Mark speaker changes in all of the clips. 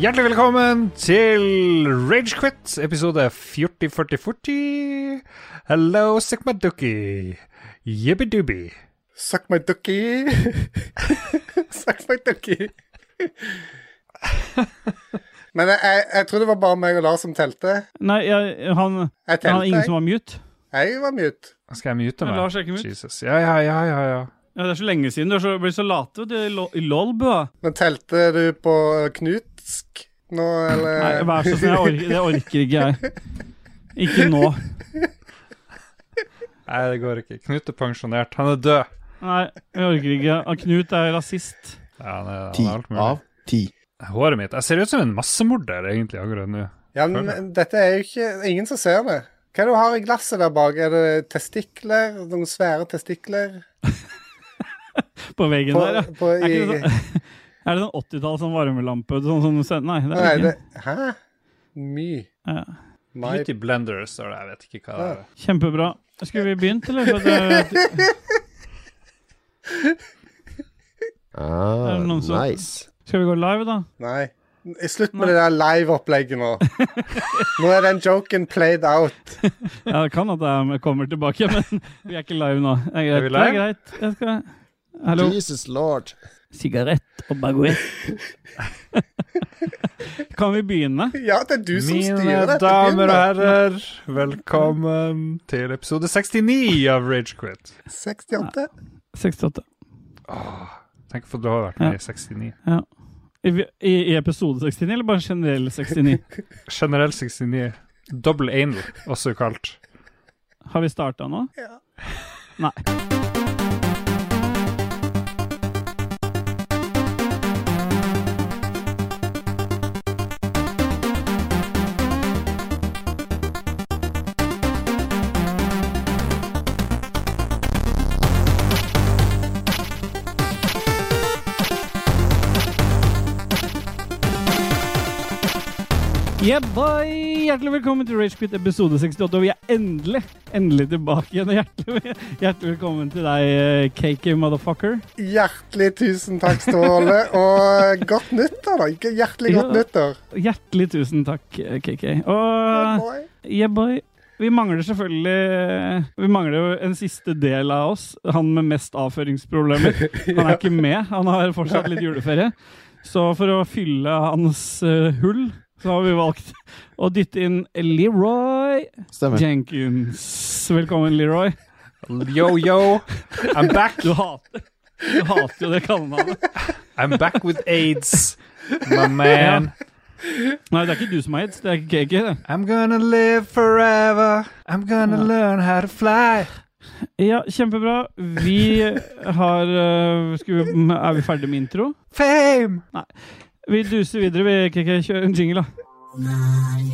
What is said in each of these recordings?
Speaker 1: Hjertelig velkommen til Ragequit, episode 404040. Hello, Sigmaducky. Yibbidooby.
Speaker 2: Suck my ducky. Suck my ducky. Men jeg, jeg, jeg tror det var bare meg og Lars som telte.
Speaker 3: Nei, jeg, han,
Speaker 2: Jeg
Speaker 3: han er
Speaker 2: telte,
Speaker 3: ingen som
Speaker 2: jeg.
Speaker 3: var mute.
Speaker 2: Jeg var mute.
Speaker 1: Skal jeg mute meg?
Speaker 3: Ja, Lars er ikke mute.
Speaker 1: Jesus. Ja, ja, ja, ja, ja.
Speaker 3: Ja, det er så lenge siden. Du er så, blir så late du, i lo- i lolbua.
Speaker 2: Men telte du på knutsk nå, eller?
Speaker 3: Nei, vær så snill. jeg orker- Det orker ikke jeg. Ikke nå.
Speaker 1: Nei, det går ikke. Knut er pensjonert. Han er død.
Speaker 3: Nei, jeg orker ikke. Ah, Knut er rasist.
Speaker 1: Ja, han er,
Speaker 4: Ti
Speaker 1: han er alt mulig.
Speaker 4: av ti.
Speaker 1: Håret mitt. Jeg ser ut som en massemorder, egentlig, akkurat nå.
Speaker 2: Ja, men men dette er jo ikke Ingen som ser det. Hva er det du har i glasset der bak? Er det testikler? Noen svære testikler?
Speaker 3: På veggen
Speaker 2: På,
Speaker 3: der, ja.
Speaker 2: på,
Speaker 3: Er
Speaker 2: i,
Speaker 3: ikke det sånn, er det sånn 80-tall sånn varmelampe? Sånn, som du ser- nei, det
Speaker 2: nei,
Speaker 3: er det
Speaker 2: det
Speaker 3: ikke.
Speaker 2: Hæ? My.
Speaker 3: Ja.
Speaker 2: My.
Speaker 1: Beauty blender, står det. Jeg vet ikke hva det er.
Speaker 3: Kjempebra. Skulle vi begynt, eller? For det,
Speaker 4: Ah,
Speaker 3: Er det noen som-
Speaker 4: nice.
Speaker 3: skal vi gå live, da?
Speaker 2: Nei. Slutt
Speaker 3: Nei.
Speaker 2: med det der live-opplegget nå. Nå er den joken played out.
Speaker 3: Ja, det kan at jeg kommer tilbake, men vi er ikke live nå. Det er
Speaker 1: Er vi
Speaker 3: greit. Det er greit. Jeg skal... Hallo.
Speaker 4: Jesus lord.
Speaker 3: Sigarett og baguett. kan vi begynne?
Speaker 2: Ja, det er du som styrer
Speaker 1: Mine
Speaker 2: dette.
Speaker 1: damer og
Speaker 2: Bjørn.
Speaker 1: herrer, velkommen til episode 69 av Ragequit.
Speaker 2: 68.
Speaker 3: 68.
Speaker 1: Tenk å få lov å ha vært med i 69.
Speaker 3: I, i, I episode 69, eller bare generell 69?
Speaker 1: Generell 69. Double anal, også kalt.
Speaker 3: Har vi starta nå?
Speaker 2: Ja.
Speaker 3: Nei. Yeah, boy! Hjertelig velkommen til Ragequit episode 68. Og vi er endelig endelig tilbake igjen. og Hjertelig, hjertelig velkommen til deg, eh, cakey motherfucker.
Speaker 2: Hjertelig tusen takk, Ståle, og godt nyttår, da. Hjertelig godt
Speaker 3: Ja.
Speaker 2: nyttår.
Speaker 3: Hjertelig tusen takk, eh, KK. Og
Speaker 2: Boy.
Speaker 3: yeah, boy. Vi mangler selvfølgelig eh, Vi mangler jo en siste del av oss. Han med mest avføringsproblemer. Han er ikke med. Han har fortsatt litt juleferie. Så for å fylle hans eh, hull, så har vi valgt å dytte inn Leroy
Speaker 4: Stemmer.
Speaker 3: Jenkins. Velkommen, Leroy.
Speaker 1: Yo, yo, I'm back.
Speaker 3: Du hater, du hater jo det kallenavnet.
Speaker 1: I'm back with aids, my man.
Speaker 3: Nei, det er ikke du som har aids. Det er ikke KK, det.
Speaker 1: I'm gonna live forever. I'm gonna learn how to fly.
Speaker 3: Ja, kjempebra. Vi har øh, skal vi, Er vi ferdig med intro?
Speaker 1: Fame!
Speaker 3: Vi duser videre. Vi kan ikke kjøre en jingle, da.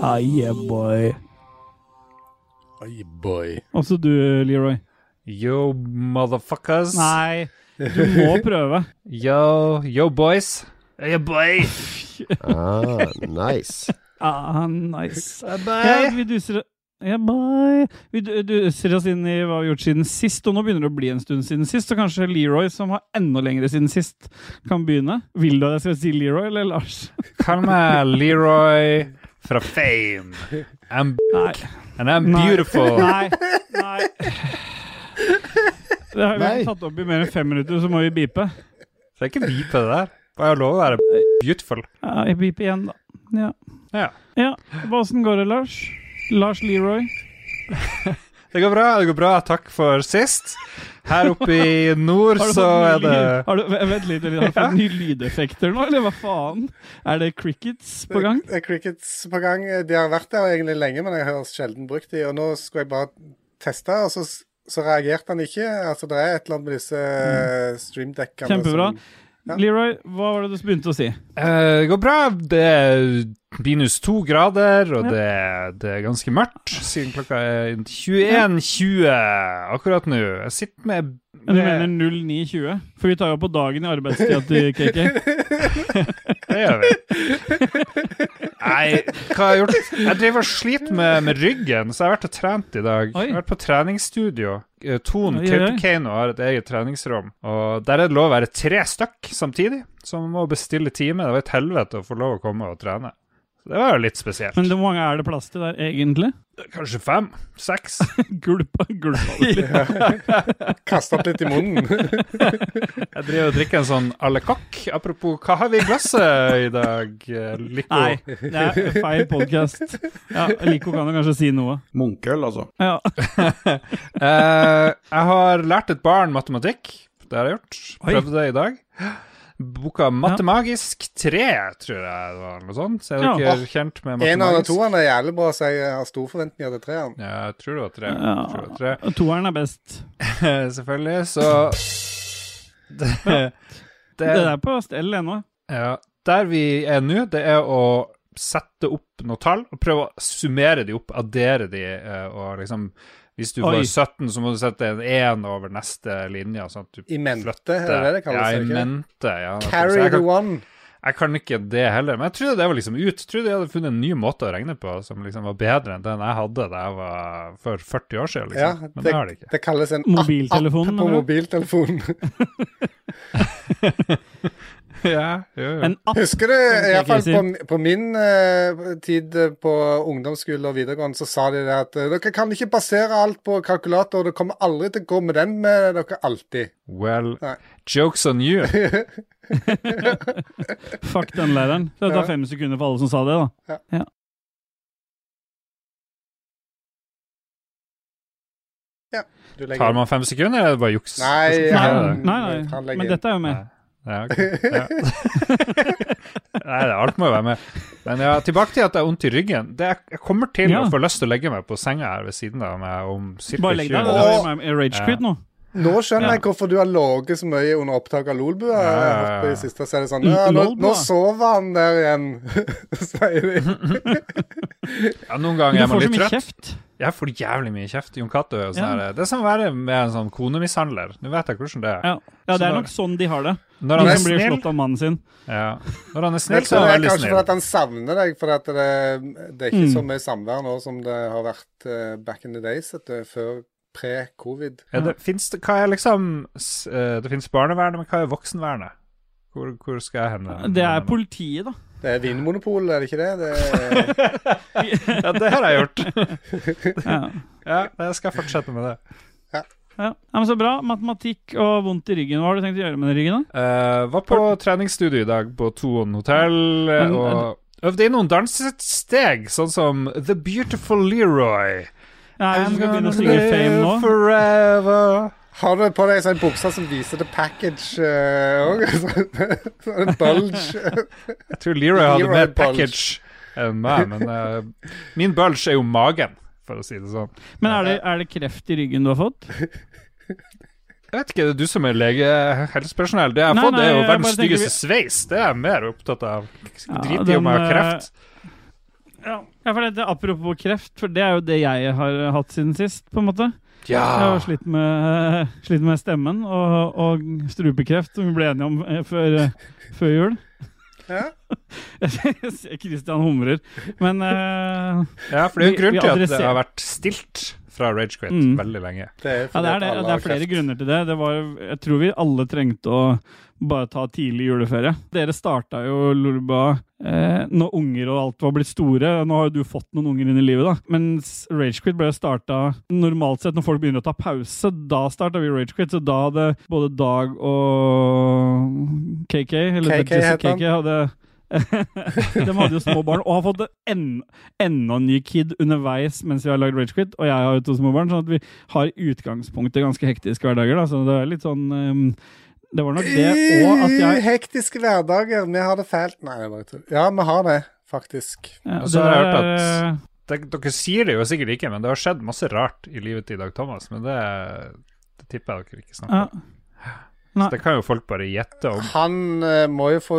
Speaker 3: Ah, yeah, boy.
Speaker 2: Oi, boy.
Speaker 3: Også du, Leroy.
Speaker 1: Yo, motherfuckers.
Speaker 3: Nei, du må prøve.
Speaker 1: Yo, yo, boys. Yo, boy.
Speaker 4: Ah, nice.
Speaker 3: Ah, nice. Ja,
Speaker 1: Bye.
Speaker 3: vi duser ja, bye. Vi du- duser oss inn i hva vi har gjort siden sist, og nå begynner det å bli en stund siden sist. Og kanskje Leroy, som har enda lengre siden sist, kan begynne. Vil du at jeg skal si Leroy eller Lars?
Speaker 1: Kall meg Leroy fra Fame. I'm
Speaker 3: Nei.
Speaker 1: And I'm
Speaker 3: Nei.
Speaker 1: beautiful.
Speaker 3: Nei. Nei. Det har vi
Speaker 4: Nei.
Speaker 3: tatt opp i mer enn fem minutter, så må vi bipe.
Speaker 1: Det er ikke beep det der. Bare lov å være beautiful.
Speaker 3: Ja, jeg biper igjen, da. Ja.
Speaker 1: Ja.
Speaker 3: ja. Åssen går det, Lars? Lars Leroy?
Speaker 1: Det går bra, det går bra. Takk for sist. Her oppe i nord
Speaker 3: Har du
Speaker 1: så
Speaker 3: fått
Speaker 1: er
Speaker 3: nye
Speaker 1: det
Speaker 3: lyd- har du, Vent litt, har du fått nye lydeffekter nå, eller hva faen? Er det crickets på gang?
Speaker 2: Det er Crickets på gang. De har vært der egentlig lenge, men jeg har sjelden brukt de. Og nå skulle jeg bare teste, og så, så reagerte han ikke. Altså, det er et eller annet med disse eh, streamdekkene
Speaker 3: Mm. Kjempebra.
Speaker 2: som- Ja.
Speaker 3: Leroy, hva var det du begynte å si?
Speaker 1: Eh, Det går bra. Det er minus to grader, og det, det er ganske mørkt siden klokka er 21.20 akkurat nå. Jeg sitter med
Speaker 3: Du mener 0920? For vi tar jo på dagen i arbeidstida til KK.
Speaker 1: Det gjør vi. Nei, hva har jeg gjort? Jeg driver og sliter med, med ryggen, så jeg har vært og trent i dag.
Speaker 3: Oi.
Speaker 1: Jeg har vært på treningsstudio. Eh, Ton
Speaker 3: Oi, oi, oi.
Speaker 1: Kautokeino har et eget treningsrom, og der er det lov å være tre stykk samtidig, så man må bestille time. Det var et helvete å få lov å komme og trene. Så det var jo litt spesielt.
Speaker 3: Men hvor mange er det plass til der, egentlig?
Speaker 1: Kanskje fem? Seks?
Speaker 3: Gulpa, gulpa det litt.
Speaker 2: Kaste opp litt i munnen.
Speaker 1: Jeg driver og drikker en sånn à la coque. Apropos, hva har vi i glasset i dag, eh, Lico?
Speaker 3: Nei, det er feil podkast. Ja, Lico kan jo kanskje si noe.
Speaker 5: Munkøl, altså.
Speaker 3: Ja.
Speaker 1: Eh, jeg har lært et barn matematikk. Det har jeg gjort.
Speaker 3: Oi.
Speaker 1: Prøvde det i dag. Boka Matemagisk 3, tror jeg det var noe sånt. Så er
Speaker 3: Ja.
Speaker 1: dere kjent med
Speaker 2: En av de to
Speaker 1: matemagisk?
Speaker 2: er jævlig bra, så jeg har store forventninger til treeren.
Speaker 1: Ja, jeg tror det var tre.
Speaker 3: Ja.
Speaker 1: Jeg Tror det var tre. Eh,
Speaker 3: Toeren er best.
Speaker 1: Selvfølgelig, så det,
Speaker 3: Det
Speaker 1: det,
Speaker 3: er på stell ennå.
Speaker 1: ja, Der vi er nå, det er å sette opp noen tall og prøve å summere de opp, addere de, eh, og liksom Hvis du
Speaker 3: Oi.
Speaker 1: får 17, så må du sette en 1 over neste linje. Sånn at du
Speaker 2: I mente,
Speaker 1: flytter-
Speaker 2: er det det det kalles,
Speaker 1: Ja,
Speaker 2: er
Speaker 1: i
Speaker 2: det ikke det?
Speaker 1: mente. Ja, nettopp. Så
Speaker 2: Carry
Speaker 1: jeg,
Speaker 2: the
Speaker 1: kan,
Speaker 2: one.
Speaker 1: jeg kan ikke det heller. Men jeg trodde det var liksom ut. Jeg trodde jeg hadde funnet en ny måte å regne på som liksom var bedre enn den jeg hadde da jeg var for 40 år siden.
Speaker 2: Ja,
Speaker 1: Liksom. Men
Speaker 2: det,
Speaker 1: det har det ikke.
Speaker 2: det kalles en app, app
Speaker 3: Mobiltelefonen,
Speaker 2: på
Speaker 3: mener du?
Speaker 2: mobiltelefonen.
Speaker 1: Ja, jo, jo.
Speaker 3: En app.
Speaker 2: Husker du,
Speaker 3: tenker jeg
Speaker 2: iallfall på,
Speaker 3: sier.
Speaker 2: på min eh, tid eh, på ungdomsskole og videregående, så sa de det at eh, dere kan ikke basere alt på kalkulator, dere kommer aldri til å gå med den med dere alltid.
Speaker 1: Well,
Speaker 2: Nei.
Speaker 1: jokes on you.
Speaker 3: Fuck den læreren. Det
Speaker 2: Ja.
Speaker 3: tar fem sekunder for alle som sa det, da. Ja.
Speaker 2: Du legger-
Speaker 1: Tar man fem sekunder, eller er det bare juks?
Speaker 2: Nei,
Speaker 3: Nei,
Speaker 1: Ja,
Speaker 2: han-
Speaker 3: nei,
Speaker 2: han
Speaker 3: nei,
Speaker 2: legger
Speaker 3: men
Speaker 2: inn.
Speaker 3: dette er jo med.
Speaker 1: Ja, ok. ja. Nei, det- alt må jo være med. Men ja, tilbake til at jeg har vondt i ryggen. Det, jeg- jeg kommer til
Speaker 3: Ja.
Speaker 1: å få lyst til å legge meg på senga her ved siden av meg om ca.
Speaker 3: Bare legg
Speaker 1: 20
Speaker 3: deg.
Speaker 1: minutter.
Speaker 3: Det er jo med Ragequit nå.
Speaker 2: Nå skjønner
Speaker 3: Ja.
Speaker 2: jeg hvorfor du har ligget så mye under opptak av Lolbua. eh,
Speaker 1: Ja, ja, ja.
Speaker 2: Oppe i siste, så er det sånn,
Speaker 3: L-
Speaker 2: ja, nå,
Speaker 3: Lolbua?
Speaker 2: nå sover han der igjen, sier de.
Speaker 1: Ja, noen
Speaker 3: Du
Speaker 1: ganger er man
Speaker 3: får så
Speaker 1: litt
Speaker 3: mye
Speaker 1: trøtt.
Speaker 3: kjeft.
Speaker 1: Jeg får jævlig mye kjeft. Jon Cato er jo sånn
Speaker 3: Ja.
Speaker 1: her, Det er som å være med en sånn konemishandler. Nå vet jeg hvordan det er.
Speaker 3: Ja. ja, det er nok sånn de har det.
Speaker 1: Når
Speaker 3: De
Speaker 1: han er
Speaker 3: som blir
Speaker 1: snill,
Speaker 3: slått av mannen sin.
Speaker 1: ja. Når han er
Speaker 2: Men
Speaker 1: snill
Speaker 2: jeg
Speaker 1: så
Speaker 2: tror
Speaker 1: er
Speaker 2: det
Speaker 1: han
Speaker 2: er
Speaker 1: veldig
Speaker 2: kanskje for
Speaker 1: snill.
Speaker 2: at han savner deg, for at det, det er ikke
Speaker 3: Mm.
Speaker 2: så mye samvær nå som det har vært eh, back in the days, at det er før pre-covid.
Speaker 1: Ja, det, finnes, det- hva er liksom s- eh, Det finnes barnevernet, men hva er voksenvernet? Hvor, hvor skal jeg hen?
Speaker 3: Det er politiet, da.
Speaker 2: Det er Vinmonopol, er det ikke det? det er,
Speaker 1: Ja, det har jeg gjort.
Speaker 3: Ja.
Speaker 1: Ja, jeg skal fortsette med det.
Speaker 3: Ja. ja, men Så bra. Matematikk og vondt i ryggen. Hva har du tenkt å gjøre med den ryggen? da?
Speaker 1: Eh, var på treningsstudio i dag på Toon hotell eh, og øvde inn noen dansesteg, sånn som The Beautiful Leroy.
Speaker 3: Ja, hvis du skal begynne å
Speaker 1: altså,
Speaker 3: synge Fame nå
Speaker 1: forever.
Speaker 2: har du på deg sånn buksa som viser the package òg? sånn bulge.
Speaker 1: Jeg tror Leroy hadde
Speaker 2: Leroy
Speaker 1: mer
Speaker 2: Bulge.
Speaker 1: package enn meg, men eh, min bulge er jo magen, for å si det sånn.
Speaker 3: Men er det, er det kreft i ryggen du har fått?
Speaker 1: Jeg vet ikke, det er du som er lege, helsepersonell. Det jeg har
Speaker 3: Nei,
Speaker 1: fått, er jo
Speaker 3: nei, jeg
Speaker 1: verdens
Speaker 3: bare tenker
Speaker 1: styggeste sveis. Det er jeg mer opptatt av.
Speaker 3: Ja,
Speaker 1: Drit i om jeg har
Speaker 3: den, eh,
Speaker 1: kreft.
Speaker 3: Ja, for dette, Apropos kreft, for det er jo det jeg har eh, hatt siden sist. på en måte. Jeg har slitt med, eh, slitt med stemmen og, og strupekreft, som vi ble enige om eh, før, eh, før jul.
Speaker 2: Ja.
Speaker 3: Jeg ser Christian humrer. Men eh,
Speaker 1: Ja, for det er jo en
Speaker 3: Vi-
Speaker 1: grunn
Speaker 3: vi
Speaker 1: til at det
Speaker 3: adresserer-
Speaker 1: har vært stilt fra Ragequit
Speaker 3: Mm.
Speaker 1: veldig lenge.
Speaker 2: Det er,
Speaker 3: ja,
Speaker 2: fordi
Speaker 3: det
Speaker 2: at
Speaker 3: er, det,
Speaker 2: alle
Speaker 3: det
Speaker 2: har
Speaker 3: er flere
Speaker 2: kreft.
Speaker 3: grunner til det. det var, jeg tror vi alle trengte å bare ta tidlig juleferie. Dere starta jo Lulba eh, når unger og alt var blitt store. Nå har jo du fått noen unger inn i livet, da. Men Ragequit ble starta normalt sett når folk begynner å ta pause. Da starta vi Ragequit, så da hadde både Dag og KK
Speaker 2: KK
Speaker 3: eller KK,
Speaker 2: het han.
Speaker 3: KK hadde de hadde jo små barn, og har fått en, enda en ny kid underveis mens vi har lagd Ragequit. Og jeg har jo to små barn, sånn at vi har i utgangspunktet ganske hektiske hverdager. Da, så det er litt sånn ehm, Det var nok det, og at jeg
Speaker 2: Hektiske hverdager. Vi har det fælt. Nei, det var ikke Ja, vi har det, faktisk.
Speaker 3: ja,
Speaker 1: Og så har jeg hørt at-
Speaker 3: er-
Speaker 1: Det, dere sier det jo sikkert ikke, men det har skjedd masse rart i livet til Dag Thomas. Men det, det tipper jeg dere ikke snakker
Speaker 3: ja,
Speaker 1: om.
Speaker 3: nei.
Speaker 1: Så det kan jo folk bare gjette om.
Speaker 2: Han eh, må jo få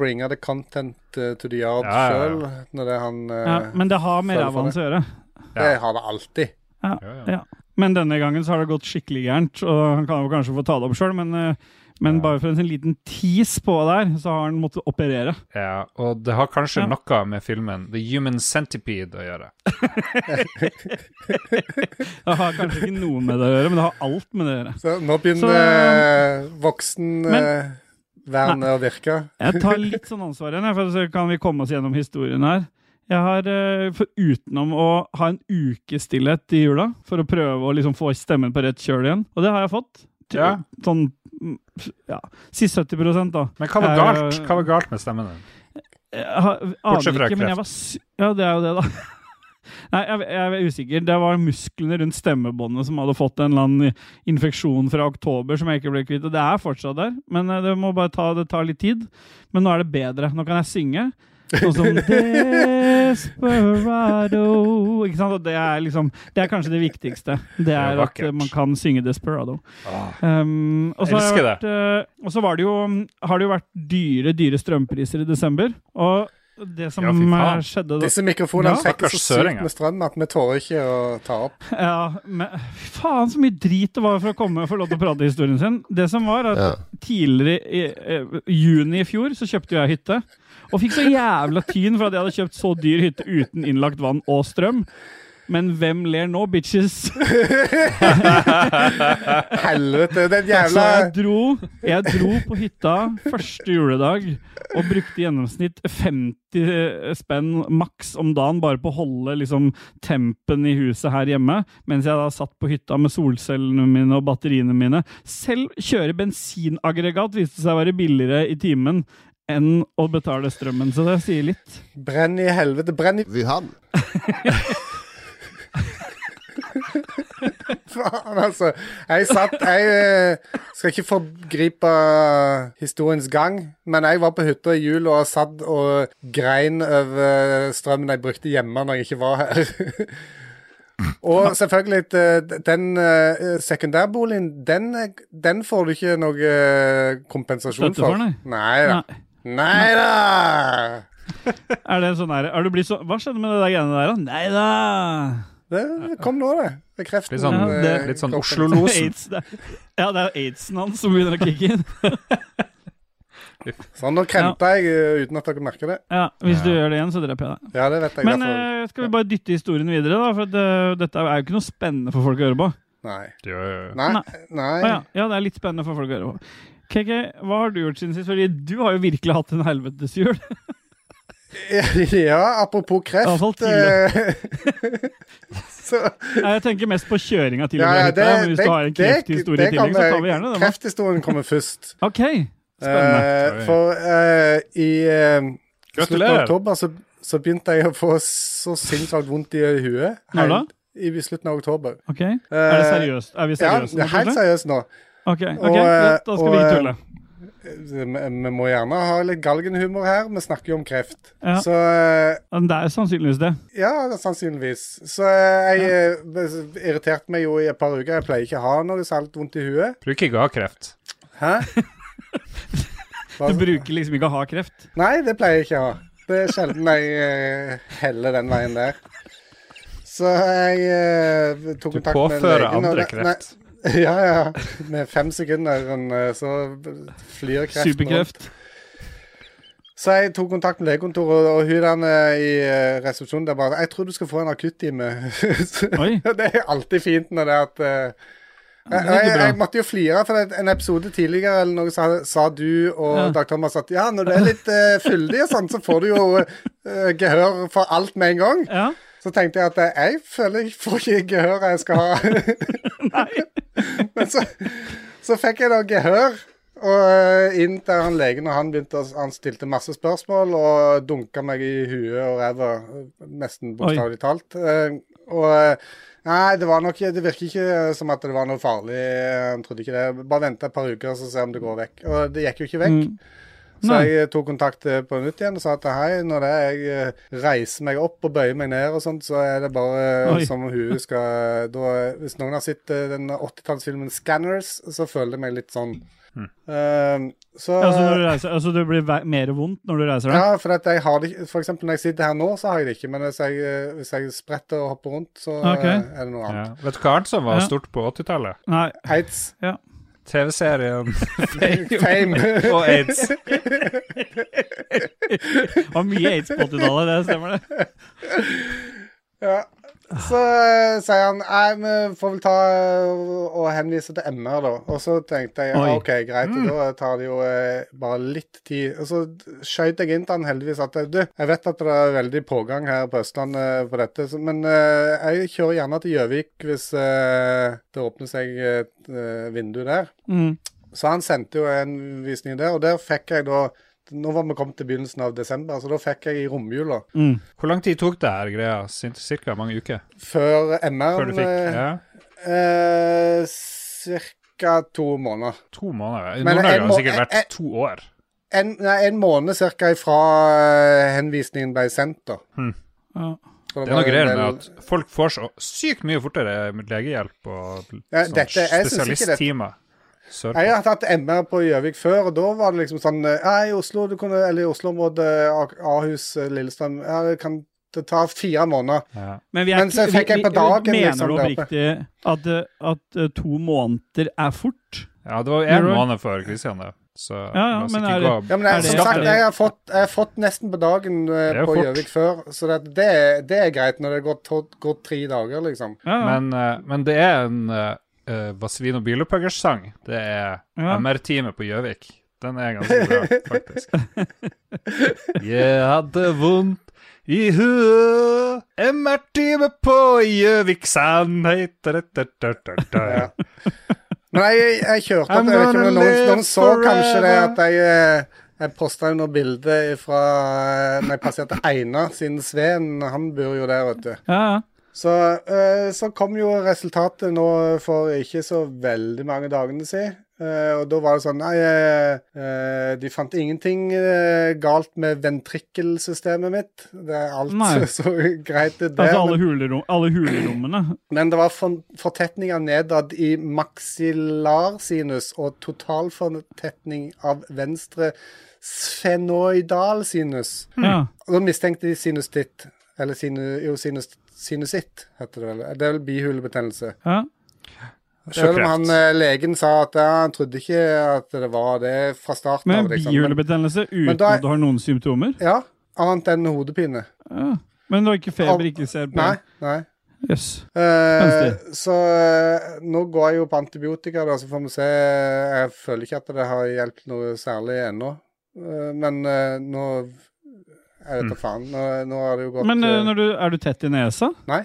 Speaker 2: bringa the content eh, to the yard
Speaker 1: Ja, ja, ja.
Speaker 2: selv sjøl, når det er han eh,
Speaker 3: ja, men det har med
Speaker 2: Føler for
Speaker 3: ræva hans å gjøre.
Speaker 2: Det har det alltid.
Speaker 1: Ja, ja.
Speaker 3: Ja. Men denne gangen så har det gått skikkelig gærent, og han kan jo kanskje få ta det opp sjøl, men eh, Men
Speaker 1: Ja.
Speaker 3: bare for en sånn liten tease på der, så har han måttet operere.
Speaker 1: Ja, og det har kanskje
Speaker 3: Ja.
Speaker 1: noe med filmen The Human Centipede å gjøre.
Speaker 3: Det har kanskje ikke noe med det å gjøre, men det har alt med det å gjøre.
Speaker 2: Så nå begynner
Speaker 3: Så-
Speaker 2: eh, voksen
Speaker 3: Men-
Speaker 2: voksenvernet å virke.
Speaker 3: Jeg tar litt sånn ansvar igjen, jeg, for så kan vi komme oss gjennom historien her. Jeg har, eh, for Utenom å ha en uke stillhet i jula, for å prøve å liksom få stemmen på rett kjøl igjen. Og det har jeg fått. Til,
Speaker 1: Ja.
Speaker 3: Sånn mm, ja, Si 70 da.
Speaker 1: Men hva var
Speaker 3: Eh,
Speaker 1: galt, hva var galt med stemmen din?
Speaker 3: Jeg har- Eh, aner
Speaker 1: Bortsett fra
Speaker 3: ikke, men
Speaker 1: kreft.
Speaker 3: jeg var sy Ja, det er jo det, da. Nei, jeg, jeg er usikker. Det var musklene rundt stemmebåndet som hadde fått en eller annen infeksjon fra oktober som jeg ikke ble kvitt. Og det er fortsatt der, men eh, det må bare ta, det tar litt tid. Men nå er det bedre. Nå kan jeg synge. Sånn som Desperado. Ikke sant? Og det er liksom Det er kanskje det viktigste. Det er at eh,
Speaker 1: vakkert.
Speaker 3: man kan synge Desperado.
Speaker 1: Åh,
Speaker 3: Um, og så har
Speaker 1: Elsker
Speaker 3: jeg vært, eh, og så var det jo, har det jo vært dyre, dyre strømpriser i desember. Og det som
Speaker 1: Ja, fy faen.
Speaker 3: eh, skjedde da
Speaker 2: Disse mikrofonene
Speaker 3: Ja.
Speaker 2: trekker så
Speaker 1: Stakkars søringer.
Speaker 2: sykt med strøm at vi tåler ikke å ta opp.
Speaker 3: ja, men, Fy faen, så mye drit det var for å komme og få lov til å prate historien sin. Det som var, at
Speaker 4: Ja.
Speaker 3: tidligere i eh, juni i fjor så kjøpte jeg hytte. Og fikk så jævla tyn for at jeg hadde kjøpt så dyr hytte uten innlagt vann og strøm. Men hvem ler nå, bitches?
Speaker 2: Helvete, den
Speaker 3: Så
Speaker 2: jævla
Speaker 3: Altså, jeg dro, jeg dro på hytta første juledag og brukte i gjennomsnitt 50 spenn maks om dagen bare på å holde liksom, tempen i huset her hjemme, mens jeg da satt på hytta med solcellene mine og batteriene mine. Selv kjøre bensinaggregat viste seg å være billigere i timen enn å betale strømmen, så det sier litt.
Speaker 2: Brenn i helvete, brenn i
Speaker 4: Wuhan.
Speaker 2: faen, altså. Jeg satt Jeg eh, skal ikke forgripe historiens gang, men jeg var på hytta i jul og satt og grein over strømmen jeg brukte hjemme når jeg ikke var her. Og selvfølgelig, eh, den eh, sekundærboligen, den, den får du ikke noe eh, kompensasjon
Speaker 3: Støtte for,
Speaker 2: for.
Speaker 3: nei.
Speaker 2: Nei da.
Speaker 3: Nei.
Speaker 2: Nei da!
Speaker 3: Er det sånn her, er du blitt så, Hva skjedde med det der greiene der, da? Nei da!
Speaker 2: Det kom nå, det. Det er kreften.
Speaker 1: Litt sånn,
Speaker 3: Ja, det-
Speaker 2: eh,
Speaker 1: litt sånn
Speaker 2: kroppen.
Speaker 1: Oslo-losen.
Speaker 3: AIDS, det, ja, det er aidsen hans som begynner å kicke inn.
Speaker 2: Sånn, nå kremta jeg eh, uten at dere merker det.
Speaker 3: Ja, Hvis du
Speaker 1: Ja.
Speaker 3: gjør det igjen, så dreper jeg deg.
Speaker 2: Ja, det vet jeg
Speaker 3: Men
Speaker 2: derfor.
Speaker 3: eh, skal vi bare dytte historien videre, da? For at, eh, dette er jo ikke noe spennende for folk å høre på.
Speaker 2: Nei.
Speaker 1: Jo, jo, jo.
Speaker 2: Nei.
Speaker 3: Nei.
Speaker 2: Nei.
Speaker 3: Å ja. ja, det er litt spennende for folk å høre på. KK, hva har du gjort siden sist? Fordi du har jo virkelig hatt en helvetes jul.
Speaker 2: Ja, apropos
Speaker 3: Avfall
Speaker 2: kreft eh, Så
Speaker 3: Nei, Jeg tenker mest på kjøringa til og
Speaker 2: ja,
Speaker 3: med.
Speaker 2: ja,
Speaker 3: hytta, men hvis du har en krefthistorie i
Speaker 2: det
Speaker 3: tillegg, så tar
Speaker 2: kommer-
Speaker 3: vi gjerne den. da.
Speaker 2: Krefthistorien kommer først.
Speaker 3: OK. Spennende.
Speaker 2: Eh, for eh, i eh, slutten av
Speaker 1: Gratulerer.
Speaker 2: oktober så, så begynte jeg å få så sinnssykt vondt i huet.
Speaker 3: Når da?
Speaker 2: I slutten av oktober.
Speaker 3: Ok, Er det seriøst? Er vi
Speaker 2: Eh, Ja,
Speaker 3: seriøse? nå,
Speaker 2: helt
Speaker 3: kanskje?
Speaker 2: seriøst nå.
Speaker 3: Ok, ok,
Speaker 2: Og, eh,
Speaker 3: greit, da
Speaker 2: og,
Speaker 3: skal vi ikke
Speaker 2: eh,
Speaker 3: tulle.
Speaker 2: Vi vi må gjerne ha litt galgenhumor her. Vi snakker jo om kreft.
Speaker 3: Ja.
Speaker 2: Så eh,
Speaker 3: Men Det er sannsynligvis det.
Speaker 2: Ja, sannsynligvis. Så eh, jeg eh, irriterte meg jo i et par uker. Jeg pleier ikke å ha noe særlig vondt i huet.
Speaker 1: Bruker ikke å ha kreft.
Speaker 2: Hæ? Hva-
Speaker 3: Du bruker liksom ikke å ha kreft.
Speaker 2: Nei, det pleier jeg ikke å ha. Det er sjelden jeg eh, heller den veien der. Så jeg eh, tok
Speaker 1: Du
Speaker 2: kontakt med legen.
Speaker 1: påfører
Speaker 2: og
Speaker 1: andre
Speaker 2: det- nei-
Speaker 1: kreft.
Speaker 2: Ja, ja. Med fem sekunder eh, så flyr kreften rundt.
Speaker 3: Superkreft.
Speaker 2: Så jeg tok kontakt med legekontoret, og hun der nede i eh, resepsjonen der bare 'Jeg tror du skal få en akuttime'. Så-
Speaker 3: Oi.
Speaker 2: det er alltid fint når det er at eh, jeg,
Speaker 3: bra.
Speaker 2: jeg, jeg måtte jo flire, for det- en episode tidligere eller noe, sa, sa du og
Speaker 3: Ja.
Speaker 2: Dag Thomas at ja, når du er litt eh, fyldig og sånn, så får du jo eh, gehør for alt med en gang.
Speaker 3: Ja.
Speaker 2: Så tenkte jeg at eh, jeg føler jeg får ikke gehør jeg skal ha. Men så, så fikk jeg da gehør og eh, inn til han legen, og han, begynte, å- han stilte masse spørsmål og dunka meg i huet og ræva, nesten bokstavelig talt. Eh, Og eh, nei, det var nok Det virker ikke eh, som at det var noe farlig. eh, Han trodde ikke det. Bare vente et par uker, så se om det går vekk. Og det gikk jo ikke vekk.
Speaker 3: Mm.
Speaker 2: Så
Speaker 3: Nei.
Speaker 2: jeg tok kontakt eh, på nytt igjen og sa at hei, når det er jeg eh, reiser meg opp og bøyer meg ned og sånt, så er det bare eh,
Speaker 3: Oi.
Speaker 2: som om huet skal eh, da, Hvis noen har sett eh, den 80-tallsfilmen 'Scanners', så føler jeg meg litt sånn. Eh, så
Speaker 3: Altså, når du reiser, altså det blir ve- mer vondt når du reiser deg?
Speaker 2: ja, for, at jeg har det, ikke- for eksempel når jeg sitter her nå, så har jeg det ikke. Men hvis jeg, eh, hvis jeg spretter og hopper rundt, så eh,
Speaker 3: Ok.
Speaker 2: er det noe annet.
Speaker 1: Ja. Vet du hva annet som var
Speaker 3: Ja.
Speaker 1: stort på 80-tallet?
Speaker 3: Nei.
Speaker 2: Aids.
Speaker 3: Ja.
Speaker 1: TV-serien
Speaker 2: Fame.
Speaker 1: og aids.
Speaker 3: Det var mye aids på 80-tallet, det stemmer det.
Speaker 2: Ja. Så eh, sier han nei, vi får vel ta eh, og henvise til MR, da. Og så tenkte jeg ja,
Speaker 3: Oi.
Speaker 2: OK, greit,
Speaker 1: Mm.
Speaker 2: da tar det jo eh, bare litt tid. Og så skjøt jeg inn til han heldigvis at du, jeg vet at det er veldig pågang her på Østlandet på dette, så- men eh, jeg kjører gjerne til Gjøvik hvis eh, det åpner seg et eh, vindu der.
Speaker 3: Mm.
Speaker 2: Så han sendte jo en visning der, og der fikk jeg da Nå var vi kommet til begynnelsen av desember, så da fikk jeg i romjula.
Speaker 3: Mm.
Speaker 1: Hvor lang tid tok det her greia? Cir- Cirka mange uker
Speaker 2: Før eh, MR
Speaker 1: før du fikk? Ja.
Speaker 2: Eh, cirka to måneder.
Speaker 1: To måneder. I
Speaker 2: Men
Speaker 1: Nord-Norge
Speaker 2: jeg
Speaker 1: har
Speaker 2: må-
Speaker 1: det sikkert
Speaker 2: jeg-
Speaker 1: vært to år.
Speaker 2: En, nei, en måned cirka ifra eh, henvisningen ble sendt, da.
Speaker 3: Ja.
Speaker 1: Det er
Speaker 2: Så
Speaker 1: noe
Speaker 2: var en
Speaker 1: greier
Speaker 2: del-
Speaker 1: med at folk får så sykt mye fortere legehjelp og
Speaker 2: Ja,
Speaker 1: sånn
Speaker 2: dette- jeg synes ikke dette-
Speaker 1: spesialisttimer. Sørpå.
Speaker 2: Jeg har hatt MR på Gjøvik før, og da var det liksom sånn eh, Ja, i Oslo, du kunne, eller i Oslo-området, A- Ahus, eh, Lillestrøm Ja, det kan det tar fire måneder.
Speaker 1: Ja.
Speaker 3: Men, vi er
Speaker 2: Men så
Speaker 3: ikke-
Speaker 2: fikk jeg
Speaker 3: vi-
Speaker 2: på
Speaker 3: vi-
Speaker 2: dagen,
Speaker 3: Mener
Speaker 2: liksom,
Speaker 3: du
Speaker 2: der
Speaker 3: oppriktig at, eh, at eh, to måneder er fort?
Speaker 1: ja, det var jo én
Speaker 3: Nord-Norge-
Speaker 1: måned før Christian, det. Så
Speaker 3: ja,
Speaker 1: la oss
Speaker 3: men
Speaker 1: ikke
Speaker 3: er
Speaker 1: gå
Speaker 2: Ja, men
Speaker 3: Er
Speaker 2: jeg,
Speaker 3: det-
Speaker 2: som sagt, jeg har, fått, jeg har fått nesten på dagen eh,
Speaker 1: Det er jo
Speaker 2: på
Speaker 1: fort.
Speaker 2: Gjøvik før, så det, det, er- det er greit når det har gått, to- gått tre dager, liksom.
Speaker 3: Ja, ja.
Speaker 1: Men, eh, men det er en eh, eh, Vazelino Bilopphøggers sang. Det er
Speaker 3: Ja.
Speaker 1: MR-teamet på Gjøvik. Den er ganske bra, faktisk. Jeg hadde vondt i huet. MR-teamet på Gjøvik sand. Hei, da, da, da, da, da.
Speaker 2: Ja. Men jeg, jeg kjørte
Speaker 1: I'm
Speaker 2: opp, jeg vet ikke om
Speaker 1: gonna
Speaker 2: noen,
Speaker 1: live
Speaker 2: noen så kanskje det
Speaker 1: forever.
Speaker 2: at jeg, eh, jeg posta jo noe bilde fra når jeg passerte Einar, siden Sveen han bor jo der, vet du.
Speaker 3: ja, ja.
Speaker 2: Så, eh, så kom jo resultatet nå for ikke så veldig mange dagene siden. Eh, og da var det sånn Nei, eh, eh, de fant ingenting eh, galt med ventrikkelsystemet mitt. Det er alt
Speaker 3: Nei.
Speaker 2: så greit ut, det.
Speaker 3: Altså alle,
Speaker 2: men-
Speaker 3: hulerom, alle hulerommene.
Speaker 2: men det var for- fortetninger nedad i maxillarsinus og totalfortetning av venstre sfenoidalsinus.
Speaker 3: Ja.
Speaker 2: Og da mistenkte de sinustitt, eller sinu, jo, sinus, sinusitt, heter det vel. Det er vel bihulebetennelse.
Speaker 3: Ja.
Speaker 1: Det er
Speaker 2: Selv om
Speaker 1: kreft.
Speaker 2: han, eh, legen sa at ja, han trodde ikke at det var det fra starten
Speaker 3: Med
Speaker 2: av. liksom. Men-
Speaker 3: bihulebetennelse uten
Speaker 2: Men da er-
Speaker 3: at du har noen symptomer?
Speaker 2: Ja, annet enn hodepine.
Speaker 3: Ja. Men du har ikke feber, ikke ser på?
Speaker 2: Nei, nei.
Speaker 3: Yes.
Speaker 2: Eh,
Speaker 3: Spenstig.
Speaker 2: så eh, nå går jeg jo på antibiotika, da, så får vi se. Jeg føler ikke at det har hjulpet noe særlig ennå. Eh, men eh, nå Jeg vet da faen. Nå, nå har det jo gått
Speaker 3: Mm. Men eh,
Speaker 2: eh,
Speaker 3: når du, er du tett i nesa?
Speaker 2: Nei.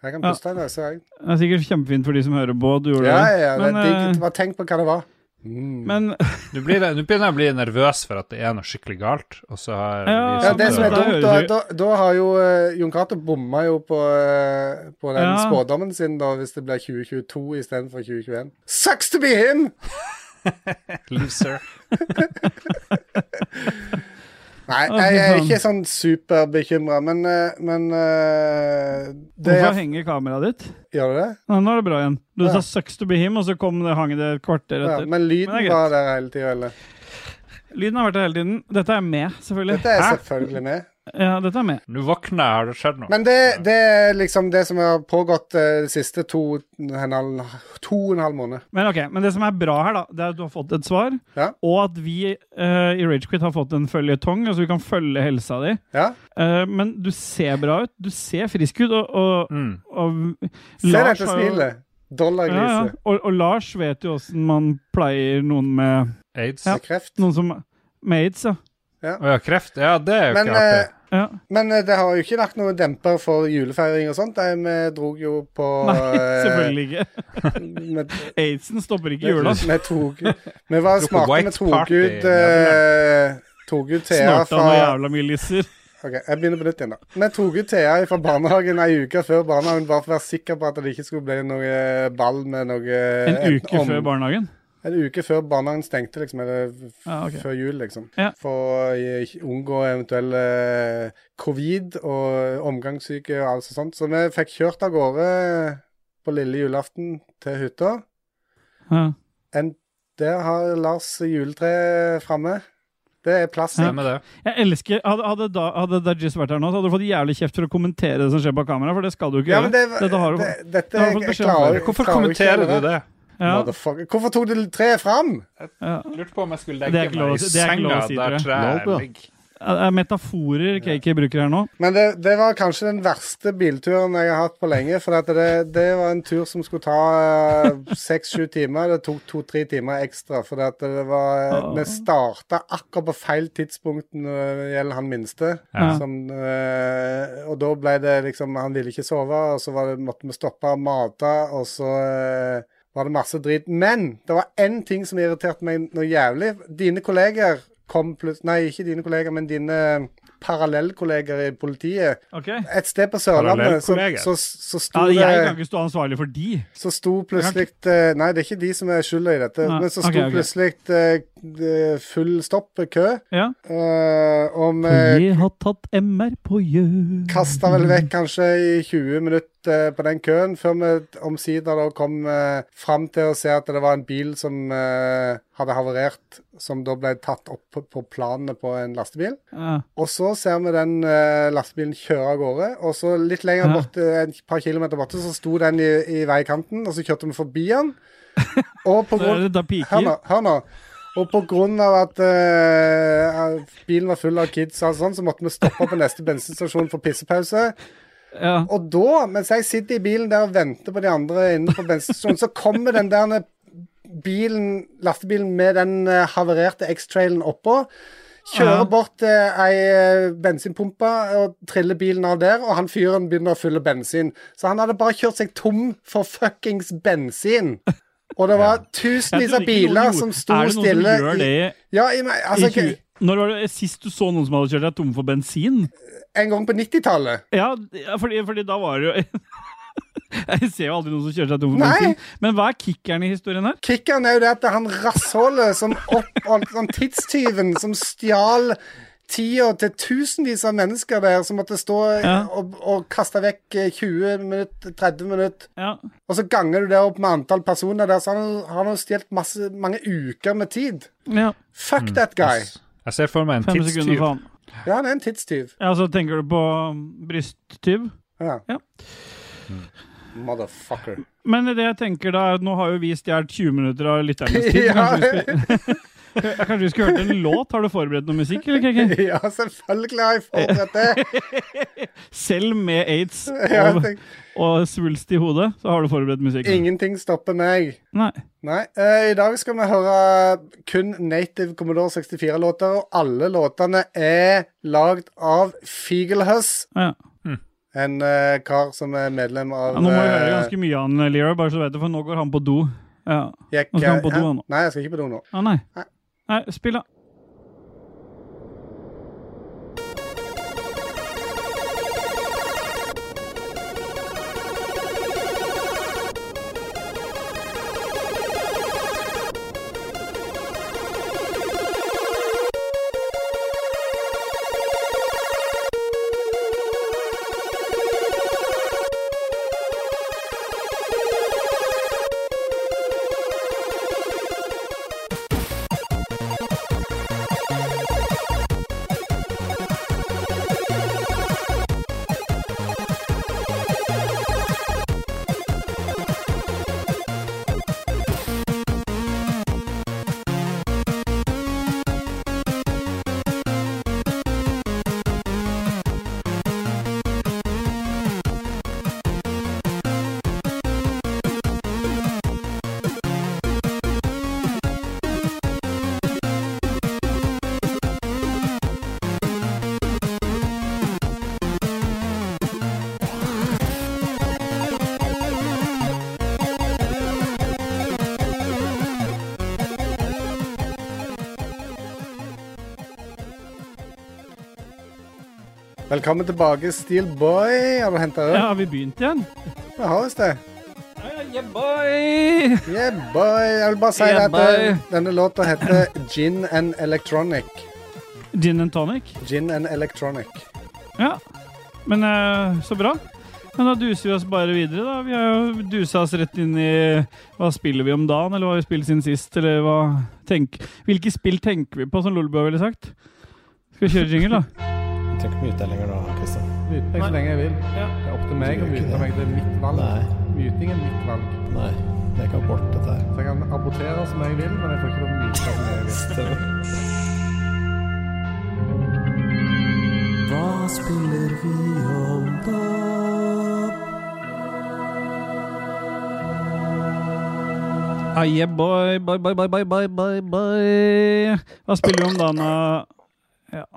Speaker 2: Jeg kan
Speaker 3: Ja.
Speaker 2: puste i nesa, jeg.
Speaker 3: Det er sikkert kjempefint for de som hører på. at Du gjorde
Speaker 2: Ja, ja, ja, det
Speaker 3: Men,
Speaker 2: er digg.
Speaker 3: eh,
Speaker 2: Bare tenk på hva det var. Mm.
Speaker 3: Men
Speaker 1: Nå blir jeg- nå begynner jeg å bli nervøs for at det er noe skikkelig galt, og så har
Speaker 3: Ja,
Speaker 1: vi sånn
Speaker 2: ja, det
Speaker 3: men
Speaker 2: som er
Speaker 3: da
Speaker 2: dumt, da,
Speaker 3: sånn hører du-
Speaker 2: da, da har jo eh, Jon Cato bomma jo på, eh, på den
Speaker 3: Ja.
Speaker 2: spådommen sin, da, hvis det blir 2022 istedenfor 2021. Sucks to be him!
Speaker 1: Loser.
Speaker 2: Nei,
Speaker 3: Å, fy
Speaker 2: jeg er
Speaker 3: faen.
Speaker 2: ikke sånn superbekymra, men, eh, men eh, det
Speaker 3: hvorfor
Speaker 2: er,
Speaker 3: henger kameraet ditt?
Speaker 2: Gjør det det?
Speaker 3: Nei, nå er det bra igjen. Du
Speaker 2: Ja.
Speaker 3: sa 'sucks to be him', og så kom det, hang det et kvarter
Speaker 2: Ja,
Speaker 3: etter.
Speaker 2: men lyden
Speaker 3: Men det er greit.
Speaker 2: var der hele tida, eller?
Speaker 3: Lyden har vært der hele tiden. Dette er med, selvfølgelig.
Speaker 2: Dette er
Speaker 3: Hæ?
Speaker 2: selvfølgelig med.
Speaker 3: Ja, dette er med.
Speaker 1: Nå våkner jeg, har det skjedd noe?
Speaker 2: Men det, det er liksom det som har pågått eh, de siste to, en halv, to og en halv måned.
Speaker 3: Men ok, men det som er bra her, da, det er at du har fått et svar,
Speaker 2: Ja.
Speaker 3: og at vi eh, i Ragequit har fått en føljetong, altså vi kan følge helsa di.
Speaker 2: Ja?
Speaker 3: Eh, men du ser bra ut, du ser frisk ut, og, og,
Speaker 1: mm.
Speaker 3: og
Speaker 2: Se
Speaker 3: Lars
Speaker 2: dette
Speaker 3: har jo-
Speaker 2: smilet.
Speaker 3: Ja, ja.
Speaker 2: Dollargrise.
Speaker 3: Og, og Lars vet jo åssen man pleier noen med
Speaker 1: Aids? Å
Speaker 2: Ja.
Speaker 1: ja.
Speaker 2: Kreft.
Speaker 3: Noen som med aids, ja.
Speaker 1: kreft? Ja, det er jo
Speaker 2: Men,
Speaker 1: ikke artig.
Speaker 2: eh,
Speaker 3: ja.
Speaker 2: men eh, det har jo ikke lagt noen demper for julefeiring og sånt. Nei, Vi dro jo på
Speaker 3: Nei,
Speaker 2: eh,
Speaker 3: selvfølgelig ikke.
Speaker 2: med-
Speaker 3: Aidsen stopper ikke jula.
Speaker 2: Vi tok Vi var
Speaker 1: Dro på
Speaker 2: smarte, vi
Speaker 1: White
Speaker 2: tok
Speaker 1: Party
Speaker 2: ut eh, Tok ut Thea
Speaker 3: Snorta noen
Speaker 2: fra
Speaker 3: jævla milisser.
Speaker 2: Ok, jeg begynner på nytt igjen, da. Vi tok ut Thea fra barnehagen ei uke før barnehagen, bare for å være sikker på at det ikke skulle bli noe eh, ball med noe eh,
Speaker 3: En uke
Speaker 2: om-
Speaker 3: før barnehagen.
Speaker 2: En uke før barnehagen stengte, liksom. Eller f-
Speaker 3: Ja, Ah, ok.
Speaker 2: før jul, liksom.
Speaker 3: Ja.
Speaker 2: For å i- unngå eventuell eh, covid og eh, omgangssyke og alt sånt. Så vi fikk kjørt av gårde eh, på lille julaften til hytta.
Speaker 3: Ja.
Speaker 2: En, der har Lars juletre framme. Det er plass. i.
Speaker 1: Stemmer det.
Speaker 3: Jeg elsker, Hadde, hadde, da, hadde Dajis vært her nå, så hadde du fått jævlig kjeft for å kommentere det som skjer bak kamera, for det skal du ikke
Speaker 2: Ja, men
Speaker 3: gjøre.
Speaker 2: det,
Speaker 3: Dette har du
Speaker 2: det,
Speaker 3: fått-
Speaker 2: dette
Speaker 3: det har du fått
Speaker 2: jeg
Speaker 3: beskjed om
Speaker 2: klarer
Speaker 3: før.
Speaker 1: Hvorfor kommenterer du det?
Speaker 3: Ja,
Speaker 2: Motherfucker. Hvorfor tok du treet fram?
Speaker 3: ja.
Speaker 1: Lurte på om jeg skulle
Speaker 3: Det er
Speaker 1: legge
Speaker 3: ikke lov
Speaker 1: meg
Speaker 3: å
Speaker 1: i
Speaker 3: si- det er ikke lov
Speaker 1: senga
Speaker 3: å si, tror
Speaker 1: der
Speaker 3: jeg.
Speaker 1: treet
Speaker 4: Nope.
Speaker 1: ligger.
Speaker 3: Det er metaforer KK bruker her nå.
Speaker 2: Men det, det var kanskje den verste bilturen jeg har hatt på lenge. For at det, det var en tur som skulle ta seks-sju timer. Det tok to-tre timer ekstra. For at det var,
Speaker 3: Ah.
Speaker 2: vi starta akkurat på feil tidspunkt når det gjelder han minste.
Speaker 3: Ja.
Speaker 2: Som, eh, og da ble det liksom Han ville ikke sove, og så var det, måtte vi stoppe og mate, og så eh, var det masse drit. Men det var én ting som irriterte meg noe jævlig. Dine kolleger kom plutselig Nei, ikke dine kolleger, men dine parallellkolleger i politiet.
Speaker 3: Ok. Ja,
Speaker 2: Et sted på Sørlandet så,
Speaker 1: Parallellkolleger?
Speaker 2: så, så, sto
Speaker 3: jeg kan
Speaker 2: det
Speaker 3: ikke stå ansvarlig for de.
Speaker 2: Så sto plutselig eh, Nei, det er ikke de som er skylda i dette,
Speaker 3: Nei,
Speaker 2: men så sto
Speaker 3: ok, ok.
Speaker 2: plutselig eh, eh, full stopp, kø,
Speaker 3: Ja.
Speaker 2: eh, om eh,
Speaker 3: Jeg har tatt MR på Gjø.
Speaker 2: Kasta vel vekk kanskje i 20 minutter eh, på den køen, før vi omsider da kom eh, fram til å se at det var en bil som eh, hadde havarert, som da ble tatt opp på- på planene på en lastebil.
Speaker 3: Ja.
Speaker 2: Og så ser vi den eh, lastebilen kjøre av gårde, og så litt lenger
Speaker 3: Ja.
Speaker 2: borte, et par kilometer borte, så sto den i, i veikanten, og så kjørte vi forbi den. Og på
Speaker 3: Så er
Speaker 2: grunn
Speaker 3: det da
Speaker 2: Hør nå.
Speaker 3: piker.
Speaker 2: hør nå. Og på grunn av at eh, at bilen var full av kids, og alt sånt, så måtte vi stoppe på neste bensinstasjon for pissepause.
Speaker 3: Ja.
Speaker 2: Og da, mens jeg sitter i bilen der og venter på de andre inne på bensinstasjonen, så kommer den der bilen, lastebilen med den eh, havarerte X-trailen oppå. Kjører
Speaker 3: Ja.
Speaker 2: bort til ei eh, bensinpumpe og triller bilen av der, og han fyren begynner å fylle bensin. Så han hadde bare kjørt seg tom for fuckings bensin. Og det var
Speaker 3: Jeg
Speaker 2: tusenvis
Speaker 3: trodde
Speaker 2: av
Speaker 3: ikke noen
Speaker 2: biler
Speaker 3: gjorde-
Speaker 2: som sto
Speaker 3: Er det
Speaker 2: stille.
Speaker 3: noen som gjør det i,
Speaker 2: Ja, i, meg- altså,
Speaker 3: i 20... Når var det sist du så noen som hadde kjørt deg tom for bensin?
Speaker 2: en gang på 90-tallet.
Speaker 3: Ja, ja, fordi, fordi da var det jo Jeg ser jo aldri noen som kjører seg tom for
Speaker 2: Nei.
Speaker 3: bensin. Men hva er kickeren i historien her?
Speaker 2: Kickeren er jo det at det er han rassholdet som oppholdt han tidstyven som stjal tida til tusenvis av mennesker der som måtte stå
Speaker 3: Ja.
Speaker 2: og, og kaste vekk eh, 20 minutter, 30 minutter.
Speaker 3: Ja.
Speaker 2: Og så ganger du det opp med antall personer der, så han har han jo stjålet masse- mange uker med tid.
Speaker 3: ja.
Speaker 2: Fuck that guy.
Speaker 1: Jeg ser for meg en
Speaker 3: Fem sekunder,
Speaker 1: tidstyv.
Speaker 3: faen.
Speaker 2: Ja, han er en tidstyv.
Speaker 3: Ja, så tenker du på um, brysttyv?
Speaker 2: Ja.
Speaker 3: Ja.
Speaker 2: Motherfucker.
Speaker 3: Men det jeg tenker da, er at nå har jo vi stjålet 20 minutter av lytternes tid.
Speaker 2: Ja.
Speaker 3: Kanskje vi skulle- Kanskje vi skulle hørt en låt? Har du forberedt noe musikk? eller KK?
Speaker 2: Ja, selvfølgelig har jeg forberedt det.
Speaker 3: Selv med aids
Speaker 2: Ja, jeg
Speaker 3: og,
Speaker 2: tenker,
Speaker 3: og svulst i hodet, så har du forberedt musikk?
Speaker 2: ingenting stopper meg.
Speaker 3: Nei.
Speaker 2: Nei. eh, I dag skal vi høre kun native Commodore 64-låter, og alle låtene er lagd av Figelhus,
Speaker 3: Ja.
Speaker 2: en eh, kar som er medlem av
Speaker 3: Ja, nå må du høre
Speaker 2: eh,
Speaker 3: ganske mye av han, Lear, bare så du vet det, for nå går han på do. Ja.
Speaker 2: Jack- eh,
Speaker 3: Nå skal han på do,
Speaker 2: Hæ?
Speaker 3: han nå.
Speaker 2: Nei, jeg skal ikke på do nå.
Speaker 3: Ah, nei.
Speaker 2: Nei.
Speaker 3: Nei, spill, da.
Speaker 2: Velkommen tilbake, Steelboy. Har du henta øl?
Speaker 3: Ja, har vi begynt igjen?
Speaker 2: Jeg har visst det.
Speaker 3: Yeah, boy!
Speaker 2: Yeah, boy. Jeg vil bare si
Speaker 3: Yeah,
Speaker 2: at eh,
Speaker 3: boy.
Speaker 2: denne låta heter Gin and Electronic.
Speaker 3: Gin and tonic?
Speaker 2: Gin and Electronic.
Speaker 3: Ja. Men eh, så bra. Men da duser vi oss bare videre, da. Vi har jo dusa oss rett inn i Hva spiller vi om dagen, eller hva har vi spilt siden sist, eller hva tenk, Hvilke spill tenker vi på, som Lolbua ville sagt? Skal vi kjøre jingle, da?
Speaker 5: Du trenger ikke mute deg lenger da, Kristian.
Speaker 2: Ikke så lenge jeg vil.
Speaker 3: Ja.
Speaker 2: Det er opp til
Speaker 5: meg å mute meg.
Speaker 2: Det er mitt
Speaker 5: Nei.
Speaker 2: Mutingen er mitt valg.
Speaker 5: Nei. Det er ikke abort, dette her.
Speaker 2: Så jeg kan abortere som jeg vil, men jeg får ikke lov å nyte som jeg vil.
Speaker 5: Stemmer.
Speaker 6: Hva spiller vi om da?
Speaker 3: Ah, yeah, boy, bye, bye, bye, bye, bye, bye, bye. Hva spiller vi om dagen, da? Ja.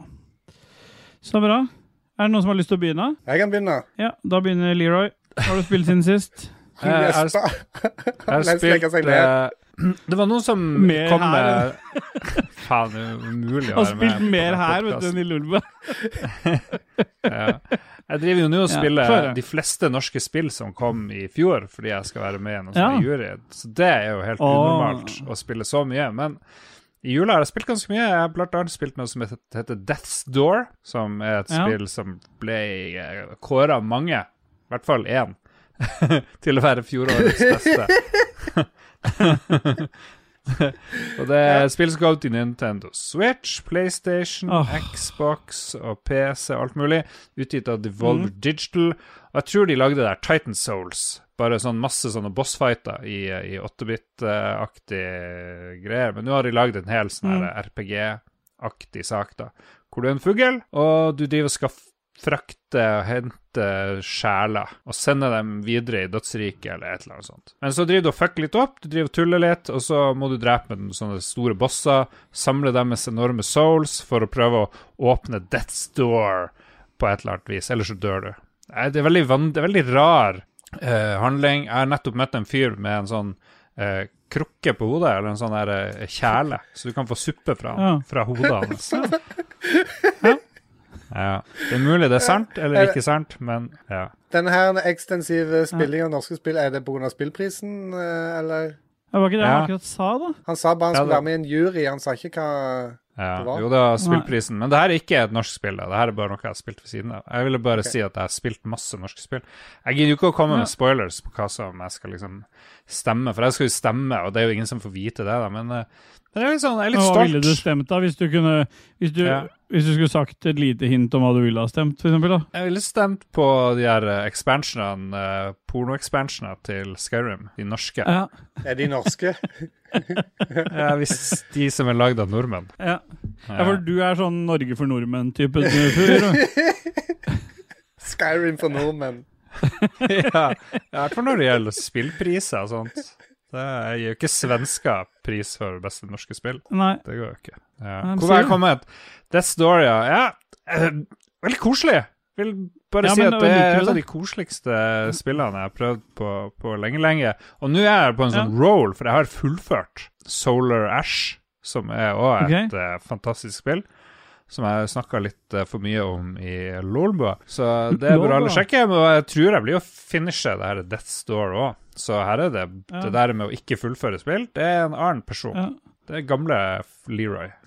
Speaker 3: Så bra. Er det noen som har lyst til å begynne?
Speaker 2: Jeg kan begynne.
Speaker 3: Ja, da begynner Leroy. Hva har du spilt siden sist?
Speaker 2: Han
Speaker 1: Eh, er-
Speaker 2: gjespa.
Speaker 1: Jeg har
Speaker 2: Mens legger
Speaker 1: spilt
Speaker 2: seg ned.
Speaker 1: eh, Det var noen som
Speaker 3: Mer
Speaker 1: kom
Speaker 3: her.
Speaker 1: med Faen, det er umulig å være
Speaker 3: Han har
Speaker 1: med
Speaker 3: spilt
Speaker 1: på
Speaker 3: mer
Speaker 1: den
Speaker 3: her vet du,
Speaker 1: podcasten.
Speaker 3: enn i Lulba.
Speaker 1: Ja. Jeg driver jo nå og
Speaker 3: Ja,
Speaker 1: spiller
Speaker 3: få høre.
Speaker 1: de fleste norske spill som kom i fjor, fordi jeg skal være med i noen
Speaker 3: Ja.
Speaker 1: sånne jury. Så det er jo helt
Speaker 3: Åh.
Speaker 1: unormalt å spille så mye. Men i jula har jeg spilt ganske mye. Jeg har blant annet spilt noe som heter- heter Death's Door, som er et
Speaker 3: Ja.
Speaker 1: spill som ble kåra av mange, i hvert fall én, til å være fjorårets beste. og det er et spill som går ut i Nintendo Switch, PlayStation,
Speaker 3: Åh.
Speaker 1: Xbox og PC og alt mulig. Utgitt av Devolver Digital. Og jeg tror de lagde det der Titan Souls. Bare sånn masse sånne bossfighter i, i 8-bit-aktige greier. Men nå har de lagd en hel sånn her RPG-aktig sak, da. Hvor du er en fugl, og du driver og skal f- frakte og hente sjeler og sende dem videre i dødsriket eller et eller annet sånt. Men så driver du og fucker litt opp, du driver og tuller litt, og så må du drepe med sånne store bosser, samle deres enorme souls for å prøve å åpne Death's Door på et eller annet vis, eller så dør du. Nei, det er veldig, van det er veldig rar eh, handling. Jeg har nettopp møtt en fyr med en sånn eh, krukke på hodet, eller en sånn der eh, kjele, så du kan få suppe fra, han-
Speaker 3: Ja.
Speaker 1: fra hodet hans. Ja. Det er mulig det er sant eller ikke sant, men ja.
Speaker 2: Denne her ekstensive spillingen av norske spill, er det pga. spillprisen, eh, eller?
Speaker 3: Det var ikke det
Speaker 1: Ja.
Speaker 3: han akkurat sa, da.
Speaker 2: Han sa bare han
Speaker 1: Ja,
Speaker 2: skulle
Speaker 1: det-
Speaker 2: være med i en jury, han sa ikke hva Det
Speaker 1: ja.
Speaker 2: var?
Speaker 1: Jo, det var spillprisen. Men det her er ikke et norsk spill. da. Det her er bare noe jeg har spilt ved siden av. Jeg ville bare si at jeg har spilt masse norske spill. Jeg gidder jo ikke å komme
Speaker 3: Ja.
Speaker 1: med spoilers på hva som jeg skal liksom stemme, for jeg skal jo stemme, og det er jo ingen som får vite det, da. Men eh, men jeg er litt sånn, jeg er litt
Speaker 3: Hva ville du
Speaker 1: stolt.
Speaker 3: stemt, da? Hvis du, kunne, hvis, du,
Speaker 1: Ja.
Speaker 3: hvis du skulle sagt et lite hint om hva du ville ha stemt, for eksempel, da?
Speaker 1: Jeg ville stemt på de her eh, expansionene, eh, porno-expansionene til Skyrim, de norske.
Speaker 3: Ja.
Speaker 2: Er de norske?
Speaker 1: Ja, hvis de som er lagd av nordmenn.
Speaker 3: Ja. ja,
Speaker 1: Ja.
Speaker 3: for du er sånn Norge for nordmenn-type fyr. du.
Speaker 2: Skyrim for nordmenn.
Speaker 1: ja, i hvert fall når det gjelder spillpriser og sånt. Det gir jo ikke svensker pris for beste norske spill.
Speaker 3: Nei.
Speaker 1: Det går jo ikke. Ja.
Speaker 3: Nei, men
Speaker 1: Hvor var
Speaker 3: sier
Speaker 1: jeg kommet? Death Story, ja. ja. eh, Veldig koselig. Vil bare
Speaker 3: Ja,
Speaker 1: si
Speaker 3: men
Speaker 1: at det
Speaker 3: liker
Speaker 1: er
Speaker 3: du
Speaker 1: et av de
Speaker 3: det?
Speaker 1: koseligste spillene jeg har prøvd på, på lenge, lenge. Og nå er jeg på en sånn roll, for jeg har fullført Solar Ash, som er òg et eh, fantastisk spill. Som jeg snakka litt eh, for mye om i Lolbua. Så det er bra å
Speaker 3: Lolbua.
Speaker 1: sjekke. Men jeg tror jeg blir å finishe det her Death Store òg. Så her er det
Speaker 3: Ja.
Speaker 1: det der med å ikke fullføre spill, det er en annen person.
Speaker 3: Ja.
Speaker 1: Det er gamle f- Leroy.
Speaker 3: ja,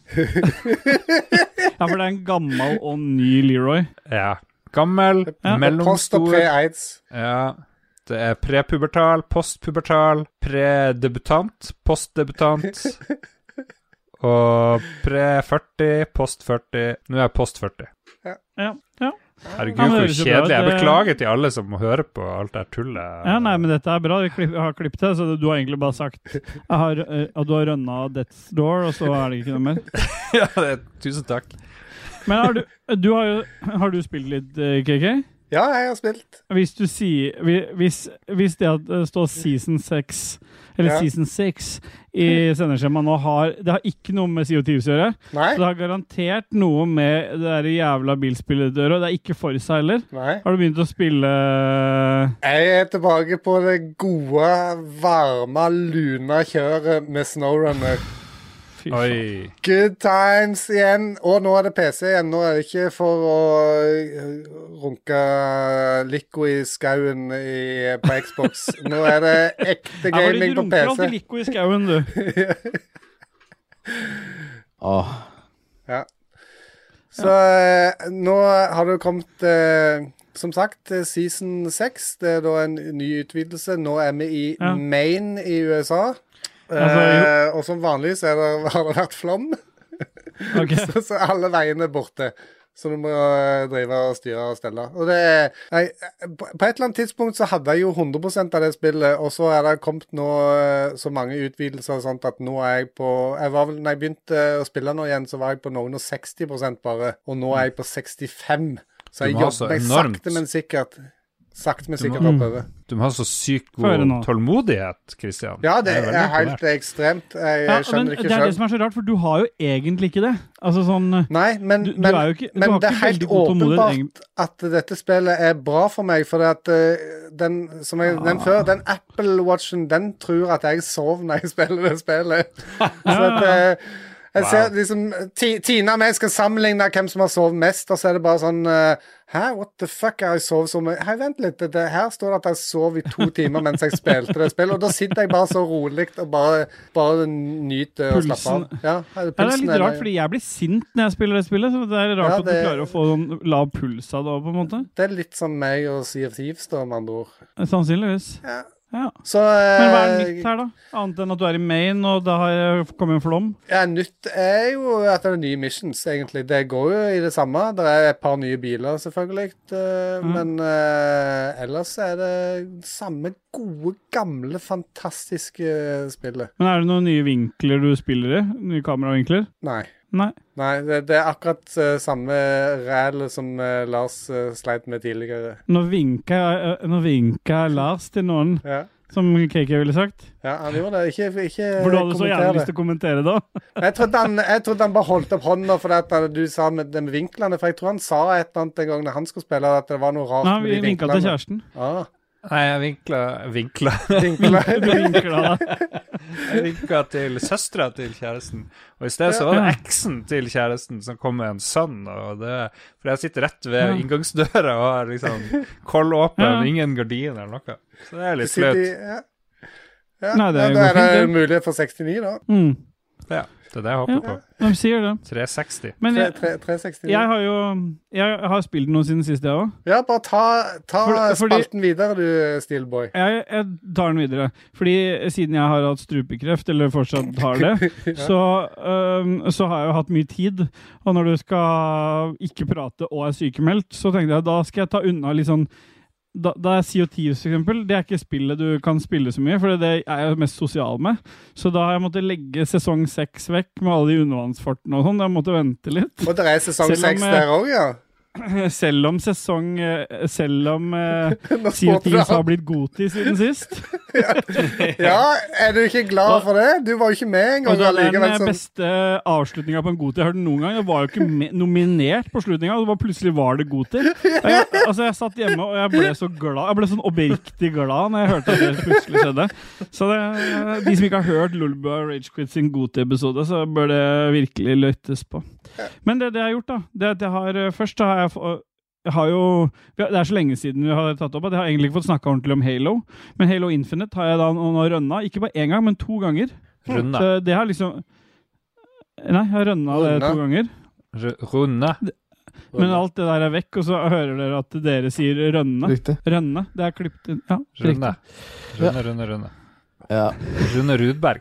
Speaker 3: for det er en gammel og ny Leroy.
Speaker 1: Ja. Gammel,
Speaker 3: Ja.
Speaker 2: Post og pre
Speaker 1: mellomstor
Speaker 2: aids.
Speaker 1: ja. Det er prepubertal, postpubertal, predebutant, postdebutant og pre-40, post-40. Nå er jeg post-40.
Speaker 3: Ja. Ja.
Speaker 1: Herregud,
Speaker 3: Ja, men
Speaker 1: hvor
Speaker 3: det høres jo bra ut,
Speaker 1: kjedelig. Jeg
Speaker 3: det-
Speaker 1: beklager til alle som må høre på alt det her tullet.
Speaker 3: ja, nei, men dette er bra. Vi klipp, jeg har klippet det, så du har egentlig bare sagt jeg har, eh, at du har rønna Death's Door, og så er det ikke noe mer.
Speaker 1: Ja, det- tusen takk.
Speaker 3: Men har du, du har, jo, har du spilt litt, eh, KK?
Speaker 2: Ja, jeg har spilt.
Speaker 3: Hvis du sier hvi- Hvis, hvis det at det står season 6 eller
Speaker 2: Ja.
Speaker 3: season 6 i sendeskjemaet nå har Det har ikke noe med CO2-vis å gjøre.
Speaker 2: Nei.
Speaker 3: Så det har garantert noe med det der jævla bilspillet å gjøre. og Det er ikke Forsa heller.
Speaker 2: Nei.
Speaker 3: Har du begynt å spille eh,
Speaker 2: Jeg er tilbake på det gode, varme, lune kjøret med snowrunner.
Speaker 3: Fy faen.
Speaker 1: Oi.
Speaker 2: Good times igjen. Og nå er det PC igjen. Nå er det ikke for å øh, runke Lico i skauen i, på Xbox. Nå er det ekte
Speaker 3: Ja, fordi
Speaker 2: gaming
Speaker 3: du
Speaker 2: på
Speaker 3: runker
Speaker 2: PC.
Speaker 3: alltid Lico i skauen, du.
Speaker 4: Åh.
Speaker 2: Ja. Så øh, nå har det jo kommet øh, som sagt, øh, season 6, det er da en ny utvidelse. Nå er vi i
Speaker 3: Ja.
Speaker 2: Maine i USA.
Speaker 3: Altså,
Speaker 2: Eh, og som vanlig så er det, har det vært flom,
Speaker 3: Ok.
Speaker 2: så alle veiene er borte. Så du må eh, drive og styre og stelle. Og det er Nei, eh, på på et eller annet tidspunkt så hadde jeg jo 100 av det spillet, og så er det kommet nå eh, så mange utvidelser og sånt at nå er jeg på jeg var vel, når jeg begynte å spille nå igjen, så var jeg på noen og 60 bare, og nå er jeg på 65 Så
Speaker 1: Du
Speaker 2: jeg
Speaker 1: må ha så
Speaker 2: jobber meg
Speaker 1: enormt-
Speaker 2: sakte, men sikkert. Sakte, men
Speaker 1: Du må-
Speaker 2: sikkert oppover.
Speaker 1: Du må ha så sykt
Speaker 3: Få høre
Speaker 1: god
Speaker 3: nå.
Speaker 1: tålmodighet, Christian.
Speaker 2: Ja, det
Speaker 1: Jeg
Speaker 2: er
Speaker 1: veldig
Speaker 2: helt
Speaker 1: imponert.
Speaker 2: ekstremt. Jeg
Speaker 3: Ja, men
Speaker 2: skjønner
Speaker 3: det
Speaker 2: ikke
Speaker 3: er det
Speaker 2: sjøl.
Speaker 3: som er så rart, for du har jo egentlig ikke det. Altså sånn eh,
Speaker 2: Nei, men,
Speaker 3: Du, du
Speaker 2: men
Speaker 3: er jo ikke, du
Speaker 2: men
Speaker 3: har
Speaker 2: det er
Speaker 3: ikke
Speaker 2: helt
Speaker 3: veldig god tålmodighet.
Speaker 2: åpenbart.
Speaker 3: egen-
Speaker 2: at dette spillet er bra for meg, for at eh, den som jeg nevnte før, den
Speaker 3: Ah.
Speaker 2: Apple Watchen, den tror at jeg sov når jeg spiller det spillet. Så at eh, jeg
Speaker 1: Wow.
Speaker 2: ser liksom Ti- Tina og jeg skal sammenligne hvem som har sovet mest, og så er det bare sånn eh, Hæ, what the fuck, har jeg sovet så mye? Hei, vent litt, det, her står det at jeg sov i to timer mens jeg spilte det spillet, og da sitter jeg bare så rolig og bare, bare nyter og slapper av.
Speaker 3: Pulsen.
Speaker 2: Ja,
Speaker 3: Ja, det er litt rart,
Speaker 2: eller-
Speaker 3: fordi jeg blir sint når jeg spiller det spillet. Så det er rart
Speaker 2: Ja,
Speaker 3: at du
Speaker 2: det-
Speaker 3: klarer å få sånn lav puls av det òg, på en måte.
Speaker 2: Det er litt som meg og Sea of Thieves, da, med andre ord.
Speaker 3: Sannsynligvis.
Speaker 2: Ja.
Speaker 3: Ja.
Speaker 2: Så
Speaker 3: Men hva er
Speaker 2: eh,
Speaker 3: nytt her, da? Annet enn at du er i Maine, og det har kommet en flom?
Speaker 2: Ja, nytt er jo at det er nye missions, egentlig. Det går jo i det samme. Det er et par nye biler, selvfølgelig. eh,
Speaker 3: Mm.
Speaker 2: Men eh, ellers er det samme gode, gamle, fantastiske spillet.
Speaker 3: Men er det noen nye vinkler du spiller i? Nye kameravinkler?
Speaker 2: Nei.
Speaker 3: Nei.
Speaker 2: Nei, det, det er akkurat eh, samme rælet som eh, Lars eh, sleit med tidligere.
Speaker 3: Nå vinka, eh, nå vinka Lars til noen,
Speaker 2: Ja,
Speaker 3: som KK ville sagt.
Speaker 2: ja han gjorde det. Ikke, ikke
Speaker 3: For du hadde så
Speaker 2: kommenter
Speaker 3: gjerne
Speaker 2: det.
Speaker 3: lyst til å kommentere da.
Speaker 2: Jeg trodde, han, jeg trodde han bare holdt opp hånda fordi at du sa med, det med vinklene. For jeg tror han sa et eller annet en gang når han skulle spille, at det var noe rart
Speaker 3: Nei,
Speaker 2: med
Speaker 3: vi
Speaker 2: de
Speaker 3: vinka til
Speaker 2: vinklene.
Speaker 3: kjæresten.
Speaker 2: Ah,
Speaker 1: Nei, jeg vinkla Vinkla,
Speaker 2: vinkler.
Speaker 3: Du vinkla da.
Speaker 1: jeg vinkla til søstera til kjæresten. Og i stedet så var det eksen til kjæresten som kom med en sønn. Og det, for jeg sitter rett ved
Speaker 3: Ja.
Speaker 1: inngangsdøra og har liksom kollåpen,
Speaker 3: Ja.
Speaker 1: ingen gardiner eller noe. Så det er litt
Speaker 2: Sitter
Speaker 1: flaut.
Speaker 2: i- Ja. Ja,
Speaker 3: Nei, det
Speaker 2: ja,
Speaker 3: går
Speaker 2: da er det
Speaker 3: fint,
Speaker 2: mulighet for 69, da.
Speaker 3: Mm.
Speaker 1: Ja, det er det jeg håper
Speaker 3: Ja.
Speaker 1: på.
Speaker 3: De sier det.
Speaker 1: 360.
Speaker 3: Men
Speaker 2: Tre-
Speaker 3: jeg,
Speaker 2: tre- 369.
Speaker 3: jeg har jo Jeg har spilt noe siden sist, jeg òg.
Speaker 2: Ja, bare ta, ta
Speaker 3: For- fordi-
Speaker 2: spalten videre, du, Steelboy.
Speaker 3: Jeg, jeg tar den videre. Fordi siden jeg har hatt strupekreft, eller fortsatt har det, så, øhm, så har jeg jo hatt mye tid. Og når du skal ikke prate og er sykemeldt, så tenkte jeg da skal jeg ta unna litt sånn da, da er CO10 for eksempel, det er ikke spillet du kan spille så mye, for det er jeg mest sosial med. Så da har jeg måttet legge sesong 6 vekk med alle de undervannsfartene og sånn. Jeg måtte vente litt.
Speaker 2: Og det er sesong
Speaker 3: Selv om,
Speaker 2: seks
Speaker 3: eh,
Speaker 2: der òg, ja.
Speaker 3: Selv om sesong eh, Selv om eh,
Speaker 2: Nå spurte du
Speaker 3: CO10 har
Speaker 2: han.
Speaker 3: blitt Goti siden sist.
Speaker 2: Ja, er du ikke glad for det? Du var jo ikke med engang.
Speaker 3: Og Altså, det eh, er
Speaker 2: allikevel,
Speaker 3: den
Speaker 2: sånn.
Speaker 3: beste avslutninga på en god tid jeg har hørt noen gang. Jeg var jo ikke me- nominert på slutninga, og det var plutselig var det god tid. Og Jeg, altså, jeg satt hjemme, og jeg ble så glad. Jeg ble sånn oppriktig glad når jeg hørte at det plutselig skjedde. Så det, de som ikke har hørt Lulba Ragequit sin Godtid-episode, så bør det virkelig løytes på. Men det, det jeg har gjort, da det at jeg har, eh, Først har jeg få- jeg har jo, Det er så lenge siden vi har tatt opp at jeg har egentlig ikke fått snakka ordentlig om Halo. Men Halo Infinite har jeg da nå nå rønna, ikke bare én gang, men to ganger.
Speaker 1: Runde.
Speaker 3: Så det har liksom Nei, jeg har rønna det
Speaker 2: Rønna.
Speaker 3: to ganger.
Speaker 1: Ru- Runde.
Speaker 3: Men alt det der er vekk, og så hører dere at dere sier rønne.
Speaker 4: Riktig.
Speaker 3: Rønne. Det er klippet inn. Ja,
Speaker 1: Runde.
Speaker 3: riktig.
Speaker 1: Runde, runde, runde.
Speaker 4: Ja.
Speaker 1: Rune Rudberg.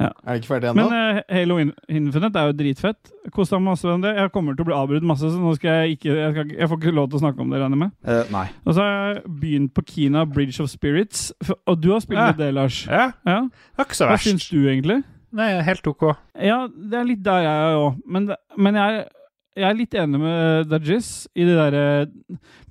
Speaker 4: Er det ikke ferdig ennå?
Speaker 3: Men eh, Halo In- Infinite er jo dritfett. Kosta meg masse med det. Jeg kommer til å bli avbrutt masse, så nå skal jeg ikke Jeg, skal, jeg får ikke lov til å snakke om det, regner jeg med.
Speaker 4: Eh, nei.
Speaker 3: Og så har jeg begynt på Kina Bridge of Spirits. For, og du har spilt
Speaker 1: Ja.
Speaker 3: litt det, Lars.
Speaker 1: Ja,
Speaker 3: Ja.
Speaker 1: det var ikke så
Speaker 3: Hva
Speaker 1: verst.
Speaker 3: syns du, egentlig?
Speaker 1: Nei, helt OK.
Speaker 3: Ja, det er litt der jeg er òg. Men, det- men jeg, er- jeg er litt enig med eh, Dajis i det derre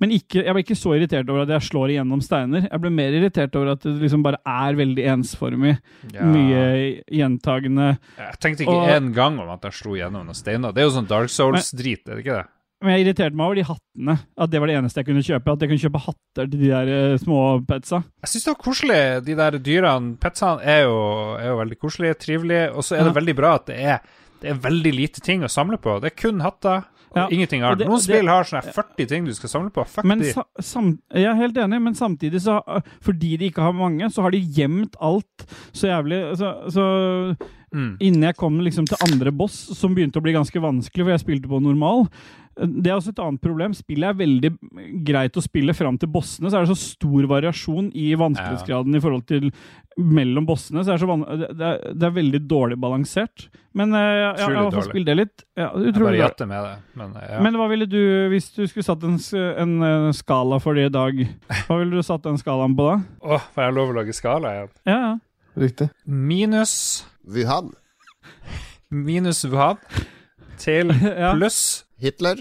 Speaker 3: Men ikke, jeg ble ikke så irritert over at jeg slår igjennom steiner. Jeg ble mer irritert over at det liksom bare er veldig ensformig.
Speaker 1: Ja.
Speaker 3: Mye gjentagende.
Speaker 1: Jeg tenkte ikke
Speaker 3: Og-
Speaker 1: én gang om at jeg slo gjennom noen steiner. Det er jo sånn Dark Souls-drit, er det ikke det?
Speaker 3: Men jeg irriterte meg over de hattene. At det var det eneste jeg kunne kjøpe. At jeg kunne kjøpe hatter til de der eh, små petsa.
Speaker 1: Jeg syns det var koselig. De der dyrene, petsaene, er jo, er jo veldig koselige, trivelige. Og så er det
Speaker 3: Ja.
Speaker 1: veldig bra at det er, det er veldig lite ting å samle på. Det er kun hatter og
Speaker 3: Ja,
Speaker 1: ingenting
Speaker 3: og
Speaker 1: annet.
Speaker 3: det-
Speaker 1: Noen
Speaker 3: det-
Speaker 1: spill har sånne 40 ting du skal samle på. Fuck
Speaker 3: Men
Speaker 1: de.
Speaker 3: sa, sam, jeg er helt enig, men samtidig øh, altså, så Fordi de ikke har mange, så har de gjemt alt så jævlig. Så, så
Speaker 1: Mm.
Speaker 3: Innen jeg kom liksom til andre boss, som begynte å bli ganske vanskelig, for jeg spilte på normal. øh, Det er også et annet problem. Spillet er veldig greit å spille fram til bossene, så er det så stor variasjon i vanskelighetsgraden i forhold til mellom bossene. Så er det, så van det, er, det er veldig dårlig balansert. Men eh, jeg, jeg,
Speaker 1: Utrolig
Speaker 3: har fått
Speaker 1: dårlig.
Speaker 3: spilt det litt. Ja,
Speaker 1: Jeg
Speaker 3: utrolig
Speaker 1: bare
Speaker 3: dårlig.
Speaker 1: gjetter med det. Men, ja.
Speaker 3: Men hva ville du, hvis du skulle satt en, s- en eh, skala for det i dag, hva ville du satt den skalaen på da?
Speaker 1: Åh, får jeg lov å lage skala igjen?
Speaker 3: Ja, ja.
Speaker 4: Riktig.
Speaker 1: Minus
Speaker 7: Wuhan,
Speaker 1: minus Wuhan til
Speaker 3: ja.
Speaker 1: pluss
Speaker 7: Hitler,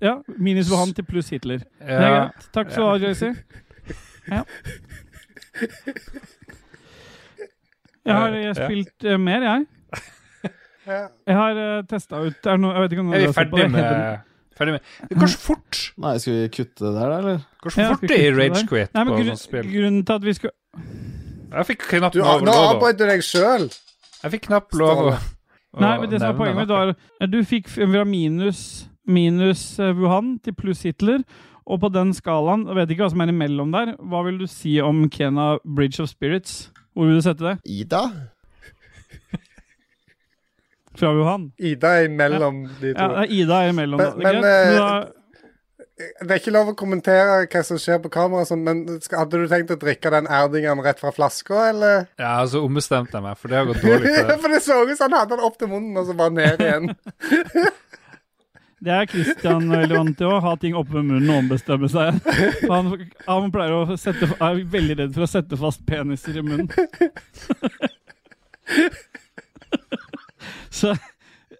Speaker 3: Ja, minus Wuhan til pluss Hitler. Det er
Speaker 1: ja,
Speaker 3: greit. Takk skal du ha, Jaycee. Ja. Jeg har jeg har
Speaker 1: Ja.
Speaker 3: spilt eh, mer, jeg.
Speaker 2: Ja.
Speaker 3: Jeg har uh, testa ut er det noe, Jeg vet ikke om
Speaker 1: Er
Speaker 3: dere
Speaker 1: vi
Speaker 3: har sett på det.
Speaker 1: ferdig med Ferdig med Det går så fort!
Speaker 4: Nei, skal vi kutte det der, da, eller?
Speaker 1: Det går så
Speaker 3: Ja,
Speaker 1: fort
Speaker 3: skal
Speaker 1: det
Speaker 3: vi
Speaker 1: i
Speaker 3: kutte
Speaker 1: Rage
Speaker 3: der?
Speaker 1: Quit
Speaker 3: Nei, men
Speaker 1: på
Speaker 3: grunn,
Speaker 1: sånt spill.
Speaker 3: grunnen til at vi skulle
Speaker 1: Jeg fikk knapt
Speaker 2: Du, ah,
Speaker 1: lov å
Speaker 2: nå
Speaker 1: lov å-
Speaker 2: avbrøt du deg sjøl.
Speaker 1: Jeg fikk knapt lov å å
Speaker 3: Nei, men det som er
Speaker 1: nevne
Speaker 3: poenget mitt,
Speaker 1: noe.
Speaker 3: var at du fikk fra minus, minus eh, Wuhan til pluss Hitler. Og på den skalaen, jeg vet ikke hva som er imellom der, hva vil du si om Kena Bridge of Spirits? Hvor vil du sette det?
Speaker 7: Ida.
Speaker 3: Fra Wuhan?
Speaker 2: Ida er imellom de
Speaker 3: Ja,
Speaker 2: to.
Speaker 3: det er Ida er imellom. da.
Speaker 2: Men-
Speaker 3: Det er
Speaker 2: men,
Speaker 3: greit.
Speaker 2: eh,
Speaker 3: da.
Speaker 2: Det er ikke lov å kommentere hva som skjer på kamera, og sånn, men skal, hadde du tenkt å drikke den erdingen rett fra flaska, eller?
Speaker 1: Ja, så ombestemte jeg meg, for det har gått dårlig. for
Speaker 2: Ja,
Speaker 1: det.
Speaker 2: For det så ut som han hadde den opp til munnen, og så bare ned igjen.
Speaker 3: Det er Christian veldig vant til å ha ting oppe med munnen og ombestemme seg. Han, han pleier å sette, er veldig redd for å sette fast peniser i munnen. Så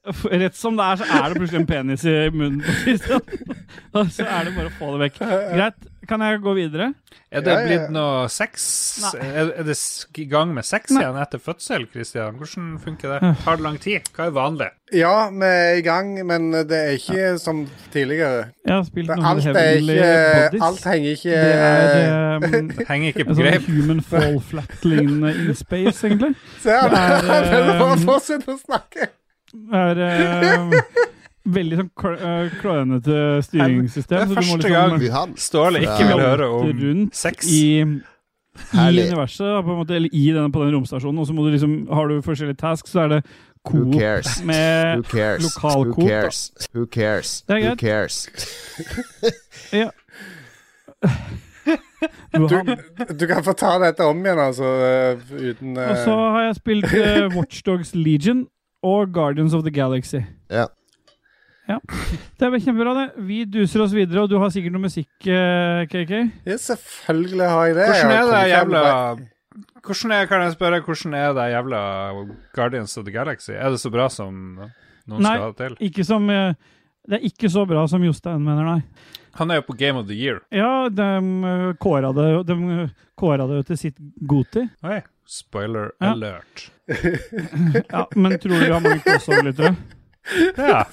Speaker 3: f- rett som det er, så er det plutselig en penis i munnen på Christian. Og så er det bare å få det vekk. Greit, kan jeg gå videre?
Speaker 1: Er det
Speaker 2: Ja, ja, ja.
Speaker 1: blitt noe sex?
Speaker 3: Nei.
Speaker 1: Er, er det s- i gang med sex
Speaker 3: Nei.
Speaker 1: igjen etter fødsel, Christian? Hvordan funker det? Tar det lang tid? Hva er vanlig?
Speaker 2: Ja, vi er i gang, men det er ikke som tidligere.
Speaker 3: Jeg har spilt
Speaker 2: Det,
Speaker 3: noen
Speaker 2: alt, er
Speaker 3: Heavenly
Speaker 2: ikke, eh, alt
Speaker 3: Bodies.
Speaker 2: henger ikke eh,
Speaker 3: Det er um,
Speaker 1: Henger ikke
Speaker 3: en
Speaker 1: på
Speaker 3: sånn
Speaker 1: greip.
Speaker 3: human fall flat-lignende in space, egentlig.
Speaker 2: Se, han
Speaker 3: det er,
Speaker 2: han bare
Speaker 3: eh,
Speaker 2: fortsetter å snakke.
Speaker 3: er eh, veldig sånn kl eh, klønete
Speaker 1: Det
Speaker 3: styringssystem.
Speaker 1: er første gang
Speaker 7: Wuhan.
Speaker 1: Ståle ikke vil høre om
Speaker 3: Rundt
Speaker 1: sex.
Speaker 3: liksom i, i
Speaker 7: Herlig.
Speaker 3: universet, da, på en måte, eller i denne, på den romstasjonen, og så må du liksom, har du forskjellige tasks, så er det
Speaker 7: Who
Speaker 3: coop
Speaker 7: cares? Who
Speaker 3: med
Speaker 7: cares?
Speaker 3: lokalkok,
Speaker 7: Who
Speaker 3: Eh, da.
Speaker 7: cares? Who cares?
Speaker 3: Det er
Speaker 7: Who
Speaker 3: greit.
Speaker 7: cares?
Speaker 3: Wuhan.
Speaker 2: Du kan få ta dette om igjen, altså, eh, uten eh,
Speaker 3: Og så har jeg spilt eh, Watch Dogs Legion og Guardians of the Galaxy.
Speaker 7: Ja.
Speaker 3: Ja. Det er kjempebra, det. Vi duser oss videre, og du har sikkert noe musikk, eh, KK?
Speaker 2: Ja, selvfølgelig har jeg det. Jeg
Speaker 1: Hvordan er
Speaker 2: har
Speaker 1: det
Speaker 2: kommet frem
Speaker 1: jævla
Speaker 2: bare-
Speaker 1: Hvordan er, kan jeg spørre, hvordan er det jævla Guardians of the Galaxy? Er det så bra som noen
Speaker 3: Nei.
Speaker 1: skal ha det til?
Speaker 3: Ikke som eh, Det er ikke så bra som Jostein mener, nei.
Speaker 1: Han er jo på Game of the Year.
Speaker 3: Ja, de ø, kåra det, jo- de ø, kåra det jo til sitt Goti.
Speaker 1: Oi. Spoiler
Speaker 3: Ja.
Speaker 1: alert.
Speaker 3: Ja, men tror du vi har mange crossover-lyttere?
Speaker 1: Ja.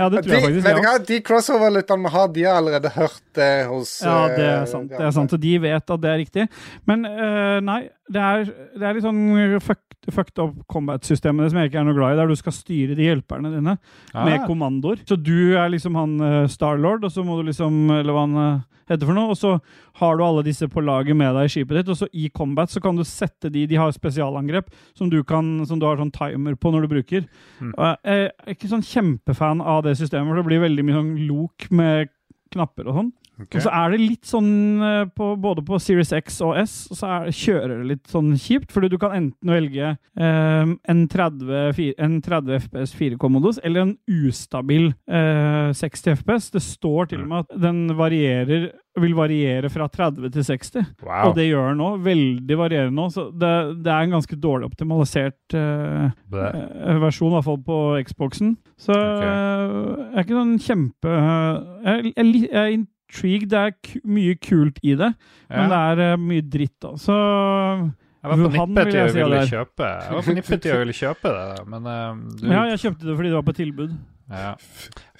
Speaker 3: Ja, det tror jeg
Speaker 2: de, vet
Speaker 3: faktisk.
Speaker 2: du
Speaker 3: Ja.
Speaker 2: hva, de crossover-lytterne vi har, de har allerede hørt det hos
Speaker 3: ja, det
Speaker 2: eh,
Speaker 3: er sant.
Speaker 2: de
Speaker 3: det er
Speaker 2: andre.
Speaker 3: sant, Og de vet at det er riktig. Men ø, nei, det er, det er litt sånn fucked, fucked up combat-systemene som jeg ikke er noe glad i, der du skal styre de hjelperne dine med
Speaker 1: Ah.
Speaker 3: kommandoer. Så du er liksom han ø, Starlord, og så må du liksom Eller hva han ø, heter for noe. Og så har du alle disse på laget med deg i skipet ditt, og så i combat så kan du sette de De har spesialangrep som du, kan, som du har sånn timer på når du bruker.
Speaker 1: Mm.
Speaker 3: Og jeg er ikke sånn kjempefan av det systemet, for det blir veldig mye sånn lok med knapper og sånn.
Speaker 1: Ok.
Speaker 3: Og så er det litt sånn eh, på, både på Series X og S, så er, kjører det litt sånn kjipt, fordi du kan enten velge eh, en, 30, fi- en 30 FPS 4-kommodos eller en ustabil eh, 60 FPS. Det står til og med at den varierer, vil variere fra 30 til 60.
Speaker 1: Ah, Wow.
Speaker 3: Og det gjør den òg. Veldig varierende nå. Så det, det er en ganske dårlig optimalisert eh,
Speaker 1: Bæ.
Speaker 3: eh, versjon, i hvert fall på Xboxen. Så
Speaker 1: Ok.
Speaker 3: eh, jeg er ikke sånn kjempe Jeg, jeg, li- jeg er intrigued. Det er ku- mye kult i det,
Speaker 1: Ja.
Speaker 3: men det er eh, mye dritt, da. Så
Speaker 1: Jeg var på
Speaker 3: Wuhan,
Speaker 1: nippet
Speaker 3: vil
Speaker 1: til
Speaker 3: jeg
Speaker 1: jeg
Speaker 3: si
Speaker 1: ville
Speaker 3: det er.
Speaker 1: kjøpe Jeg var på nippet til jeg ville kjøpe det, men eh, du,
Speaker 3: Ja, jeg kjøpte det fordi det var på tilbud.
Speaker 1: ja.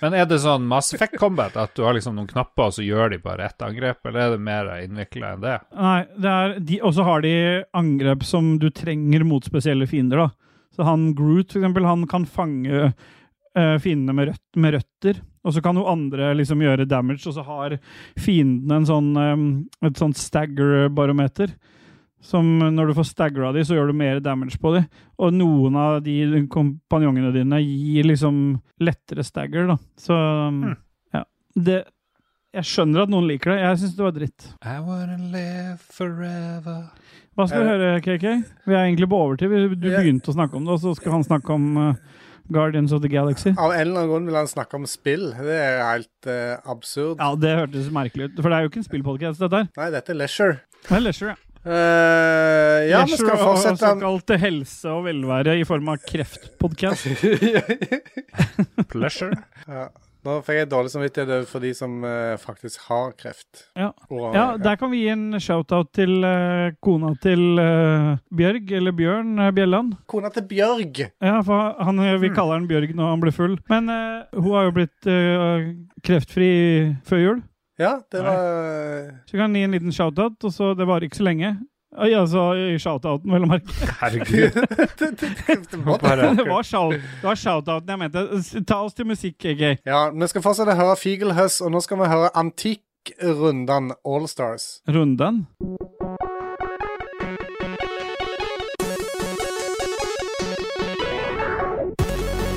Speaker 1: Men er det sånn Mass Effect Combat at du har liksom noen knapper, og så gjør de bare ett angrep, eller er det mer innvikla enn det?
Speaker 3: Nei, det er de, Og så har de angrep som du trenger mot spesielle fiender, da. Så han Groot, for eksempel, han kan fange eh, fiendene med, rødt, med røtter. Og så kan jo andre liksom gjøre damage, og så har fiendene en sånn, eh, et sånt stagger-barometer. Som når du får stagra de, så gjør du mer damage på de. Og noen av de kompanjongene dine gir liksom lettere stagger, da. Så ja. Det Jeg skjønner at noen liker det. Jeg syns det var dritt.
Speaker 1: I wanna live forever.
Speaker 3: Hva skal vi høre, KK? Vi er egentlig på overtid. Vi- Du
Speaker 2: Eh, Ja.
Speaker 3: begynte å snakke om det, og så skal han snakke om eh, Guardians of the Galaxy.
Speaker 2: Av en eller annen grunn vil han snakke om spill. Det er helt eh, absurd.
Speaker 3: Ja, det hørtes merkelig ut. For det er jo ikke en spillpodkast, dette her.
Speaker 2: Nei, dette er leisure.
Speaker 3: Det er leisure, ja.
Speaker 2: Eh, ja, vi skal
Speaker 3: Leisure og-
Speaker 2: fortsette
Speaker 3: Og såkalt helse og velvære i form av kreftpodkast.
Speaker 1: Pleasure.
Speaker 2: ja. Nå fikk jeg dårlig samvittighet over for de som eh, faktisk har kreft.
Speaker 3: Ja.
Speaker 2: Og- eh,
Speaker 3: Ja, der kan vi gi en shout-out til eh, kona til eh, Bjørg, eller Bjørn eh, Bjelland.
Speaker 2: Kona til Bjørg!
Speaker 3: Ja, for han, eh, Vi
Speaker 2: Mm.
Speaker 3: kaller han Bjørg når han blir full. Men eh, hun har jo blitt eh, kreftfri før jul.
Speaker 2: Ja, det var
Speaker 3: Så kan jeg gi en liten shout-out, og så det varer ikke så lenge. Oi, altså, i shout-outen, vel å merke.
Speaker 1: Herregud.
Speaker 3: Det
Speaker 1: Bare
Speaker 3: var, shout det var shout-outen jeg mente. S- Ta oss til musikk, KK.
Speaker 2: Ja, vi skal fortsette å høre Figelhøss, og nå skal vi høre Antikkrundan Allstars.
Speaker 3: Runden.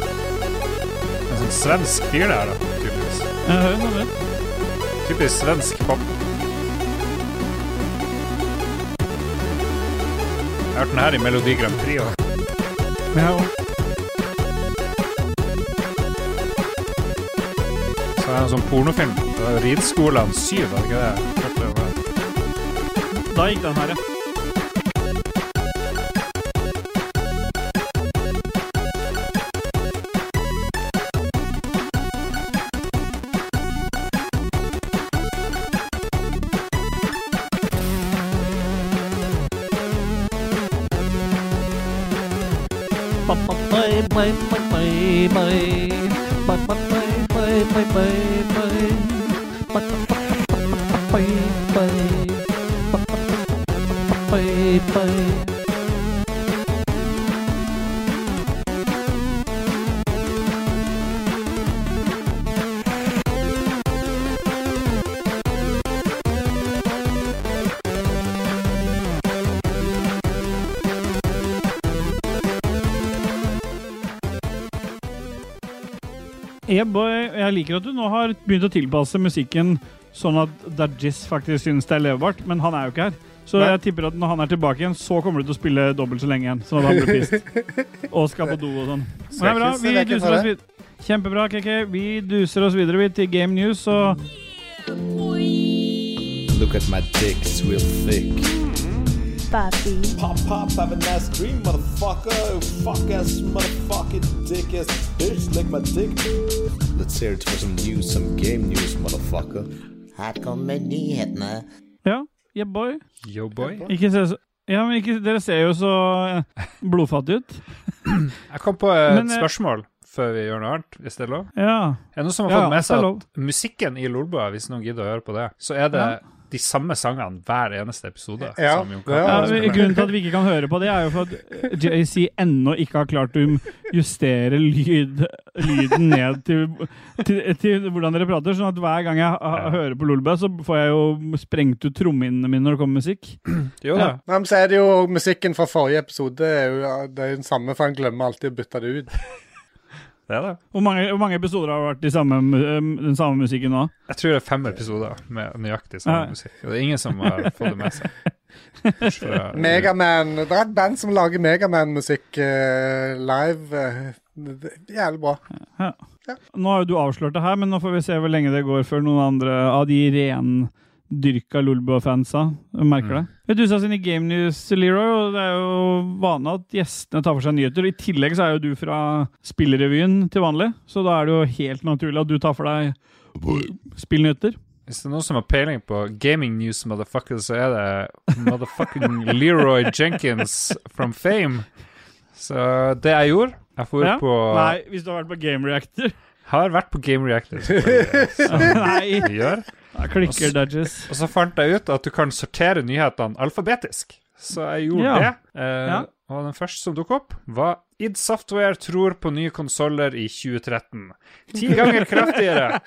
Speaker 1: en sånn svensk fyr der, da. Typisk,
Speaker 3: Jeg hører noe med.
Speaker 1: typisk svensk pop. Jeg hørte den her i Melodi Grand Prix. også.
Speaker 3: Jeg har jo-
Speaker 1: Så er det en sånn pornofilm. Det er Ridskolen 7, var det ikke det? Jeg hørte det? var-
Speaker 3: Da gikk den her, ja. Yeah, boy. Jeg liker at du nå har begynt å tilpasse musikken sånn at Dajis faktisk synes det er levbart, men han er jo ikke her. Så
Speaker 2: Nei.
Speaker 3: jeg tipper at når han er tilbake igjen, så kommer du til å spille dobbelt så lenge igjen. Sånn at han blir pissed. Og skal på do og sånn. Men det er bra.
Speaker 2: ikke se
Speaker 3: Vi
Speaker 2: vekk
Speaker 3: duser
Speaker 2: fra
Speaker 3: oss videre. Kjempebra, KK. Vi duser oss videre vi, til Game News, og
Speaker 6: Look at my dick, it's real thick.
Speaker 8: Papi,
Speaker 5: Pop, pop, have a nice dream, motherfucker. Fuck ass, motherfucking dick ass bitch, lick my dick.
Speaker 6: Let's hear it for some news, some game news, motherfucker. Her kommer nyhetene.
Speaker 3: ja. Yeah, boy.
Speaker 1: Yo, boy.
Speaker 3: Ikke se så ja, men ikke, Dere ser jo så eh, blodfattige ut.
Speaker 1: Jeg kom på et
Speaker 3: Men, eh,
Speaker 1: spørsmål før vi gjør noe annet, hvis det er lov.
Speaker 3: Ja.
Speaker 1: Er det noen som har
Speaker 3: Ja,
Speaker 1: fått med
Speaker 3: det er
Speaker 1: seg
Speaker 3: lov.
Speaker 1: at musikken i Lolbua, hvis noen gidder å høre på det, så er det de samme sangene hver eneste episode?
Speaker 2: Ja,
Speaker 1: som Jon
Speaker 2: det er
Speaker 3: Ja,
Speaker 1: Cappelen
Speaker 2: det.
Speaker 1: spiller.
Speaker 3: men grunnen til at vi ikke kan høre på det, er jo for at eh, JC ennå ikke har klart å justere lyd, lyden ned til, til, til hvordan dere prater. Sånn at hver gang jeg ha-
Speaker 1: Ja.
Speaker 3: hører på Lolbø, så får jeg jo sprengt ut trommehinnene mine når det kommer musikk.
Speaker 1: Jo da.
Speaker 3: Ja.
Speaker 2: Nei, men så er det jo musikken fra forrige episode. Det er jo det er jo den samme, for han glemmer alltid å bytte det ut.
Speaker 1: Det er det.
Speaker 3: Hvor mange, hvor mange episoder har det vært i samme, mu- øhm, den samme musikken nå?
Speaker 1: Jeg tror det er fem episoder med nøyaktig
Speaker 3: Ja.
Speaker 1: samme musikk. Og det er ingen som har fått det med seg. eh, Bortsett fra-
Speaker 2: Megaman. Det er et band som lager Megaman-musikk eh, live. eh, det- det er Jævlig bra.
Speaker 3: Nå har jo du avslørt det her, men nå får vi se hvor lenge det går før noen andre av de rendyrka Lolbua-fansa merker det. Vi dusa oss inn i Game News, Leroy, og det er jo vane at gjestene tar for seg nyheter. I tillegg så er jo du fra Spillrevyen til vanlig, så da er det jo helt naturlig at du tar for deg spillnyheter.
Speaker 1: Hvis det er noen som har peiling på gaming news, motherfucker, så er det motherfucking Leroy Jenkins from Fame. Så det jeg gjorde Jeg for
Speaker 3: Ja?
Speaker 1: på
Speaker 3: Nei, hvis du har vært på Game Reactor.
Speaker 1: Har vært på Game Reactor, selvfølgelig, som
Speaker 3: Nei,
Speaker 1: vi gjør.
Speaker 3: da klikker Dudges.
Speaker 1: Og så fant jeg ut at du kan sortere nyhetene alfabetisk. Så jeg gjorde
Speaker 3: Ja.
Speaker 1: det. Eh,
Speaker 3: Ja.
Speaker 1: Og den første som dukket opp, var id Software tror på nye konsoller i 2013. Ti ganger kraftigere!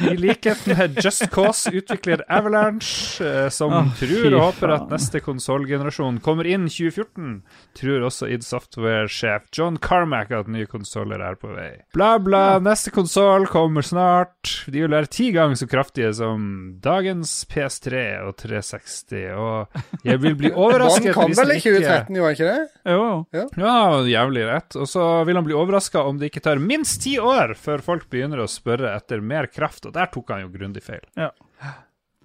Speaker 1: I likhet med Just Cause-utvikler Avalanche, eh, som
Speaker 3: Åh, fy
Speaker 1: tror og håper at
Speaker 3: faen.
Speaker 1: neste konsollgenerasjon kommer inn 2014, tror også id Software-sjef John Carmack at nye konsoller er på vei. Bla, bla, neste konsoll kommer snart. De vil være ti ganger så kraftige som dagens PS3 og 360, og jeg vil bli
Speaker 2: Bånd
Speaker 1: overrasket
Speaker 2: kom
Speaker 1: hvis
Speaker 2: vel i
Speaker 1: det ikke
Speaker 2: 2013, gjorde han ikke det?
Speaker 3: Jo, jo.
Speaker 1: ja, jævlig rett. Og så vil han bli overraska om det ikke tar minst ti år før folk begynner å spørre etter mer kraft, og der tok han jo grundig feil.
Speaker 3: Ja.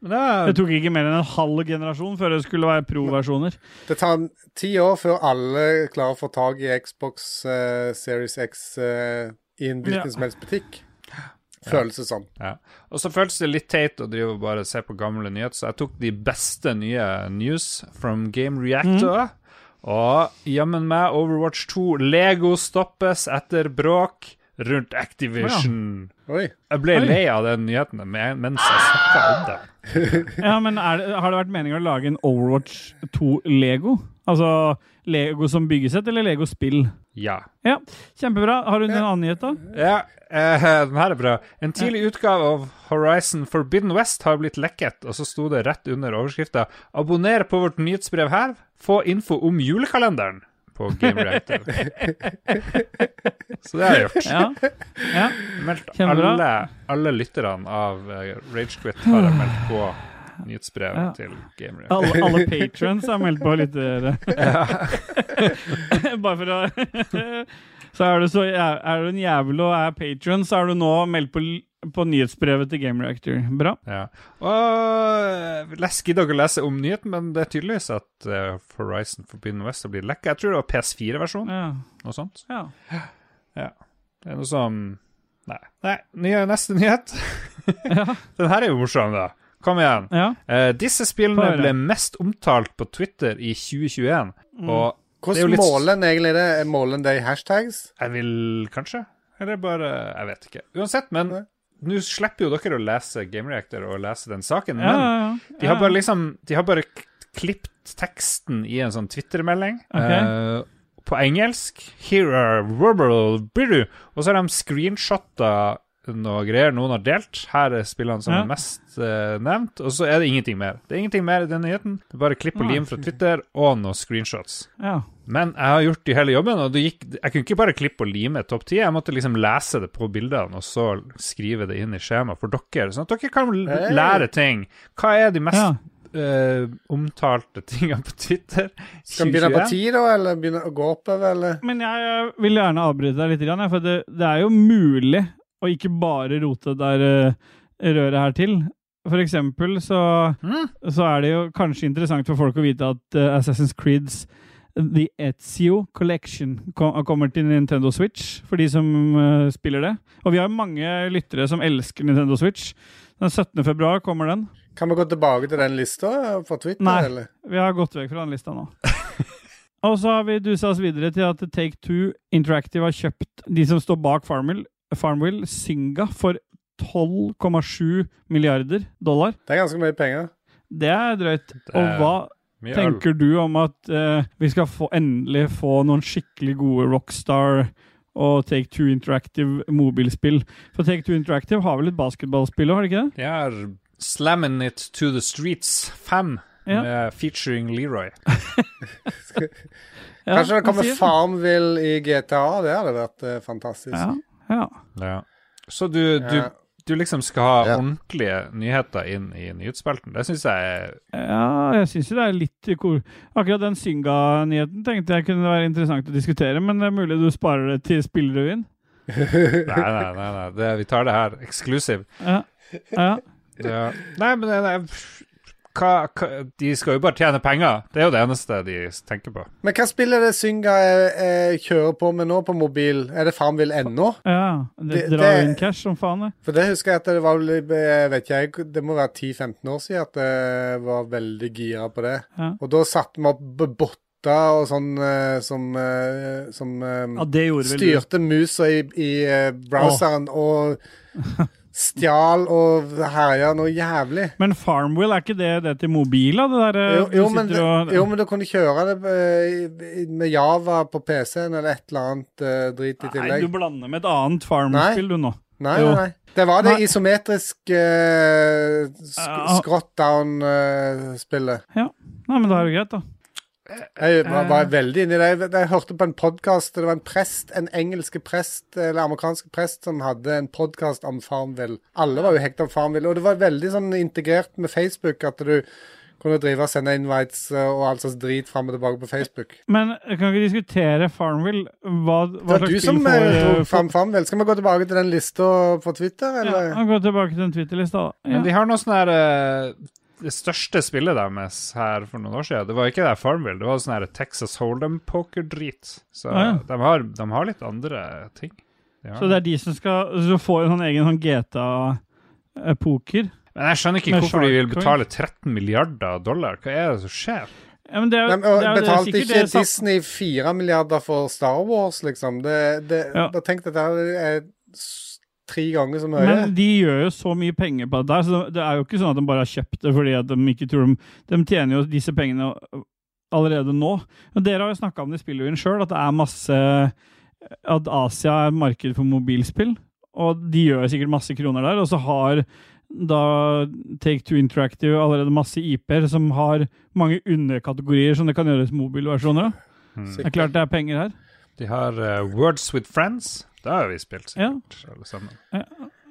Speaker 1: Men det
Speaker 3: Det
Speaker 1: er,
Speaker 3: tok ikke mer enn en halv generasjon før det skulle være pro-versjoner.
Speaker 2: Det tar en- ti år før alle klarer å få tak i Xbox eh, Series X eh, i en hvilken
Speaker 3: Ja.
Speaker 2: som helst butikk. sånn. Føles det som.
Speaker 1: ja. Og så føltes det litt teit å drive og bare se på gamle nyheter, så jeg tok de beste nye news from Game Reactor. Og jammen meg, Overwatch 2, Lego stoppes etter bråk rundt Activision.
Speaker 2: Oi.
Speaker 1: Jeg ble
Speaker 3: Oi.
Speaker 1: lei av den nyheten men- mens jeg snakka om det.
Speaker 3: Ja, men er det, Har det vært meningen å lage en Overwatch 2 Lego? Altså Lego som byggesett, eller Lego-spill?
Speaker 1: Ja.
Speaker 3: Ja, Kjempebra. Har du en annen nyhet, da?
Speaker 1: Ja, eh, den her er bra. En tidlig utgave av Horizon Forbidden West har blitt lekket, og så sto det rett under overskrifta 'Abonner på vårt nyhetsbrev her. Få info om julekalenderen' på Game Reactor. så det har jeg gjort.
Speaker 3: Ja. ja.
Speaker 1: Meldt
Speaker 3: Kjempebra.
Speaker 1: alle, alle lytterne av eh, Ragequit har jeg meldt på nyhetsbrevet
Speaker 3: Ja.
Speaker 1: til Game Reactor.
Speaker 3: Alle, alle patrons er meldt på litt dere. Bare for å Så er du, så, jæv- er du en jævel og er patron, så er du nå meldt på, l- på nyhetsbrevet til Game Reactor. Bra.
Speaker 1: Ja. Og eh, les, gidder ikke å lese om nyheten, men det er tydeligvis at eh, Horizon Forbidden West har blitt lekket. Jeg tror det var PS4-versjonen,
Speaker 3: Ja.
Speaker 1: noe sånt.
Speaker 3: ja.
Speaker 1: Det er noe som Nei. Nei. Nye, neste nyhet. Den her er jo morsom, da. Kom igjen.
Speaker 3: ja.
Speaker 1: Eh, disse
Speaker 3: Få
Speaker 1: spillene
Speaker 3: høre.
Speaker 1: ble mest omtalt på Twitter i 2021, og Det er jo
Speaker 2: Hvordan
Speaker 1: litt-
Speaker 2: måler en egentlig det? Måler en det i hashtags?
Speaker 1: jeg vil kanskje Eller bare Jeg vet ikke. Uansett, men nå slipper jo dere å lese Game Reactor og lese den saken,
Speaker 3: ja,
Speaker 1: men
Speaker 3: ja, ja.
Speaker 1: de har bare liksom De har bare k- klippt teksten i en sånn Twitter-melding.
Speaker 3: Ok.
Speaker 1: eh, på engelsk. Here are verbal biru. Og så har de screenshotta noe greier noen har delt. Her er spillene som
Speaker 3: Ja.
Speaker 1: er mest eh, nevnt. Og så er det ingenting mer. Det er ingenting mer i den nyheten. Det er bare klipp og
Speaker 3: Nei.
Speaker 1: lim fra Twitter og noen screenshots.
Speaker 3: ja.
Speaker 1: Men jeg har gjort de hele jobben, og det gikk, jeg kunne ikke bare klippe og lime topp 10. Jeg måtte liksom lese det på bildene, og så skrive det inn i skjemaet for dere. Sånn at dere kan l-
Speaker 2: Hey.
Speaker 1: lære ting. Hva er de mest
Speaker 3: Ja.
Speaker 1: eh, omtalte tingene på Twitter?
Speaker 2: Skal en begynne på
Speaker 1: 2021?
Speaker 2: ti, da? Eller begynne å gå oppover, eller?
Speaker 3: Men jeg eh, vil gjerne avbryte deg litt, grann, jeg, for det, det er jo mulig å ikke bare rote der eh, røret her til. For eksempel så, så er det jo kanskje interessant for folk å vite at eh, Assassin's Creeds eh, The Ezio Collection kom, kommer til Nintendo Switch, for de som eh, spiller det. Og vi har mange lyttere som elsker Nintendo Switch. Den 17. februar kommer den.
Speaker 2: Kan vi gå tilbake til den lista på Twitter,
Speaker 3: Nei.
Speaker 2: eller?
Speaker 3: Vi har gått vekk fra den lista nå. Og så har vi dusa oss videre til at Take Two Interactive har kjøpt de som står bak Farmville, Farmville Synga, for 12,7 milliarder dollar.
Speaker 2: Det er ganske mye penger.
Speaker 3: Det er drøyt.
Speaker 1: Det
Speaker 3: Og
Speaker 1: er
Speaker 3: hva
Speaker 1: Eh, Mye øl.
Speaker 3: tenker du om at eh, vi skal få, endelig få noen skikkelig gode Rockstar og Take Two Interactive mobilspill? For Take Two Interactive har vel et basketballspill òg, har de ikke det?
Speaker 1: Jeg har Slammin' It To The Streets 5
Speaker 3: Ja.
Speaker 1: med featuring Leroy.
Speaker 3: Ja,
Speaker 2: Kanskje det
Speaker 3: hva
Speaker 2: kommer
Speaker 3: sier du?
Speaker 2: Farmville i GTA? Det hadde vært eh, fantastisk. Eh,
Speaker 3: Ja, ja.
Speaker 1: Så du, du,
Speaker 2: Ja.
Speaker 1: du liksom skal ha
Speaker 7: Ja.
Speaker 1: ordentlige nyheter inn i nyhetsspelten. Det syns jeg er
Speaker 3: Ja, jeg syns jo det er litt kor... Akkurat den Synga-nyheten tenkte jeg kunne være interessant å diskutere, men det er mulig du sparer det til spillerevyen.
Speaker 1: Nei, nei, nei. nei. Det, vi tar det her. Exclusive.
Speaker 3: Ja. Ja.
Speaker 1: Ja. Nei, men det, det, hva, hva, de skal jo bare tjene penger. Det er jo det eneste de tenker på.
Speaker 2: Men hva spiller det Synga eh, eh, kjører på med nå på mobil? Er det Farmville ennå?
Speaker 3: ja. Det
Speaker 2: Det-
Speaker 3: drar
Speaker 2: det-
Speaker 3: inn cash som faen, det.
Speaker 2: For det husker jeg at det var vel, eh, vet ikke jeg, det må være 10-15 år siden at jeg var veldig gira på det.
Speaker 3: Ja.
Speaker 2: Og da satte vi opp b- botter og sånn eh, som, eh, som eh,
Speaker 3: det gjorde
Speaker 2: styrte musa i, i eh, browseren og stjal og herja noe jævlig.
Speaker 3: Men Farmwheel, er ikke det det til mobil? da, Det der, eh,
Speaker 2: Jo,
Speaker 3: du
Speaker 2: jo,
Speaker 3: sitter
Speaker 2: men,
Speaker 3: og,
Speaker 2: jo, men du kunne kjøre det eh, med Java på PC-en eller et eller annet eh, drit i
Speaker 3: Nei,
Speaker 2: tillegg.
Speaker 3: du blander med et annet Farmwheel, du, nå.
Speaker 2: Nei,
Speaker 3: Jo.
Speaker 2: nei, nei. Det var det
Speaker 3: Nei.
Speaker 2: isometriske eh, sk eh,
Speaker 3: Ja.
Speaker 2: scrot down-spillet.
Speaker 3: Nei, men da er det greit, da.
Speaker 2: Jeg var,
Speaker 3: Eh.
Speaker 2: var veldig inni det. Jeg, jeg hørte på en podkast Det var en prest, en engelske prest, eller amerikansk prest, som hadde en podkast om Farmville. Alle var jo hekta på Farmville. Og det var veldig sånn integrert med Facebook at du kunne drive og sende invites eh, og all slags drit fram og tilbake på Facebook.
Speaker 3: Men jeg kan ikke diskutere Farmville. Hva, hva
Speaker 2: Det var du
Speaker 3: slags
Speaker 2: som
Speaker 3: spill får,
Speaker 2: eh,
Speaker 3: eh,
Speaker 2: dro fram Farmville. Skal vi gå tilbake til den lista på Twitter, eller?
Speaker 3: Ja, Gå tilbake til den Twitter-lista, da.
Speaker 1: Men
Speaker 3: Ja.
Speaker 1: de har noe sånn her eh, Det største spillet deres her for noen år siden, det var ikke det Farmville, det var sånn her Texas Hold'em poker-drit. Så
Speaker 3: Ah, ja.
Speaker 1: de, har, de har litt andre ting. De har
Speaker 3: Så det er de som skal Så får en sånn egen sånn GTA-poker.
Speaker 1: Men jeg skjønner ikke
Speaker 3: Med
Speaker 1: hvorfor de vil
Speaker 3: Shark
Speaker 1: betale 13 milliarder dollar. Hva er det som skjer?
Speaker 3: Ja, men det er,
Speaker 2: De,
Speaker 3: jo-
Speaker 2: og
Speaker 3: det er, jo det-
Speaker 2: betalte
Speaker 3: sikkert
Speaker 2: ikke
Speaker 3: det, sa-
Speaker 2: Disney fire milliarder for Star Wars, liksom. Det, det,
Speaker 3: Ja.
Speaker 2: Da tenkte jeg at det er s- tre ganger så mye.
Speaker 3: Men de gjør jo så mye penger på det der, så det er jo ikke sånn at de bare har kjøpt det fordi at de ikke tror de De tjener jo disse pengene allerede nå. Men dere har jo snakka om det i spillrevyen sjøl, at det er masse At Asia er marked for mobilspill, og de gjør sikkert masse kroner der. Og så har da Take Two Interactive allerede masse IP-er som har mange underkategorier som det kan gjøres mobilversjoner av. Det er klart det er penger her.
Speaker 1: Hmm. De har eh, Words with Friends. Det har jo vi spilt, sikkert, alle sammen.
Speaker 2: ja.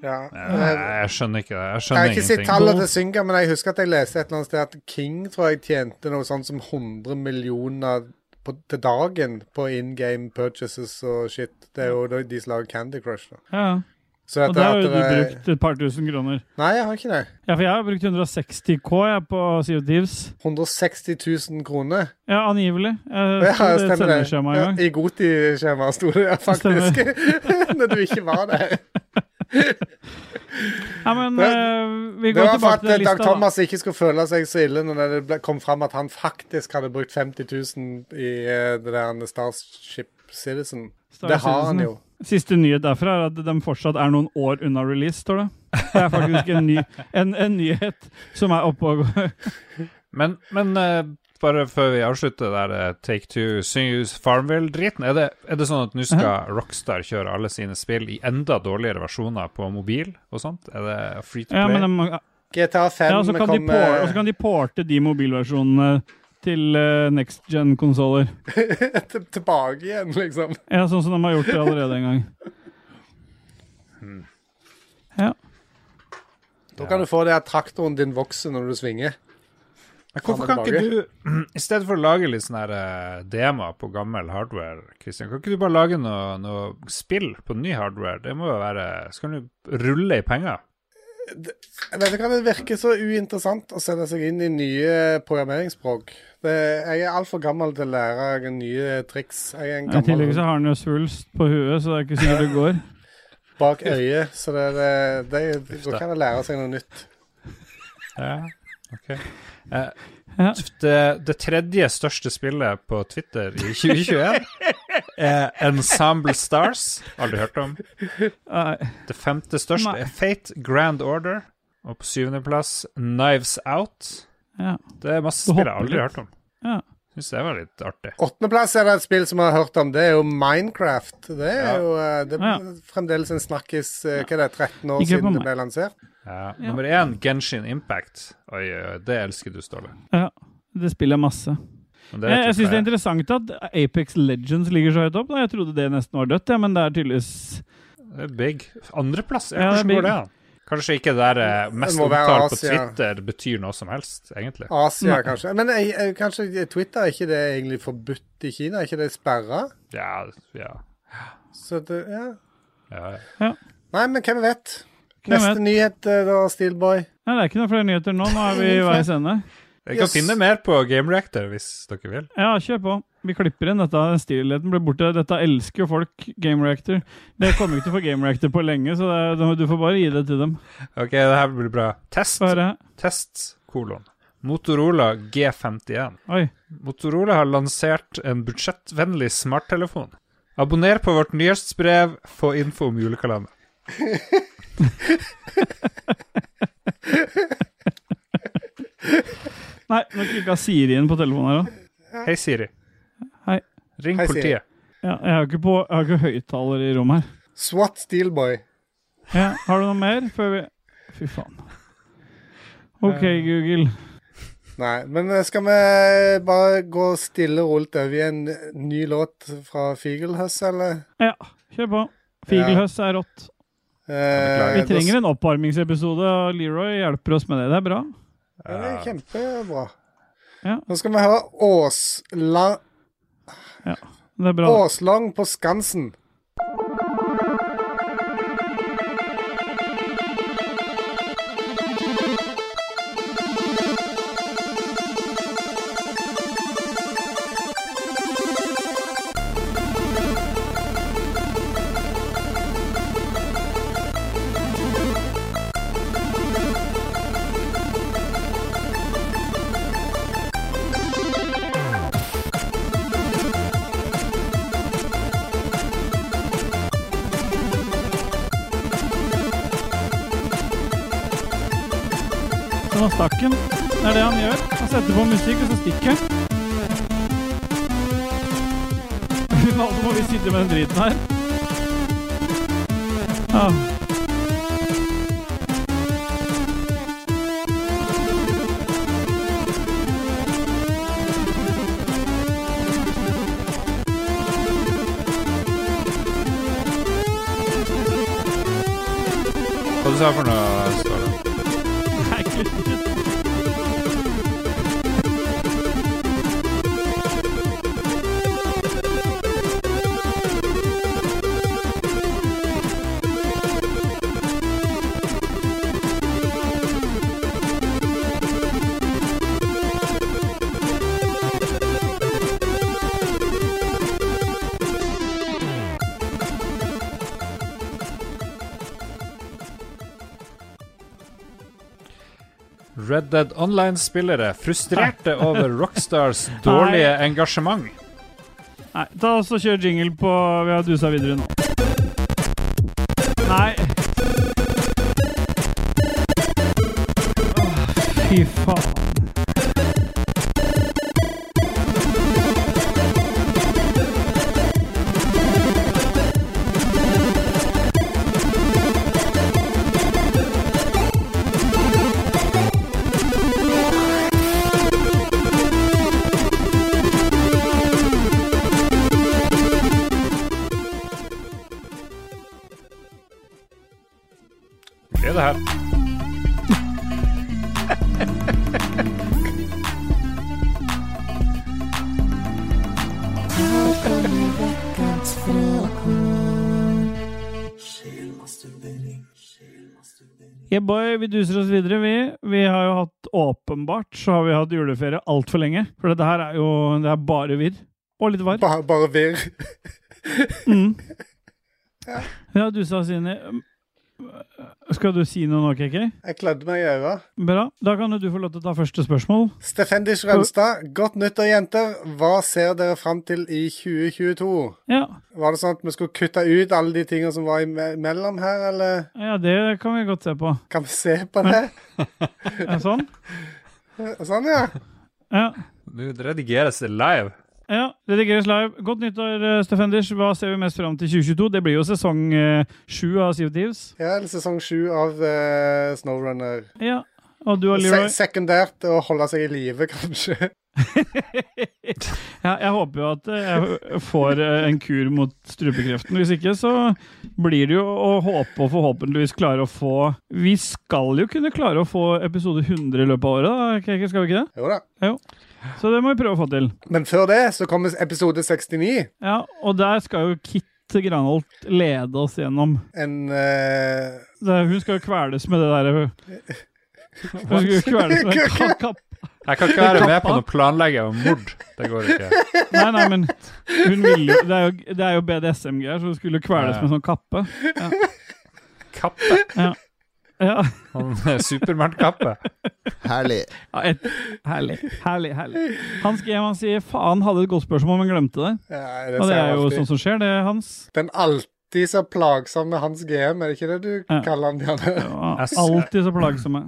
Speaker 1: Jeg, jeg skjønner ikke det. Jeg
Speaker 2: Jeg har
Speaker 1: skjønner
Speaker 2: ikke sett
Speaker 1: ingenting.
Speaker 2: tallene til Synga, men jeg husker at jeg leste et eller annet sted at King tror jeg tjente noe sånt som 100 millioner på, til dagen på in game purchases og shit. Det er jo da de som lager Candy Crush. Da.
Speaker 3: Ja, ja.
Speaker 2: Så
Speaker 3: Og
Speaker 2: at
Speaker 3: der har
Speaker 2: at
Speaker 3: jo du
Speaker 2: det-
Speaker 3: brukt et par tusen kroner.
Speaker 2: Nei, jeg har ikke det.
Speaker 3: Ja, for jeg har brukt 160K jeg, på Sea of Thieves.
Speaker 2: 160 000 kroner.
Speaker 3: Ja, angivelig. Jeg,
Speaker 2: Ja,
Speaker 3: så det
Speaker 2: stemmer det.
Speaker 3: sendeskjema en gang.
Speaker 2: Ja, I Goti-skjemaet sto det ja, faktisk. Når du ikke var der.
Speaker 3: Nei, men
Speaker 2: Det-
Speaker 3: eh, vi
Speaker 2: Det
Speaker 3: går
Speaker 2: var for
Speaker 3: tilbake
Speaker 2: at
Speaker 3: til den
Speaker 2: Dag
Speaker 3: lista. da.
Speaker 2: Thomas ikke skulle føle seg så ille når det ble- kom fram at han faktisk hadde brukt 50 000 i eh, det der Starship Citizen.
Speaker 3: Star
Speaker 2: det har han
Speaker 3: Citizen, ja.
Speaker 2: jo.
Speaker 3: Siste nyhet derfra er at de fortsatt er noen år unna release, står det. Det er faktisk en, ny, en, en nyhet som er oppe og går.
Speaker 1: Men, men eh, bare før vi avslutter der eh, Take Two Syngehus Farmville-driten, er, det- er det sånn at nå skal
Speaker 3: Mhm.
Speaker 1: Rockstar kjøre alle sine spill i enda dårligere versjoner på mobil og sånt? Er det free to
Speaker 3: Ja,
Speaker 1: play?
Speaker 3: men de,
Speaker 2: GTA 5
Speaker 3: ja, og så kan de
Speaker 2: kom
Speaker 3: por- og så
Speaker 2: eh,
Speaker 3: kan de porte de mobilversjonene til eh, next gen-konsoller.
Speaker 2: til- tilbake igjen, liksom.
Speaker 3: Ja, sånn som de har gjort det allerede en gang. Ja.
Speaker 2: Da kan du få det at traktoren din vokser når du svinger.
Speaker 1: Men hvorfor
Speaker 2: Faen,
Speaker 1: kan
Speaker 2: det
Speaker 1: ikke du, i stedet for å lage litt sånne her, eh, demoer på gammel hardware, Christian, kan ikke du bare lage noe, noe spill på ny hardware? Det må jo være Så kan du rulle i penger.
Speaker 2: Dette kan det virke så uinteressant å sette seg inn i nye programmeringsspråk. Det, jeg er altfor gammel til å lære nye triks. Jeg er en
Speaker 3: I tillegg
Speaker 2: gammel
Speaker 3: så har han jo svulst på huet, så det er ikke sikkert det går.
Speaker 2: bak øyet, så det, det, det, da kan jeg lære seg noe nytt.
Speaker 1: Ja, ok. Eh,
Speaker 3: Ja.
Speaker 1: det, det tredje største spillet på Twitter i 2021 er Ensemble Stars. Aldri hørt om.
Speaker 3: Nei.
Speaker 1: Det femte største
Speaker 3: Nei.
Speaker 1: er Fate Grand Order. Og på syvendeplass Knives Out.
Speaker 3: Ja.
Speaker 1: Det er masse
Speaker 3: Du
Speaker 1: spill jeg
Speaker 3: hopper
Speaker 1: aldri
Speaker 3: litt.
Speaker 1: har hørt om.
Speaker 3: Ja.
Speaker 1: Syns det var litt artig.
Speaker 2: Åttendeplass er det et spill som jeg har hørt om, det er jo Minecraft. Det er
Speaker 1: Ja.
Speaker 2: jo eh, det er
Speaker 3: Ja.
Speaker 2: fremdeles en snakkis eh, Hva er det, 13 år
Speaker 3: Ikke på
Speaker 2: siden
Speaker 3: meg.
Speaker 2: det ble lansert?
Speaker 1: Ja. Eh, Nummer én, Genshin Impact. Oi, oi, det elsker du, Ståle.
Speaker 3: ja. Det spiller jeg masse.
Speaker 1: Men
Speaker 3: Jeg,
Speaker 1: vet
Speaker 3: jeg
Speaker 1: du
Speaker 3: syns
Speaker 1: hva
Speaker 3: det er interessant at Apex Legends ligger så høyt opp. Da. Jeg trodde det nesten var dødt, ja, men det er tydeligvis
Speaker 1: Det er big. Andreplass? Ja,
Speaker 3: Ja, det er
Speaker 1: hvordan
Speaker 3: big.
Speaker 1: går det an? Kanskje ikke det der eh, mest
Speaker 2: må være
Speaker 1: omtalt på
Speaker 2: Asia.
Speaker 1: Twitter betyr noe som helst, egentlig.
Speaker 2: Asia, kanskje. Men jeg, jeg, kanskje Twitter, er ikke det egentlig forbudt i Kina? Er ikke det sperra?
Speaker 1: Ja, ja,
Speaker 2: Så det, ja.
Speaker 1: ja. ja.
Speaker 2: Nei, men hvem vet?
Speaker 3: Hvem
Speaker 2: Neste
Speaker 3: vet?
Speaker 2: nyhet eh, da, Steelboy.
Speaker 3: Nei, det er ikke noen flere nyheter nå. Nå er vi i veis ende.
Speaker 1: Jeg kan
Speaker 2: Yes.
Speaker 1: finne mer på Game Reactor hvis dere vil.
Speaker 3: Ja, kjør på. Vi klipper inn dette. Den Stillheten blir borte. Dette elsker jo folk, Game Reactor. Det kommer ikke til å få Game Reactor på lenge, så det, er- du får bare gi det til dem.
Speaker 1: OK, det her blir bra. Test,
Speaker 3: Bare
Speaker 1: test, kolon. Motorola G51.
Speaker 3: Oi.
Speaker 1: Motorola har lansert en budsjettvennlig smarttelefon. Abonner på vårt nyhetsbrev, få info om julekalender.
Speaker 3: Nei, nå klikka Siri inn på telefonen her òg.
Speaker 1: Hei, Siri.
Speaker 3: Hei.
Speaker 1: Ring
Speaker 2: Hei, Siri.
Speaker 1: politiet.
Speaker 3: Ja, jeg har jo ikke, på- jeg har ikke høyttaler i rommet her.
Speaker 2: Swat Steelboy.
Speaker 3: Ja, har du noe mer før vi Fy faen. OK, Google.
Speaker 2: Nei, men eh, skal vi bare gå stille og rolig over i en ny låt fra Figelhøss, eller?
Speaker 3: Ja, kjør på. Figelhøss er rått.
Speaker 2: Eh,
Speaker 3: Vi trenger en oppvarmingsepisode, og Leroy hjelper oss med det. Det er bra.
Speaker 2: Ja, det er kjempebra.
Speaker 3: Ja.
Speaker 2: Nå skal vi høre Åsla...
Speaker 3: Det er bra.
Speaker 2: Åslang på Skansen.
Speaker 3: Så nå stakk han. Det er det han gjør. Han setter på musikk, og så stikker han. Fy faen, så må vi sitte med den driten her. Ah, Ja.
Speaker 1: Hva du sa for noe, Ståle?
Speaker 3: Nei, kutt.
Speaker 1: Red Dead Online-spillere frustrerte over Rockstars dårlige engasjement.
Speaker 3: Nei, ta oss og kjør jingle på Vi har dusa videre nå. Nei. Åh, Ah, Fy faen.
Speaker 1: Det er det her.
Speaker 3: Yeah, boy, vi duser oss videre, vi. Vi har jo hatt åpenbart så har vi hatt juleferie altfor lenge. For dette her er jo det er bare virr. Og litt varr.
Speaker 2: Bare, bare virr.
Speaker 3: Mm. Vi har dusa oss inn i Skal du si noe nå, KK?
Speaker 2: Jeg klødde meg i øya.
Speaker 3: Bra. Da kan jo du få lov til å ta første spørsmål.
Speaker 2: Stefendis Rønstad, godt nyttår, jenter. Hva ser dere fram til i 2022?
Speaker 3: Ja.
Speaker 2: Var det sånn at vi skulle kutte ut alle de tingene som var imellom her, eller
Speaker 3: ja, det kan vi godt se på.
Speaker 2: kan vi se på det?
Speaker 3: Ja, sånn?
Speaker 2: Sånn, ja.
Speaker 3: Ja.
Speaker 1: Nå redigeres det live.
Speaker 3: ja. Redigeres live. Godt nyttår, eh, Stefenders. Hva ser vi mest fram til 2022? Det blir jo sesong eh, sju av Sea of Thieves.
Speaker 2: Ja, eller sesong sju av eh, Snowrunner.
Speaker 3: Ja. Og du og Leroy?
Speaker 2: Se sekundært å holde seg i live, kanskje.
Speaker 3: Ja, jeg håper jo at eh, jeg får eh, en kur mot strupekreften. Hvis ikke, så blir det jo å håpe og forhåpentligvis klare å få Vi skal jo kunne klare å få episode 100 i løpet av året, da. Keke, Skal vi ikke det?
Speaker 2: Jo da.
Speaker 3: Så det må vi prøve å få til.
Speaker 2: Men før det så kommer episode 69.
Speaker 3: Ja, og der skal jo Kit Granholt lede oss gjennom.
Speaker 2: En eh,
Speaker 3: Det, hun skal jo kveles med det der Hun, hun skal jo kveles med ka- kapp...
Speaker 1: Jeg kan ikke være med på noe planlegging av mord. Det går ikke.
Speaker 3: Nei, nei, men hun vil jo Det er jo, det er jo BDSM-greier, så hun skulle jo kveles med sånn kappe.
Speaker 1: Kappe.
Speaker 3: Ja.
Speaker 1: Han Supermann-kappe.
Speaker 7: Herlig.
Speaker 3: Ja, et, herlig, herlig, herlig. Hans G, han sier faen, hadde et godt spørsmål, men glemte det.
Speaker 2: ja,
Speaker 3: Og det
Speaker 2: ser jeg
Speaker 3: er jo sånn-
Speaker 2: alltid.
Speaker 3: sånt som skjer, det, Hans.
Speaker 2: Den alt, De som er plagsomme med hans GM, er det ikke det du
Speaker 3: Ja.
Speaker 2: kaller han, Bjarne?
Speaker 3: Og
Speaker 1: Jeg s-
Speaker 3: Alltid så plagsomme.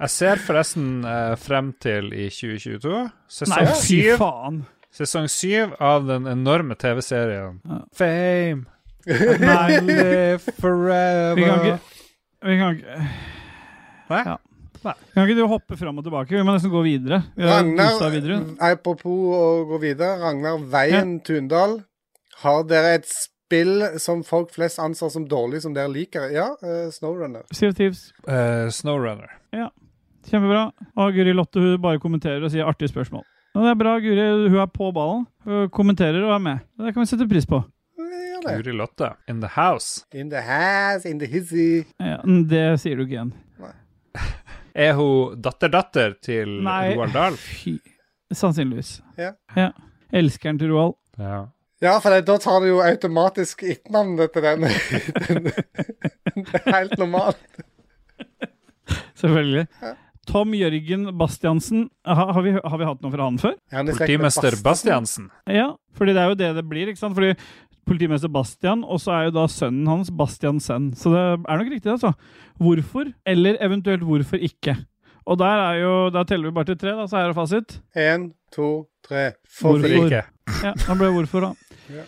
Speaker 1: Jeg ser forresten eh, frem til i 2022
Speaker 3: Nei,
Speaker 1: sesong
Speaker 3: fy
Speaker 1: syv
Speaker 3: faen!
Speaker 1: sesong syv av den enorme TV-serien Fame.
Speaker 3: Nei,
Speaker 1: Live
Speaker 3: vi kan
Speaker 1: forever.
Speaker 3: ikke Vi kan ikke
Speaker 1: Nei?
Speaker 3: Ja. Kan ikke du hoppe fram og tilbake? Vi må nesten gå videre. Vi har dusa videre.
Speaker 2: apropos å gå videre, Ragnar Veien Tundal. Har dere et spill som folk flest anser som dårlig, som dere liker? Ja, eh, Snowrunner.
Speaker 3: Sea of Thieves.
Speaker 1: Eh, Snowrunner.
Speaker 3: Kjempebra. Og Guri Lotte hun bare kommenterer og sier artige spørsmål. Og det er bra, Guri. Hun er på ballen. Hun kommenterer og er med. Det kan vi sette pris på.
Speaker 2: Ja, det.
Speaker 1: Guri Lotte. In the house.
Speaker 2: In the house, in the hizzy.
Speaker 3: Ja, det sier du ikke igjen.
Speaker 1: Er hun datter-datter til
Speaker 3: Nei.
Speaker 1: Roald Dahl?
Speaker 3: Fy. Sannsynligvis.
Speaker 2: Ja.
Speaker 3: ja. Elskeren til Roald.
Speaker 1: Ja.
Speaker 2: Ja, for det, da tar du jo automatisk etternavnet til den. det er helt normalt.
Speaker 3: Selvfølgelig. Tom Jørgen Bastiansen. Ha, har, vi, har vi hatt noe fra han før?
Speaker 2: Er han i slekt med
Speaker 1: Politimester
Speaker 2: Bastian?
Speaker 1: Bastiansen.
Speaker 3: Ja, fordi det er jo det det blir, ikke sant? Fordi politimester Bastian, og så er jo da sønnen hans Bastian Senn. Så det er nok riktig, altså. Hvorfor, eller eventuelt hvorfor ikke? Og der er jo, da teller vi bare til tre, da, så er det fasit.
Speaker 2: En, to, tre.
Speaker 1: Hvorfor
Speaker 3: Hvorfor?
Speaker 1: ikke?
Speaker 3: Ja, da ble det hvorfor, da. Ja.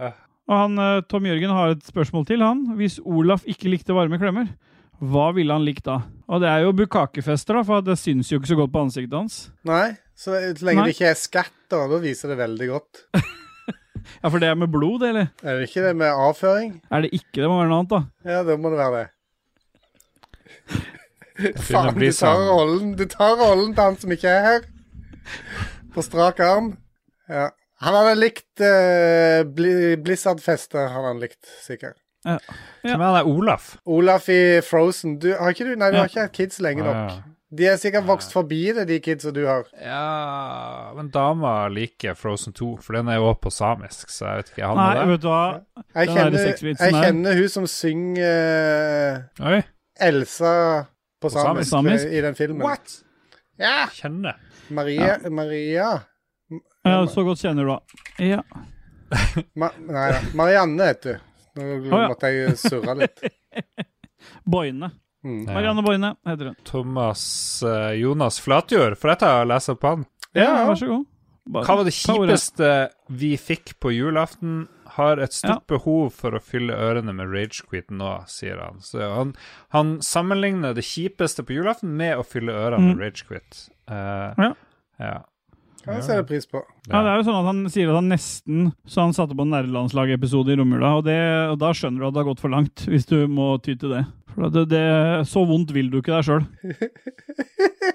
Speaker 1: Ja.
Speaker 3: Og han, eh, Tom Jørgen har et spørsmål til, han. Hvis Olaf ikke likte varme klemmer, hva ville han likt da? Og det er jo bukakefester, da, for det syns jo ikke så godt på ansiktet hans.
Speaker 2: Nei, så lenge
Speaker 3: Nei.
Speaker 2: det ikke er skatt, da, da viser det veldig godt.
Speaker 3: Ja, for det er med blod, det, eller?
Speaker 2: Er det ikke det med avføring?
Speaker 3: Er det ikke det? Må være noe annet, da.
Speaker 2: Ja, da må det være det.
Speaker 1: begynner å
Speaker 2: Faen,
Speaker 1: bli
Speaker 2: du tar
Speaker 1: sånn.
Speaker 2: rollen Du tar rollen til han som ikke er her. På strak arm. Ja. Han hadde likt eh, Bli- Blizzard-fester, hadde han likt, sikkert.
Speaker 3: Ja.
Speaker 1: Hvem er det? Olaf?
Speaker 2: Olaf i Frozen du, Har ikke du Nei, du
Speaker 3: Ja.
Speaker 2: har ikke hatt kids lenge
Speaker 1: Ah,
Speaker 2: nok. De er sikkert vokst forbi det, de kidsa du har.
Speaker 1: Ja, men dama liker Frozen 2, for den er jo også på samisk, så jeg vet ikke. Han
Speaker 3: Nei,
Speaker 1: er det?
Speaker 3: vet du hva?
Speaker 2: Jeg
Speaker 3: Den der
Speaker 2: kjenner, jeg
Speaker 3: sexvitsen her.
Speaker 2: kjenner hun som synger eh,
Speaker 1: Oi,
Speaker 2: Elsa på samisk, eh,
Speaker 3: samisk?
Speaker 2: i den filmen.
Speaker 1: What?
Speaker 2: Ja!
Speaker 1: kjenner.
Speaker 2: Maria Maria
Speaker 3: Ja, så godt kjenner du da. Ja.
Speaker 2: Ma Nei da. Marianne, heter du. Nå
Speaker 3: Å, ja.
Speaker 2: måtte jeg surre litt.
Speaker 3: Boine.
Speaker 2: Mm.
Speaker 1: Ja.
Speaker 3: Marianne Boine heter hun.
Speaker 1: Thomas eh, Jonas Flatjord, for dette har jeg lest opp på han.
Speaker 3: Ja, vær så god. Bare
Speaker 1: Hva var det
Speaker 3: ta ordet.
Speaker 1: kjipeste vi fikk på julaften? Har et stort behov for å fylle ørene med ragequit nå, sier han. Så han, han sammenligner det kjipeste på julaften med å fylle ørene med ragequit. Eh,
Speaker 3: Mm. Ja.
Speaker 1: ja.
Speaker 2: Kan jeg sette pris på.
Speaker 3: Ja, det er jo sånn at Han sier at han nesten Så han satte på en nerdelandslag-episode i romjula. Og, det, og da skjønner du at det har gått for langt, hvis du må ty til det. For det, det Så vondt vil du ikke deg sjøl.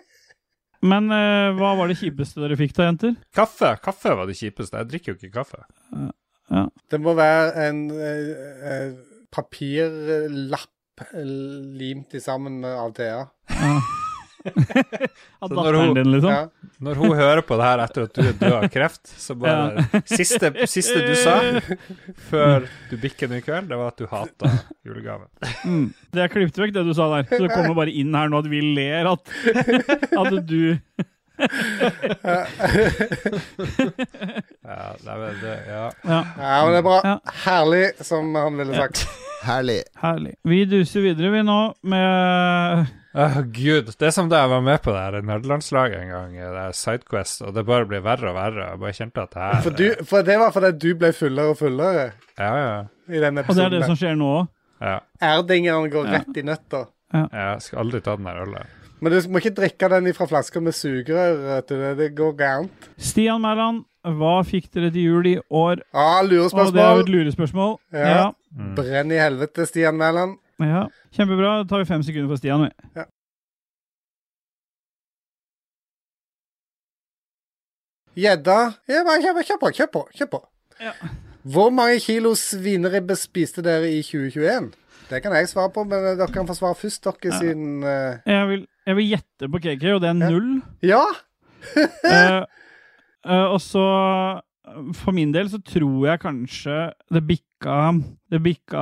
Speaker 3: Men eh, hva var det kjipeste dere fikk da, jenter?
Speaker 1: Kaffe kaffe var det kjipeste. Jeg drikker jo ikke kaffe.
Speaker 2: Det må være en eh, eh, papirlapp eh, limt i sammen med av Thea.
Speaker 3: Av
Speaker 1: Så når hun-
Speaker 3: datteren din, liksom?
Speaker 2: Ja.
Speaker 1: Når hun hører på det her etter at du er død av kreft, så bare siste, siste du sa før du bikker nå i kveld, det var at du hata julegaven.
Speaker 3: Mm. Det er klippet vekk, det du sa der. Så det kommer bare inn her nå at vi ler at, at du
Speaker 1: Ja, det, er vel det, ja.
Speaker 3: Ja,
Speaker 2: ja, men det er bra.
Speaker 3: Ja.
Speaker 2: Herlig, som han ville sagt.
Speaker 7: Herlig.
Speaker 3: herlig. Vi duser videre, vi nå, med
Speaker 1: Åh, Ah, Gud, det er som da jeg var med på det her nerdelandslaget en gang, eh, det her Sidequest, og det bare blir verre og verre. Jeg bare kjente at det her
Speaker 2: For, du, for det var fordi du ble fullere og fullere
Speaker 1: Ja, ja.
Speaker 2: i den
Speaker 3: Og det er
Speaker 2: episoden.
Speaker 3: det
Speaker 1: Sånn
Speaker 3: som
Speaker 2: der.
Speaker 3: skjer nå òg.
Speaker 1: ja.
Speaker 2: Erdingeren går rett i nøtta.
Speaker 1: Jeg skal aldri ta den der ølen.
Speaker 2: Men du må ikke drikke den ifra flasker med sugerør. vet du. Det- Det går gærent.
Speaker 3: Stian Mæland, hva fikk dere til jul i år?
Speaker 2: Ah,
Speaker 3: Og det er jo Mm. et
Speaker 2: lurespørsmål.
Speaker 3: lurespørsmål. Ja.
Speaker 2: Ja.
Speaker 1: Mm.
Speaker 2: Brenn i helvete, Stian Mæland.
Speaker 3: ja. Kjempebra. Da tar vi fem sekunder for Stian, vi.
Speaker 2: Ja. Gjedda. Ja, bare Kjør på, kjør på, kjør på. Kjør på.
Speaker 3: Ja.
Speaker 2: Hvor mange kilo svineribbe spiste dere i 2021? Det kan jeg svare på, men eh, dere kan få svare først, dere, siden eh,
Speaker 3: Jeg vil, jeg vil gjette på KK, og det er null.
Speaker 2: Ja!
Speaker 3: Eh, eh, og så eh, For min del så tror jeg kanskje det bikka bikka Det bikka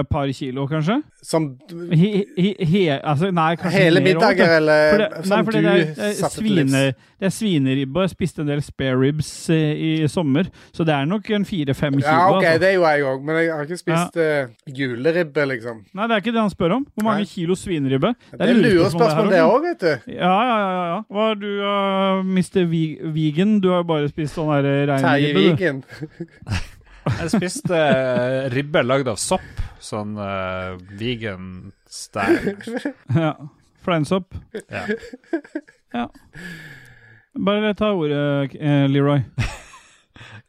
Speaker 3: et par kilo, kanskje?
Speaker 2: Som
Speaker 3: He, he, he, altså, nei, kanskje
Speaker 2: hele
Speaker 3: mer også, vet
Speaker 2: middager,
Speaker 3: du.
Speaker 2: eller
Speaker 3: For det, nei,
Speaker 2: som
Speaker 3: for
Speaker 2: du
Speaker 3: det, er- det, er
Speaker 2: satte til livs?
Speaker 3: svine, det er svineribbe. Jeg spiste en del spare ribs eh, i sommer, så det er nok en fire-fem kilo.
Speaker 2: Ja, OK,
Speaker 3: altså.
Speaker 2: det gjorde jeg òg, men jeg har ikke spist eh, juleribbe, liksom.
Speaker 3: Nei, det er ikke det han spør om. Hvor mange
Speaker 2: Nei.
Speaker 3: kilo svineribbe?
Speaker 2: Det er lurespørsmål, det
Speaker 3: her også.
Speaker 2: òg, vet du.
Speaker 3: Ja, ja, ja. ja, ja. Hva er du, uh, Mr. Vi- Vegan? Du har jo bare spist sånn her
Speaker 2: Terje
Speaker 3: reinribbe, du.
Speaker 2: Vigen.
Speaker 1: Jeg spiste eh, ribbe lagd av sopp. Sånn eh, vegan style.
Speaker 3: Ja. Fleinsopp.
Speaker 1: Ja.
Speaker 3: Ja. Bare ta ordet, eh, Leroy.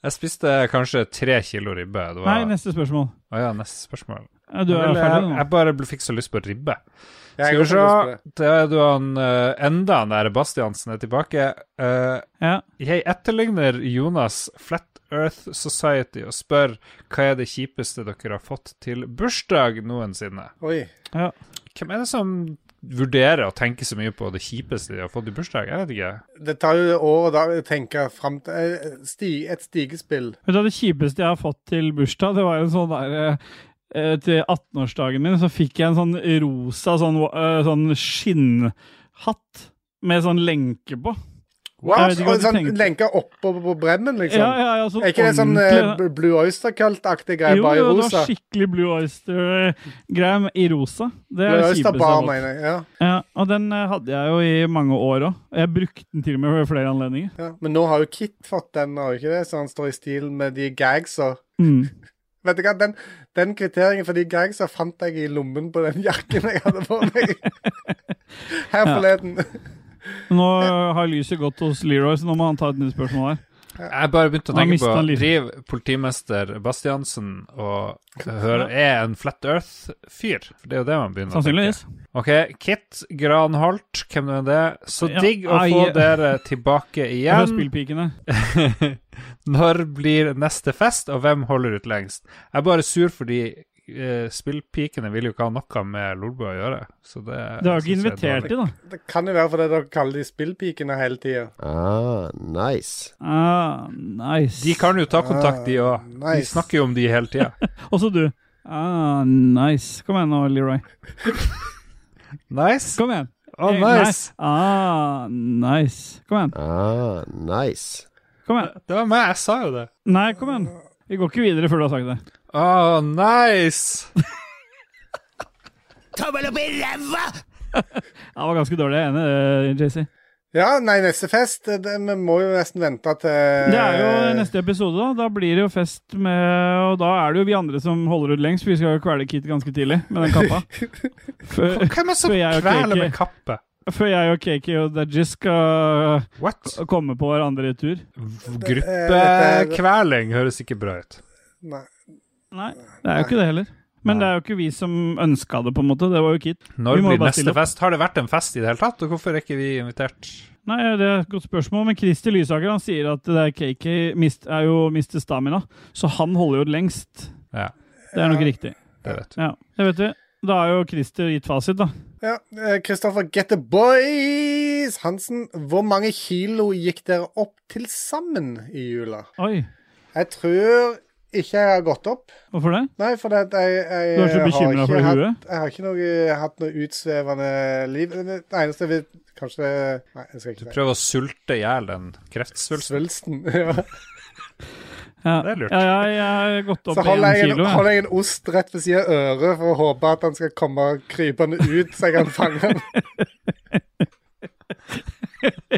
Speaker 1: Jeg spiste kanskje tre kilo ribbe. Det var,
Speaker 3: Nei, neste spørsmål.
Speaker 1: Å ja, neste spørsmål.
Speaker 3: Ja, du er
Speaker 1: jeg,
Speaker 3: ferdig
Speaker 1: jeg,
Speaker 3: nå.
Speaker 1: jeg bare ble- fikk så lyst på ribbe.
Speaker 2: eh, Jeg
Speaker 1: Skal
Speaker 2: har
Speaker 1: vi se.
Speaker 2: også lyst på det.
Speaker 1: Det er jo han eh, enda han der Bastiansen er tilbake. Eh,
Speaker 3: Ja.
Speaker 1: jeg etterligner Jonas Flat Earth Society og spør hva er det kjipeste dere har fått til bursdag noensinne?
Speaker 2: Oi.
Speaker 1: Hvem er det som vurderer å tenke så mye på det kjipeste de har fått i bursdag? Jeg vet ikke.
Speaker 2: Det tar jo år og dag å tenke fram til eh, sti, Et stigespill.
Speaker 3: Vet du, hva, Det kjipeste jeg har fått til bursdag, det var en sånn der eh, eh, Til 18-årsdagen min så fikk jeg en sånn rosa sånn, eh, sånn skinnhatt med sånn lenke på.
Speaker 2: What?
Speaker 3: Jeg vet ikke hva
Speaker 2: Og
Speaker 3: du
Speaker 2: sånn
Speaker 3: tenkte.
Speaker 2: lenke oppå på bremmen, liksom.
Speaker 3: Ja, ja, ja, sånn
Speaker 2: Er ikke det sånn
Speaker 3: ordentlig-
Speaker 2: eh, Bl- Blue Oyster Cult-aktig greie,
Speaker 3: jo,
Speaker 2: bare i
Speaker 3: jo, det
Speaker 2: rosa?
Speaker 3: var skikkelig Blue Oyster-greie med- i rosa. Det er
Speaker 2: Blue
Speaker 3: det
Speaker 2: Oyster
Speaker 3: kjipeste jeg
Speaker 2: Bar,
Speaker 3: har fått.
Speaker 2: mener jeg. Ja.
Speaker 3: Ja, og den eh, hadde jeg jo i mange år òg. Jeg brukte den til og med ved flere anledninger.
Speaker 2: Ja. Men nå har jo Kit fått den, har jo ikke det? Så han står i stil med de gagsa.
Speaker 3: Mm.
Speaker 2: Vet du hva, den, den kvitteringen for de gagsa fant jeg i lommen på den jakken jeg hadde på meg. Her forleden.
Speaker 3: Nå eh, har lyset gått hos Leroy, så nå må han ta et nytt spørsmål her.
Speaker 1: Jeg bare begynte å
Speaker 3: Han
Speaker 1: tenke
Speaker 3: mistet
Speaker 1: på
Speaker 3: han litt.
Speaker 1: Driv politimester Bastiansen og hør, er en Flat Earth-fyr? For det er jo det man begynner
Speaker 3: Sannsynligvis.
Speaker 1: å tenke. OK, Kit Granholt, hvem nå enn det er. Så
Speaker 3: Ja, eh,
Speaker 1: digg å
Speaker 3: ai.
Speaker 1: få dere tilbake
Speaker 3: Fra
Speaker 1: igjen.
Speaker 3: Spillpikene.
Speaker 1: Når blir neste fest, og hvem holder ut lengst? Jeg er bare sur fordi eh, spillpikene vil jo ikke ha noe med Lolbua å gjøre. Så det
Speaker 3: Det har jo ikke
Speaker 1: synes jeg er
Speaker 3: invitert
Speaker 1: dårlig.
Speaker 3: til, da.
Speaker 2: Det kan jo være fordi dere kaller de spillpikene hele tida.
Speaker 7: Ah, nice.
Speaker 3: Ah, nice.
Speaker 1: De kan jo ta kontakt, de òg. De
Speaker 2: Ah, nice.
Speaker 1: snakker jo om de hele tida.
Speaker 3: Også du. Ah, nice. Kom igjen nå, Leroy.
Speaker 1: Nice.
Speaker 3: Kom igjen.
Speaker 1: Å,
Speaker 3: Eh,
Speaker 1: nice.
Speaker 3: nei. Ah, nice. Kom igjen.
Speaker 7: Ah, nice.
Speaker 3: Kom igjen.
Speaker 1: Det var meg, jeg sa jo det.
Speaker 3: Nei, kom igjen. Vi går ikke videre før du har sagt det.
Speaker 1: Å, nice!
Speaker 3: Ja, det var ganske dårlig. Jeg er enig, eh, JC.
Speaker 2: Ja, nei, neste fest eh, det, Vi må jo nesten vente til
Speaker 3: Det er jo
Speaker 2: Eh.
Speaker 3: neste episode, da. Da blir det jo fest med Og da er det jo vi andre som holder ut lengst, for vi skal jo kvele Kit ganske tidlig med den kappa. Før,
Speaker 1: Hvem er det som
Speaker 3: For jeg er jo
Speaker 1: kveler
Speaker 3: ikke-
Speaker 1: med kappe?
Speaker 3: før jeg og Kaki og Dajis skal eh,
Speaker 1: What?
Speaker 3: komme på hverandre i tur.
Speaker 2: dette er-
Speaker 1: Gruppekveling høres ikke bra ut.
Speaker 2: Nei.
Speaker 3: Nei, det er jo ikke det heller. Men det er jo ikke vi som ønska det, på en måte. Det var jo Kit.
Speaker 1: Når
Speaker 3: Vi må
Speaker 1: blir
Speaker 3: bare
Speaker 1: neste
Speaker 3: stille opp.
Speaker 1: fest? Har det vært en fest i det hele tatt? Og hvorfor er ikke vi invitert?
Speaker 3: Nei, det er et godt spørsmål, men Christer Lysaker han sier at det er KK mist, er jo mister stamina, så han holder jo lengst.
Speaker 1: Ja,
Speaker 3: Det er nok riktig.
Speaker 1: det vet du.
Speaker 3: Ja, det vet vi. Da er jo Christer gitt fasit, da.
Speaker 2: Ja, eh, Kristoffer Get the Boys Hansen, hvor mange kilo gikk dere opp til sammen i jula?
Speaker 3: Oi,
Speaker 2: Jeg tror ikke jeg har gått opp.
Speaker 3: hvorfor det?
Speaker 2: Nei, for det, at jeg, jeg,
Speaker 3: Du er så
Speaker 2: har
Speaker 3: bekymret
Speaker 2: ikke
Speaker 3: for det
Speaker 2: hatt-
Speaker 3: huet?
Speaker 2: Jeg har ikke noe, hatt noe utsvevende liv. Det eneste jeg vet Kanskje Nei, jeg skal ikke si
Speaker 1: Prøv å sulte i hjel den kreftsvulsten.
Speaker 2: Svulsten. Ja.
Speaker 3: Ja.
Speaker 1: Det er lurt.
Speaker 3: Ja, ja, jeg har gått opp
Speaker 2: Så
Speaker 3: én
Speaker 2: holder jeg, en,
Speaker 3: kilo.
Speaker 2: holder jeg en ost rett ved siden av øret for å håpe at han skal komme krypende ut, så jeg kan fange han.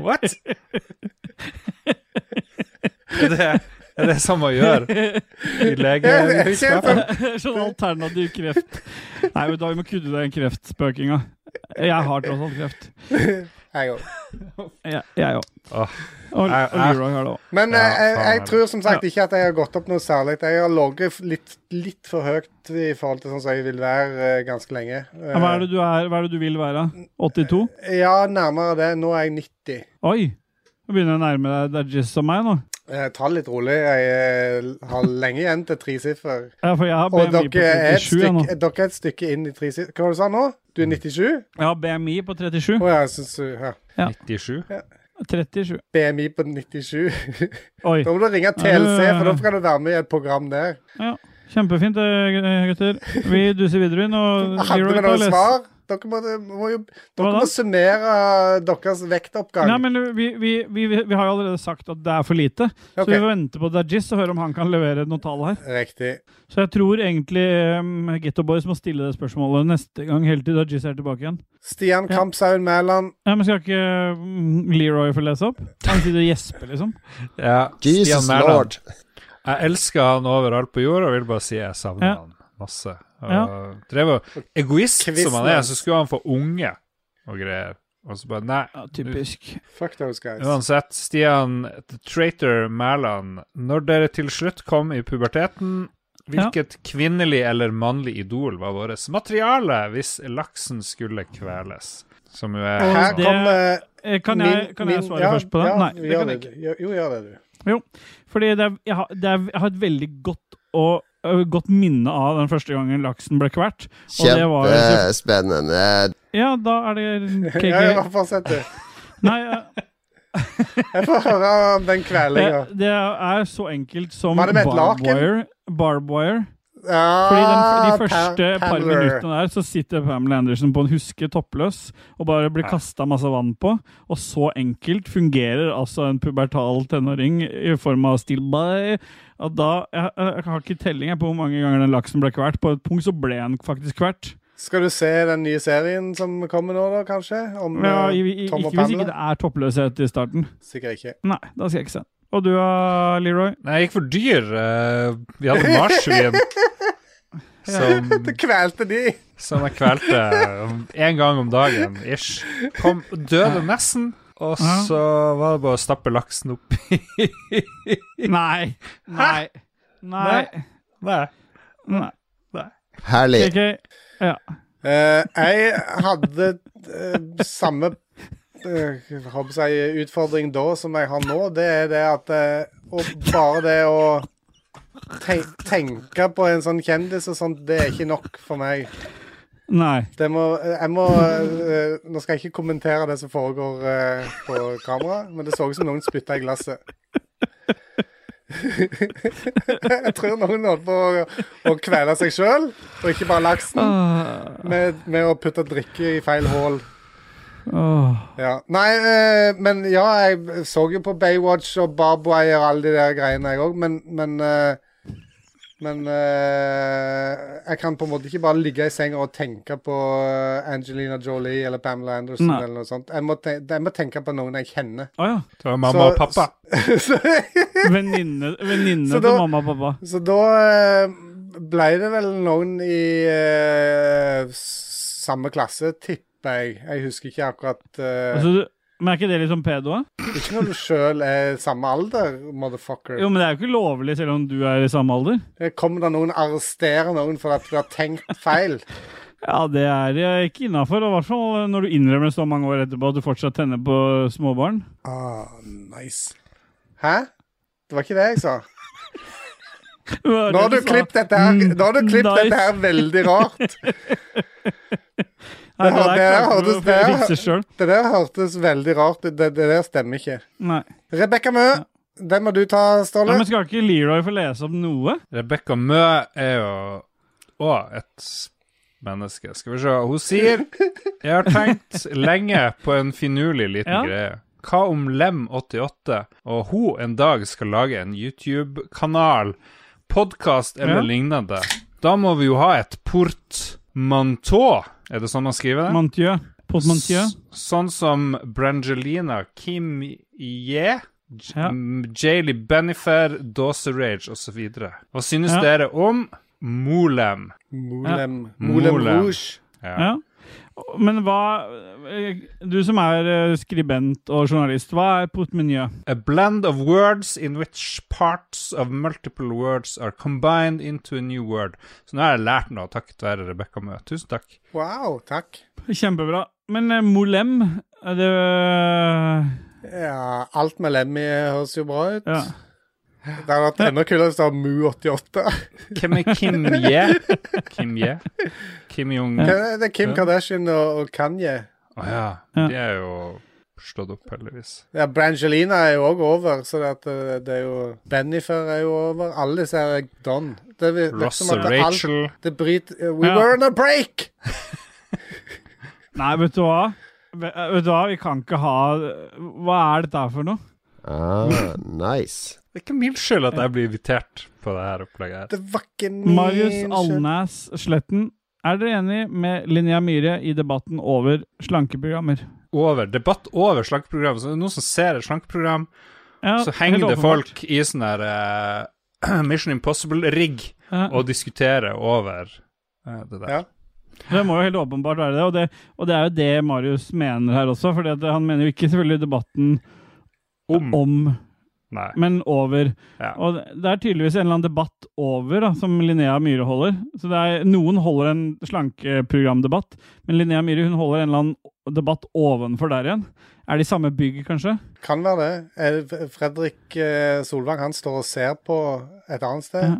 Speaker 1: What? Er det, er det samme å gjøre i
Speaker 2: Er det ikke helt
Speaker 1: legevitenskap?
Speaker 2: sånn?
Speaker 3: jeg. sånn alternativ kreft. Nei, vet du, hva, vi må kutte den kreftspøkinga. Jeg har tross alt kreft.
Speaker 2: Jeg òg.
Speaker 3: Jeg- Jeg òg.
Speaker 1: Åh.
Speaker 3: Og, og
Speaker 1: Jeg- jeg-
Speaker 3: Leroy har det òg.
Speaker 2: Men
Speaker 1: Ja,
Speaker 2: eh, jeg,
Speaker 1: faen,
Speaker 2: jeg
Speaker 1: er det.
Speaker 2: tror som sagt ikke at jeg har gått opp noe særlig. Jeg har ligget litt, litt for høyt i forhold til sånn som jeg vil være eh, ganske lenge. Eh,
Speaker 3: Hva er det du er? Hva er det du vil være? 82?
Speaker 2: Ja, nærmere det. Nå er jeg 90.
Speaker 3: Oi! Nå begynner jeg å nærme deg Dajis og meg nå.
Speaker 2: Eh, ta det litt rolig. Jeg eh, har lenge igjen til tresiffer.
Speaker 3: Ja, for jeg har
Speaker 2: Og
Speaker 3: BMI på
Speaker 2: dere er, et
Speaker 3: 37 jeg nå.
Speaker 2: stykke, dere er et stykke inn i tresiffer. Hva var det du sa nå? Du er 97?
Speaker 3: Jeg har BMI på
Speaker 2: Å
Speaker 3: 37.
Speaker 2: ja, jeg syns du ja.
Speaker 1: 97?
Speaker 3: 37.
Speaker 2: BMI på 97.
Speaker 3: Oi.
Speaker 2: da må du ringe TLC, for da kan du være med i et program der.
Speaker 3: Ja. Kjempefint, eh, gutter. Vi duser videre inn. Og
Speaker 2: Hadde vi
Speaker 3: Leroy
Speaker 2: noen
Speaker 3: Palace-
Speaker 2: svar? Dere må, må, jo, dere
Speaker 3: Hva da?
Speaker 2: må summere deres vektoppgang.
Speaker 3: Nei, men vi, vi, vi, vi har jo allerede sagt at det er for lite. Så
Speaker 2: Ok.
Speaker 3: vi venter på Dajis og hører om han kan levere noen tall her.
Speaker 2: Riktig.
Speaker 3: Så jeg tror egentlig um, Getto Boys må stille det spørsmålet neste gang, helt til Dajis er tilbake igjen.
Speaker 2: Stian
Speaker 3: Ja.
Speaker 2: Kampsaun Mæland.
Speaker 3: Ja, men Skal ikke mm, Leroy få lese opp? Han sitter og gjesper, liksom.
Speaker 1: Ja, Stian
Speaker 7: Jesus
Speaker 1: Mæland.
Speaker 7: Lord.
Speaker 1: Jeg elsker han overalt på jord og vil bare si jeg savner
Speaker 3: Ja.
Speaker 1: han masse. Og
Speaker 3: Ja.
Speaker 1: drev og Egoist som han er,
Speaker 2: Kvisten.
Speaker 1: så skulle han få unge og greier. Og så bare Nei.
Speaker 3: Ja, typisk.
Speaker 2: Fuck those guys.
Speaker 1: Uansett, Stian the Traitor Mæland, når dere til slutt kom i puberteten, hvilket kvinnelig eller mannlig idol var vårt materiale hvis laksen skulle kveles? Som jo er
Speaker 2: Her
Speaker 1: sånn.
Speaker 3: det-
Speaker 2: kommer
Speaker 3: Eh, Kan jeg, kan jeg
Speaker 2: min-
Speaker 3: svare
Speaker 2: ja,
Speaker 3: først på det?
Speaker 2: Ja,
Speaker 3: Nei, det
Speaker 2: gjør
Speaker 3: kan jeg ikke.
Speaker 2: det, du. Jo, jo, gjør det, du.
Speaker 3: Fordi det er, jeg, har, det er, jeg har et veldig godt, og, ø, godt minne av den første gangen laksen ble kvert. Og det var jo så-
Speaker 7: Kjempespennende.
Speaker 3: Ja, da er det KK.
Speaker 2: Ja, ja, fortsett, du.
Speaker 3: Nei, eh,
Speaker 2: Jeg får høre om den kveldinga.
Speaker 3: det, det er så enkelt som
Speaker 2: Var det med et
Speaker 3: barbed
Speaker 2: laken?
Speaker 3: wire. Barb wire.
Speaker 2: Ja,
Speaker 3: Fordi den, de
Speaker 2: Pa-
Speaker 3: første par
Speaker 2: Pamela.
Speaker 3: minuttene der så sitter Pamela Anderson på en huske toppløs og bare blir kasta masse vann på. Og så enkelt fungerer altså en pubertal tenåring i form av stillby. Og da, jeg, jeg har ikke telling jeg, på hvor mange ganger den laksen ble kvert. På et punkt så ble den faktisk kvert.
Speaker 2: Skal du se den nye serien som kommer nå, da, kanskje? Om
Speaker 3: Ja,
Speaker 2: eh,
Speaker 3: i, i,
Speaker 2: Tom og
Speaker 3: ikke hvis ikke det
Speaker 2: Pamela?
Speaker 3: er toppløshet i starten.
Speaker 2: Sikkert ikke.
Speaker 3: Nei, da skal jeg ikke se den. Og du da, Leroy?
Speaker 1: Nei, jeg gikk for dyr. eh, Vi hadde marsvin som,
Speaker 2: Det kvelte de!
Speaker 1: som jeg kvelte én gang om dagen, ish. Kom, døde nesten, og
Speaker 3: Ja.
Speaker 1: så var det bare å stappe laksen opp
Speaker 3: Nei. Nei. Nei.
Speaker 1: Nei.
Speaker 3: Nei.
Speaker 7: Herlig.
Speaker 3: Ok. Ja.
Speaker 2: Eh, jeg hadde eh, samme eh, håper jeg, utfordring da som jeg har nå. Det er det at eh, og bare det å te tenke på en sånn kjendis og sånt, det er ikke nok for meg.
Speaker 3: Nei.
Speaker 2: Det må, jeg må eh, Nå skal jeg ikke kommentere det som foregår eh, på kamera, men det så ut som noen spytta i glasset. jeg tror noen holdt på å, å kvele seg sjøl, og ikke bare laksen,
Speaker 3: Åh,
Speaker 2: med, med å putte drikke i feil hull.
Speaker 3: åh.
Speaker 2: Ja. Nei, eh, men ja, jeg så jo på Baywatch og Barbwire og alle de der greiene, jeg òg, men Men, eh, men eh, jeg kan på en måte ikke bare ligge i senga og tenke på eh, Angelina Jolie eller Pamela Anderson
Speaker 3: Nei.
Speaker 2: eller noe sånt. Jeg må, te jeg må tenke på noen jeg kjenner.
Speaker 3: Å ja.
Speaker 1: Det var mamma
Speaker 2: Så-
Speaker 1: og pappa.
Speaker 2: så,
Speaker 3: Venninne venninne
Speaker 2: Så
Speaker 3: til
Speaker 2: da-
Speaker 3: mamma og pappa.
Speaker 2: så da eh, ble det vel noen i eh, s- samme klasse, tipper jeg. Jeg husker ikke akkurat eh,
Speaker 3: Altså, du- men er ikke det litt sånn pedo? da?
Speaker 2: Ikke når du sjøl er samme alder, motherfucker.
Speaker 3: Jo, men det er jo ikke lovlig selv om du er i samme alder.
Speaker 2: Kommer det noen arresterer noen for at du har tenkt feil?
Speaker 3: Ja, det er jeg ikke innafor. I hvert fall når du innrømmer så mange år etterpå at du fortsatt tenner på småbarn.
Speaker 2: Ah, nice. Hæ? Det var ikke det jeg sa. Nå har du klippet dette her,
Speaker 3: Mm,
Speaker 2: nå har du klippet dette her veldig rart.
Speaker 3: Det
Speaker 2: her- det her hørtes- det her-
Speaker 3: Fikse selv.
Speaker 2: Det der hørtes veldig rart ut. Det, det der stemmer ikke.
Speaker 3: Nei.
Speaker 2: Rebekka Mø, den må du ta,
Speaker 3: Ja,
Speaker 2: Ståle.
Speaker 3: men skal ikke Leroy få lese opp noe?
Speaker 1: Rebekka Mø er jo òg et menneske. Skal vi se. Hun sier Jeg har tenkt lenge på en finurlig liten
Speaker 3: Ja.
Speaker 1: greie. Hva om Lem88 og hun en dag skal lage en YouTube-kanal, podkast eller
Speaker 3: Ja.
Speaker 1: lignende? Da må vi jo ha et portmantå. Er det sånn man skriver det?
Speaker 3: Mantieu. Portmantieu.
Speaker 1: S- Sånn som Brangelina, Kim Ye, J-
Speaker 3: Ja.
Speaker 1: m- Jailey Mm, Benifer, Dawson Rage osv. Hva synes
Speaker 3: Ja.
Speaker 1: dere om Molem?
Speaker 2: Molem. Molem
Speaker 1: Molem.
Speaker 2: Rouge.
Speaker 3: Ja. Men hva Du som er eh, skribent og journalist, hva er portmenye?
Speaker 1: A blend of words in which parts of multiple words are combined into a new word. Så nå har jeg lært noe takket være Rebekka Mø. Tusen takk.
Speaker 2: Wow, takk.
Speaker 3: Kjempebra. Men eh, molem er det
Speaker 2: Ja, alt med lem i høres jo bra ut.
Speaker 3: ja.
Speaker 2: Det hadde vært enda kulere hvis det var Mu88.
Speaker 1: Hvem er Kim Ye? Kim Ye? Kim Jong Å
Speaker 2: Det er Kim Kardashian og, og Kanye.
Speaker 1: ja.
Speaker 3: Ja.
Speaker 1: De er jo stått opp, heldigvis.
Speaker 2: Ja, Brangelina er jo òg over, så det, at, eh, det er jo Bennifer er jo over. Alle disse her er done. Det, vi- det, er
Speaker 1: Ross
Speaker 2: som
Speaker 1: og
Speaker 2: at det, alt,
Speaker 1: Rachel
Speaker 2: det bryter We
Speaker 3: Ja.
Speaker 2: were on a break!
Speaker 3: Nei, vet du hva? Ve- eh, Vet du hva, vi kan ikke ha Hva er dette her for noe?
Speaker 7: Ah, nice.
Speaker 1: Det er ikke min skyld at jeg blir invitert på det her opplegget. her.
Speaker 2: Det var ikke min
Speaker 3: Marius
Speaker 2: skyld.
Speaker 3: Alnæs Sletten, er dere enig med Linnea Myhre i debatten over slankeprogrammer?
Speaker 1: over, debatt over slankeprogram. Så det er noen som ser et slankeprogram,
Speaker 3: Ja,
Speaker 1: så henger
Speaker 3: helt
Speaker 1: det
Speaker 3: åpenbart.
Speaker 1: folk i sånn der eh, Mission Impossible-rigg
Speaker 3: Ja.
Speaker 1: og diskuterer over eh, det der.
Speaker 2: Ja.
Speaker 3: Det må jo helt åpenbart være det, og det, og det er jo det Marius mener her også. For han mener jo ikke selvfølgelig debatten
Speaker 1: Om
Speaker 3: om,
Speaker 1: Nei.
Speaker 3: men over.
Speaker 1: Ja.
Speaker 3: Og det er tydeligvis en eller annen debatt over da, som Linnea Myhre holder. Så det er, noen holder en slankeprogramdebatt, men Linnea Myhre hun holder en eller annen debatt ovenfor der igjen. Er det i samme bygg, kanskje?
Speaker 2: Kan være det. Eh, Fredrik eh, Solvang, han står og ser på et annet sted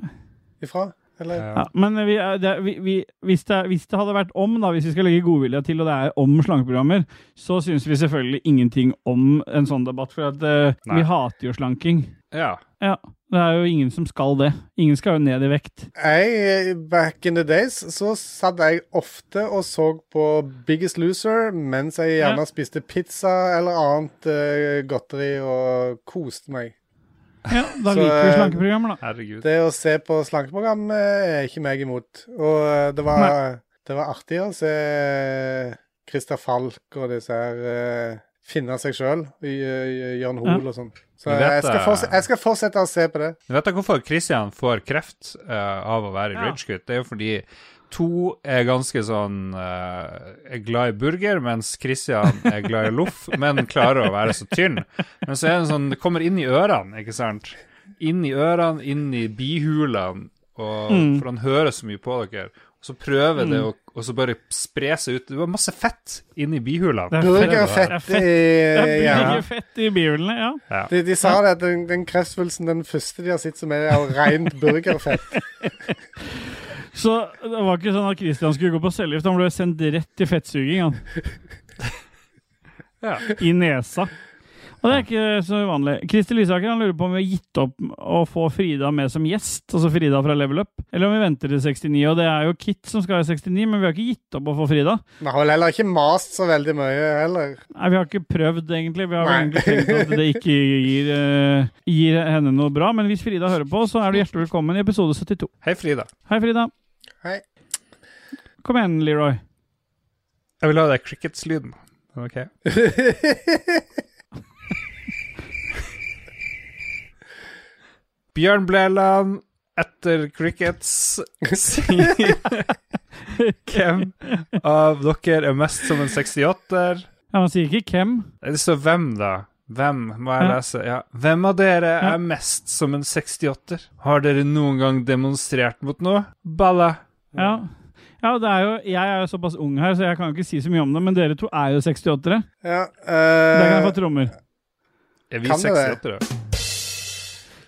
Speaker 2: ifra? Eller?
Speaker 1: Ja.
Speaker 3: Ja, men vi, er- det, er- vi, vi, hvis, det, er- hvis det hadde vært om, da, hvis vi skal legge godvilje til, og det er om slankeprogrammer, så syns vi selvfølgelig ingenting om en sånn debatt, for at, eh,
Speaker 1: Nei.
Speaker 3: vi hater jo slanking.
Speaker 1: ja.
Speaker 3: Ja, det er jo ingen som skal det. Ingen skal jo ned i vekt.
Speaker 2: Jeg, back in the days, så satt jeg ofte og så på Biggest Loser mens jeg gjerne
Speaker 3: Ja.
Speaker 2: spiste pizza eller annet eh, godteri og koste meg.
Speaker 3: Ja, Da
Speaker 2: Så,
Speaker 3: liker vi
Speaker 2: eh,
Speaker 3: slankeprogrammer, da.
Speaker 1: Herregud.
Speaker 2: Det å se på slankeprogram eh, er ikke meg imot. Og eh, det var, det var artig å se eh, Christer Falk og disse her eh, finne seg sjøl. Jørn Hoel og sånn. Så
Speaker 1: Vi vet
Speaker 2: jeg skal,
Speaker 1: det.
Speaker 2: fortsette, jeg skal fortsette å se på det.
Speaker 1: Vet dere hvorfor Christian får kreft eh, av å være i
Speaker 3: Ja.
Speaker 1: Ragequit? Det er jo fordi to er ganske sånn eh, er glad i burger, mens Christian er glad i loff, men klarer å være så tynn. Men så er det sånn, det kommer inn i ørene, ikke sant? Inn i ørene, inn i bihulene, og, for han hører så mye på dere. Og så prøver det å og så bare spre seg ut. Det var masse fett inni bihulene.
Speaker 3: Det er
Speaker 1: Det er
Speaker 2: Burgerfett
Speaker 3: fett.
Speaker 2: i
Speaker 3: Det er
Speaker 2: hjernen.
Speaker 3: mye fett i bihulene, ja.
Speaker 2: De, de sa det at den, den kreftsvulsten, den første de har sett som er av rent burgerfett.
Speaker 3: Så det var ikke sånn at Christian skulle gå på cellegift. Han ble sendt rett til fettsuging, han.
Speaker 1: Ja.
Speaker 3: I nesa. Og det er ikke så uvanlig. Christer Lysaker han lurer på om vi har gitt opp å få Frida med som gjest, altså Frida fra Level Up, eller om vi venter til 69. Og det er jo Kit som skal i 69, men vi har ikke gitt opp å få Frida.
Speaker 2: Vi har vel heller ikke mast så veldig mye heller.
Speaker 3: Nei, vi har ikke prøvd, egentlig. Vi har
Speaker 2: Nei.
Speaker 3: egentlig tenkt at det ikke gir, eh, gir henne noe bra. Men hvis Frida hører på, så er du hjertelig velkommen i episode 72.
Speaker 1: Hei, Frida.
Speaker 3: Hei, Frida.
Speaker 2: Hei.
Speaker 3: Kom igjen, Leroy.
Speaker 1: Jeg vil ha den crickets-lyden. OK? Bjørn Blæland etter crickets sier Hvem av dere er mest som en 68-er?
Speaker 3: Ja, man sier ikke hvem.
Speaker 1: Det står hvem, da. Hvem, må jeg
Speaker 3: Ja.
Speaker 1: lese? Ja. Hvem av dere
Speaker 3: Ja.
Speaker 1: er mest som en 68-er? Har dere noen gang demonstrert mot noe? Balla.
Speaker 3: Ja. ja, det er jo Jeg er jo såpass ung her, så jeg kan jo ikke si så mye om det, men dere to er jo 68-ere.
Speaker 2: Ja,
Speaker 3: Der kan jeg
Speaker 2: eh,
Speaker 3: få trommer.
Speaker 1: Er vi
Speaker 2: Kan det det?
Speaker 1: 68-ere?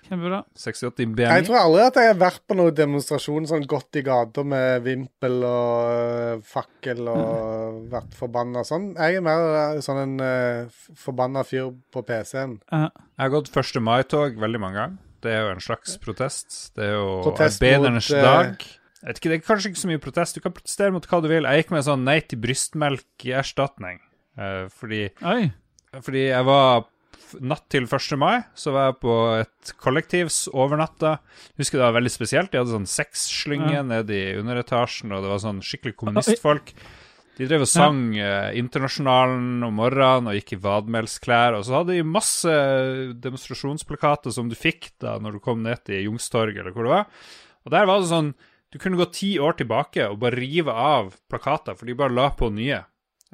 Speaker 3: Kjempebra.
Speaker 1: 68 i
Speaker 2: jeg
Speaker 1: BMI?
Speaker 2: tror aldri at jeg har vært på noen demonstrasjon sånn godt i gata med vimpel og eh, fakkel og vært forbanna sånn. Jeg er mer eh, sånn en eh, f- forbanna fyr på PC-en.
Speaker 3: Ja.
Speaker 1: Jeg har gått 1. mai-tog veldig mange ganger. Det er jo en slags protest. Det er jo
Speaker 2: Protest mot,
Speaker 1: arbeidernes
Speaker 2: eh,
Speaker 1: dag. Jeg vet ikke, Det er kanskje ikke så mye protest. Du kan protestere mot hva du vil. Jeg gikk med sånn nei til brystmelk i erstatning. eh, fordi,
Speaker 3: Oi.
Speaker 1: fordi jeg var f- Natt til 1. mai så var jeg på et kollektivs overnatta. Husker det var veldig spesielt. De hadde sånn sexslynge
Speaker 3: Ja.
Speaker 1: nede i underetasjen, og det var sånn skikkelig kommunistfolk. De drev og sang eh, Internasjonalen om morgenen og gikk i vadmelsklær. Og så hadde de masse demonstrasjonsplakater som du fikk da når du kom ned til Youngstorget eller hvor det var. Og der var det sånn Du kunne gå ti år tilbake og bare rive av plakater, for de bare la på nye.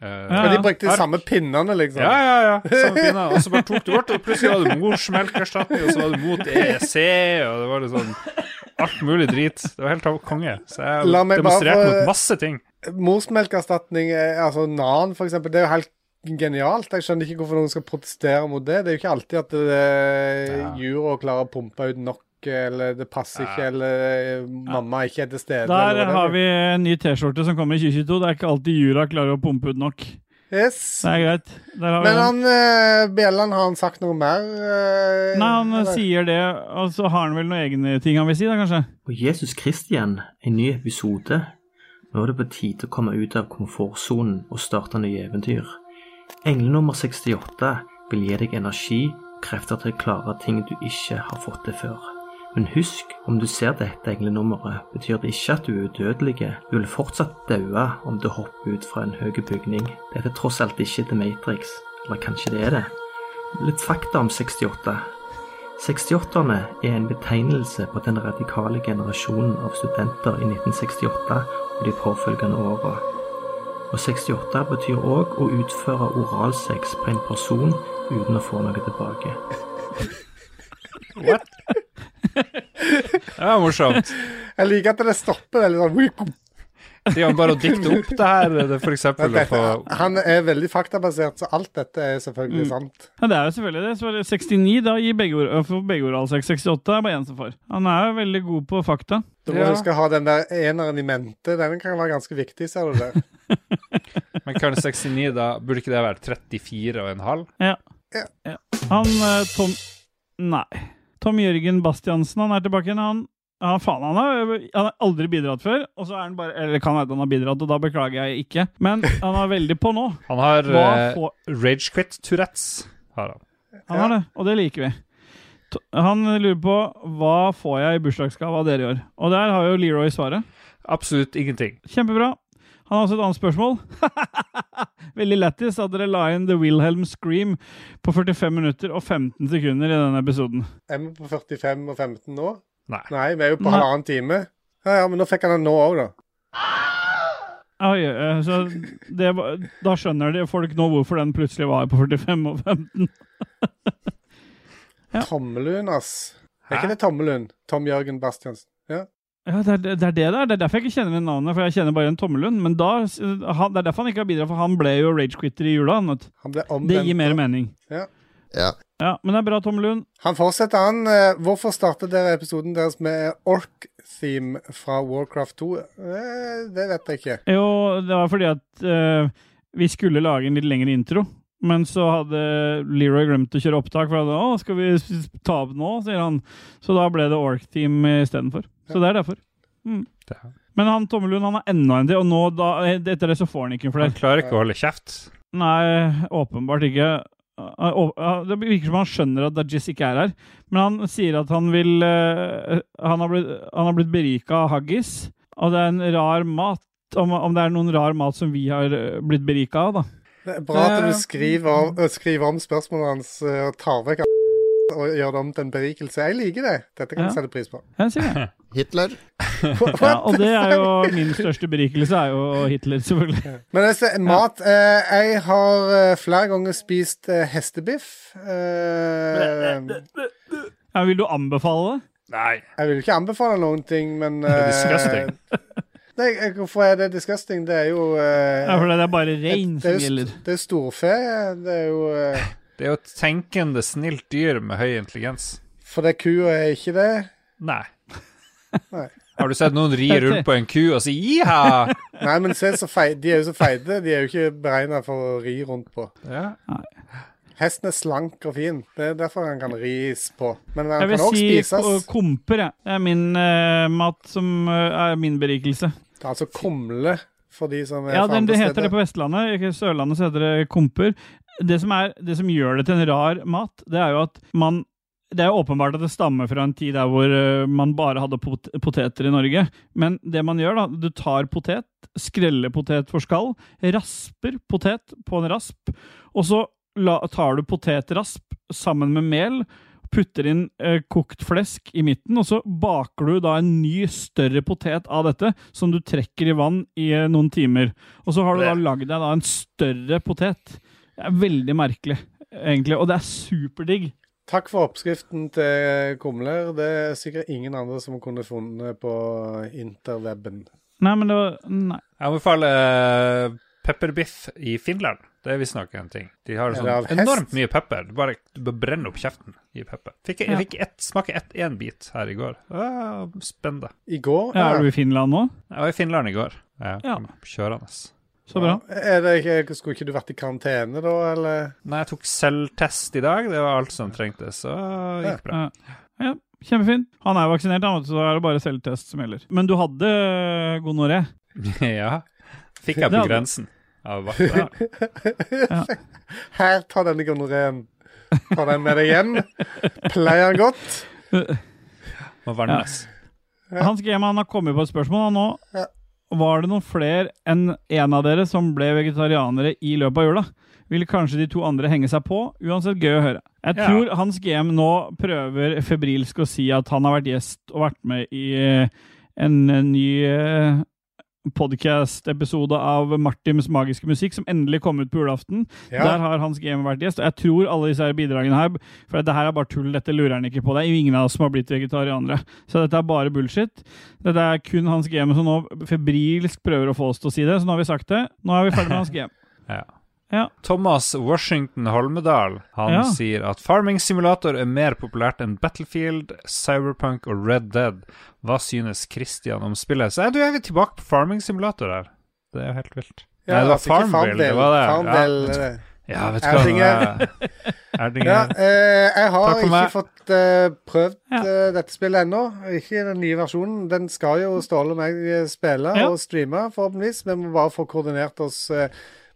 Speaker 1: Eh,
Speaker 3: Ja.
Speaker 2: Men de brukte de
Speaker 1: Ark.
Speaker 2: samme pinnene, liksom.
Speaker 1: ja, ja, ja. Samme pinne. Og så bare tok du bort, og plutselig var det morsmelkerstatning, og så var det mot EEC, og det var litt sånn alt mulig drit. Det var helt konge. Så jeg
Speaker 2: La
Speaker 1: har
Speaker 2: meg
Speaker 1: demonstrert
Speaker 2: bare-
Speaker 1: mot masse ting.
Speaker 2: Morsmelkerstatning, eh, altså NAN for eksempel, det er jo helt genialt. Jeg skjønner ikke hvorfor noen skal protestere mot det. Det er jo ikke alltid at eh,
Speaker 1: Ja.
Speaker 2: jura klarer å pumpe ut nok, eller det passer ikke, eller eh, mamma ikke er til stede.
Speaker 3: Der
Speaker 2: eller whatever.
Speaker 3: har vi en ny T-skjorte som kommer i 2022. Det er ikke alltid jura klarer å pumpe ut nok.
Speaker 2: Yes.
Speaker 3: Det er greit. Der har vi
Speaker 2: Men
Speaker 3: den.
Speaker 2: han eh, Bjelland, har han sagt noe mer? eh,
Speaker 3: Nei, han
Speaker 2: eller?
Speaker 3: sier det, og så har han vel noen egne ting han vil si, da, kanskje?
Speaker 9: Og Jesus Kristian, en ny episode. Nå er det på tide å komme ut av komfortsonen og starte nye eventyr. Engel nummer 68 vil gi deg energi og krefter til å klare ting du ikke har fått til før. Men husk, om du ser dette englenummeret, betyr det ikke at du er udødelig. Du vil fortsatt daue om du hopper ut fra en høy bygning. Dette er tross alt ikke The Matrix. Eller kanskje det er det? Litt fakta om 68. 68-erne er en betegnelse på den radikale generasjonen av studenter i 1968 og de påfølgende åra. Og 68 betyr òg å utføre oralsex på en person uten å få noe tilbake.
Speaker 1: Det var morsomt.
Speaker 2: Jeg liker at det stopper veldig sånn wik-
Speaker 1: De har bare å dikte opp det her, det for eksempel. å
Speaker 2: dette,
Speaker 1: få-
Speaker 2: Han er veldig faktabasert, så alt dette er selvfølgelig
Speaker 3: Mm.
Speaker 2: sant.
Speaker 3: Ja, det er jo selvfølgelig det. Så var det 69, da gir begge ord, for begge ord altså 68 er bare én som får. Han er jo veldig god på fakta.
Speaker 2: Du må huske å ha den der eneren i mente. Den kan være ganske viktig, ser du det.
Speaker 1: Men kan 69, da burde ikke det være 34 og en halv?
Speaker 3: Han eh, Tom Nei. Tom Jørgen Bastiansen, han er tilbake igjen. Han ja, faen, han har, han har aldri bidratt før. Og så er han bare Eller kan hende han har bidratt, og da beklager jeg ikke. Men han er veldig på nå.
Speaker 1: Han har
Speaker 3: Hva
Speaker 1: eh,
Speaker 3: får
Speaker 1: Ragequit Tourettes. Har han.
Speaker 3: Han har det, og det liker vi. To- Han lurer på hva får jeg i bursdagsgave av dere i år? Og der har jo Leroy svaret.
Speaker 1: Absolutt ingenting.
Speaker 3: Kjempebra. Han har også et annet spørsmål. Veldig lættis at dere la inn The Wilhelm Scream på 45 minutter og 15 sekunder i denne episoden.
Speaker 2: Er vi på 45 og 15 nå?
Speaker 1: Nei.
Speaker 2: Nei, vi er jo på
Speaker 3: Nei.
Speaker 2: halvannen time. Ja, ja, men nå fikk han den nå òg, da.
Speaker 3: Oi, eh, så det, var- da skjønner de folk nå hvorfor den plutselig var på 45 og 15. Ja.
Speaker 2: Tommelund, ass. Er
Speaker 1: Hæ?
Speaker 2: ikke det Tommelund? Tom Jørgen Bastiansen. Ja.
Speaker 3: Ja, det er det det er det der. Det er derfor jeg ikke kjenner igjen navnet, for jeg kjenner bare en Tommelund. Men da, eh, han, det er derfor han ikke har bidratt, for han ble jo ragequitter i jula. han vet
Speaker 2: Han ble
Speaker 3: du.
Speaker 2: omvendt.
Speaker 3: Det gir mer mening.
Speaker 7: Ja.
Speaker 3: Ja, men det er bra, Tommelund.
Speaker 2: Han fortsetter han. eh, Hvorfor startet dere episoden deres med ork-theme fra Warcraft 2? Eh, Det vet jeg ikke.
Speaker 3: Jo, det var fordi at eh, vi skulle lage en litt lengre intro. Men så hadde Leroy glemt å kjøre opptak, for han hadde, å, skal vi s- s- ta opp nå, sier han. Så da ble det Ork Team istedenfor. Så det er derfor. Mm.
Speaker 1: Det er-
Speaker 3: Men han Tommelund han har enda en til, og nå da, eh, etter det så får han ikke en
Speaker 1: Han
Speaker 3: flere.
Speaker 1: klarer ikke å holde kjeft.
Speaker 3: Nei, åpenbart ikke. Ah, åp- ah, Det virker som han skjønner at Dajis ikke er her, men han sier at han vil eh, Han har blitt, han har blitt berika av haggis, og det er en rar mat. Om, om det er noen rar mat som vi har eh, blitt berika av, da.
Speaker 2: Det er bra at
Speaker 1: Eh,
Speaker 2: du skriver, om- øh, skriver om spørsmålet hans øh, og tar vekk alt og gjør det om til en berikelse. Jeg liker det. Dette kan
Speaker 3: Ja.
Speaker 2: jeg sette pris på.
Speaker 3: Jeg sier det.
Speaker 7: Hitler.
Speaker 3: Ja, og det er jo min største berikelse, er jo Hitler, selvfølgelig.
Speaker 2: Men jeg ser, mat eh, Jeg har eh, flere ganger spist eh, hestebiff. Eh,
Speaker 3: Ja, vil du anbefale det?
Speaker 1: Nei.
Speaker 2: jeg vil ikke anbefale noen ting, men
Speaker 1: Det er
Speaker 2: eh,
Speaker 1: disgusting.
Speaker 2: Nei, eh, hvorfor er det disgusting? Det er jo eh,
Speaker 3: Ja, for det er bare rein
Speaker 2: det, det er
Speaker 3: som
Speaker 2: jo
Speaker 3: gjelder.
Speaker 2: st- det er storfe. Det er jo eh,
Speaker 1: Det er jo et tenkende, snilt dyr med høy intelligens.
Speaker 2: For det kua er ikke det.
Speaker 1: Nei.
Speaker 2: Nei.
Speaker 1: Har du sett noen ri rundt på en ku og si jiha?
Speaker 2: Nei, men se så fei- de er jo så feite. De er jo ikke beregna for å ri rundt på.
Speaker 1: Ja.
Speaker 2: Hesten er slank og fin. Det er derfor han kan ris på. Men
Speaker 3: Jeg
Speaker 2: han
Speaker 3: vil
Speaker 2: kan også
Speaker 3: si ko-
Speaker 2: spises.
Speaker 3: komper, jeg. Det er min eh, mat som eh, er min berikelse.
Speaker 2: Altså kumle, for de som er
Speaker 3: Ja,
Speaker 2: fra
Speaker 3: den,
Speaker 2: andre
Speaker 3: det heter det
Speaker 2: steder.
Speaker 3: på Vestlandet. Ikke Sørlandet så heter det komper. Det som, er, det som gjør det til en rar mat, det er jo at man Det er jo åpenbart at det stammer fra en tid der hvor eh, man bare hadde pot poteter i Norge. Men det man gjør, da Du tar potet, skreller potet for skall, rasper potet på en rasp, og så la, tar du potetrasp sammen med mel. Putter inn eh, kokt flesk i midten, og så baker du da en ny, større potet av dette, som du trekker i vann i eh, noen timer. Og så har du da lagd deg da en større potet. Det er veldig merkelig, egentlig. Og det er superdigg.
Speaker 2: Takk for oppskriften til eh, kumler. Det er sikkert ingen andre som kunne funnet på interweben.
Speaker 3: Nei, men det var Nei.
Speaker 1: Jeg anbefaler eh, pepperbiff i Finland. Det er visstnok en ting. De har
Speaker 2: Er det
Speaker 1: sånn
Speaker 2: av hest?
Speaker 1: enormt mye pepper. Du bare, du bare brenner opp kjeften i pepper. Fikk jeg, jeg fikk ett, smake ett, én bit her i går. Ah, Spennende.
Speaker 2: I går
Speaker 3: Ja, er du
Speaker 2: ja,
Speaker 3: i Finland nå?
Speaker 1: Jeg var i Finland i går. Ja,
Speaker 3: Ja.
Speaker 1: Kjørende.
Speaker 3: Så bra.
Speaker 2: Er det ikke, skulle ikke du vært i karantene da, eller?
Speaker 1: Nei, jeg tok selvtest i dag. Det var alt som trengtes, så det gikk bra.
Speaker 3: Ja. ja, Kjempefint. Han er vaksinert, han, vet du, så er det bare selvtest som gjelder. Men du hadde eh, gonoré.
Speaker 1: ja. Fikk jeg på grensen av vakta.
Speaker 2: Her, ta denne gonoreen. Ta den med deg hjem. Pleier den godt.
Speaker 1: Må vernes.
Speaker 3: Hans Gema han har kommet på et spørsmål han nå.
Speaker 2: Ja.
Speaker 3: Var det noen flere enn én av dere som ble vegetarianere i løpet av jula? Vil kanskje de to andre henge seg på? Uansett gøy å høre. Jeg
Speaker 1: Ja.
Speaker 3: tror Hans GM nå prøver febrilsk å si at han har vært gjest og vært med i eh, en eh, ny podkast-episode av Martims magiske musikk, som endelig kom ut på julaften. Der
Speaker 2: Ja.
Speaker 3: har Hans GM vært gjest. og Jeg tror alle disse her bidragene her For dette her er bare tull. Dette lurer han ikke på. Det er jo ingen av oss som har blitt vegetarianere. Så dette er bare bullshit. Dette er kun Hans GM som nå febrilsk prøver å få oss til å si det. Så nå har vi sagt det. Nå er vi ferdig med Hans GM.
Speaker 1: Ja.
Speaker 3: Ja.
Speaker 1: Thomas Washington Holmedal Han
Speaker 3: Ja.
Speaker 1: sier at Farming Simulator er mer populært enn Battlefield, Cyberpunk og Red Dead. Hva synes Christian om spillet? Så er du er vi tilbake på Farming Simulator her. Det er jo helt vilt.
Speaker 2: Ja,
Speaker 1: Nei, det var
Speaker 2: altså, ikke
Speaker 1: Farmville, det var det.
Speaker 2: Farmville,
Speaker 1: Ja.
Speaker 2: det.
Speaker 1: Ja, vet du hva det
Speaker 2: Erdinger.
Speaker 1: er? Erdinger.
Speaker 2: Ja, eh, jeg har
Speaker 1: Takk for
Speaker 2: ikke
Speaker 1: meg.
Speaker 2: fått eh, prøvd
Speaker 3: Ja.
Speaker 2: eh, dette spillet ennå. Ikke den nye versjonen. Den skal jo Ståle og meg eh, spille
Speaker 3: Ja.
Speaker 2: og streame, forhåpentligvis. Vi må bare få koordinert oss. eh,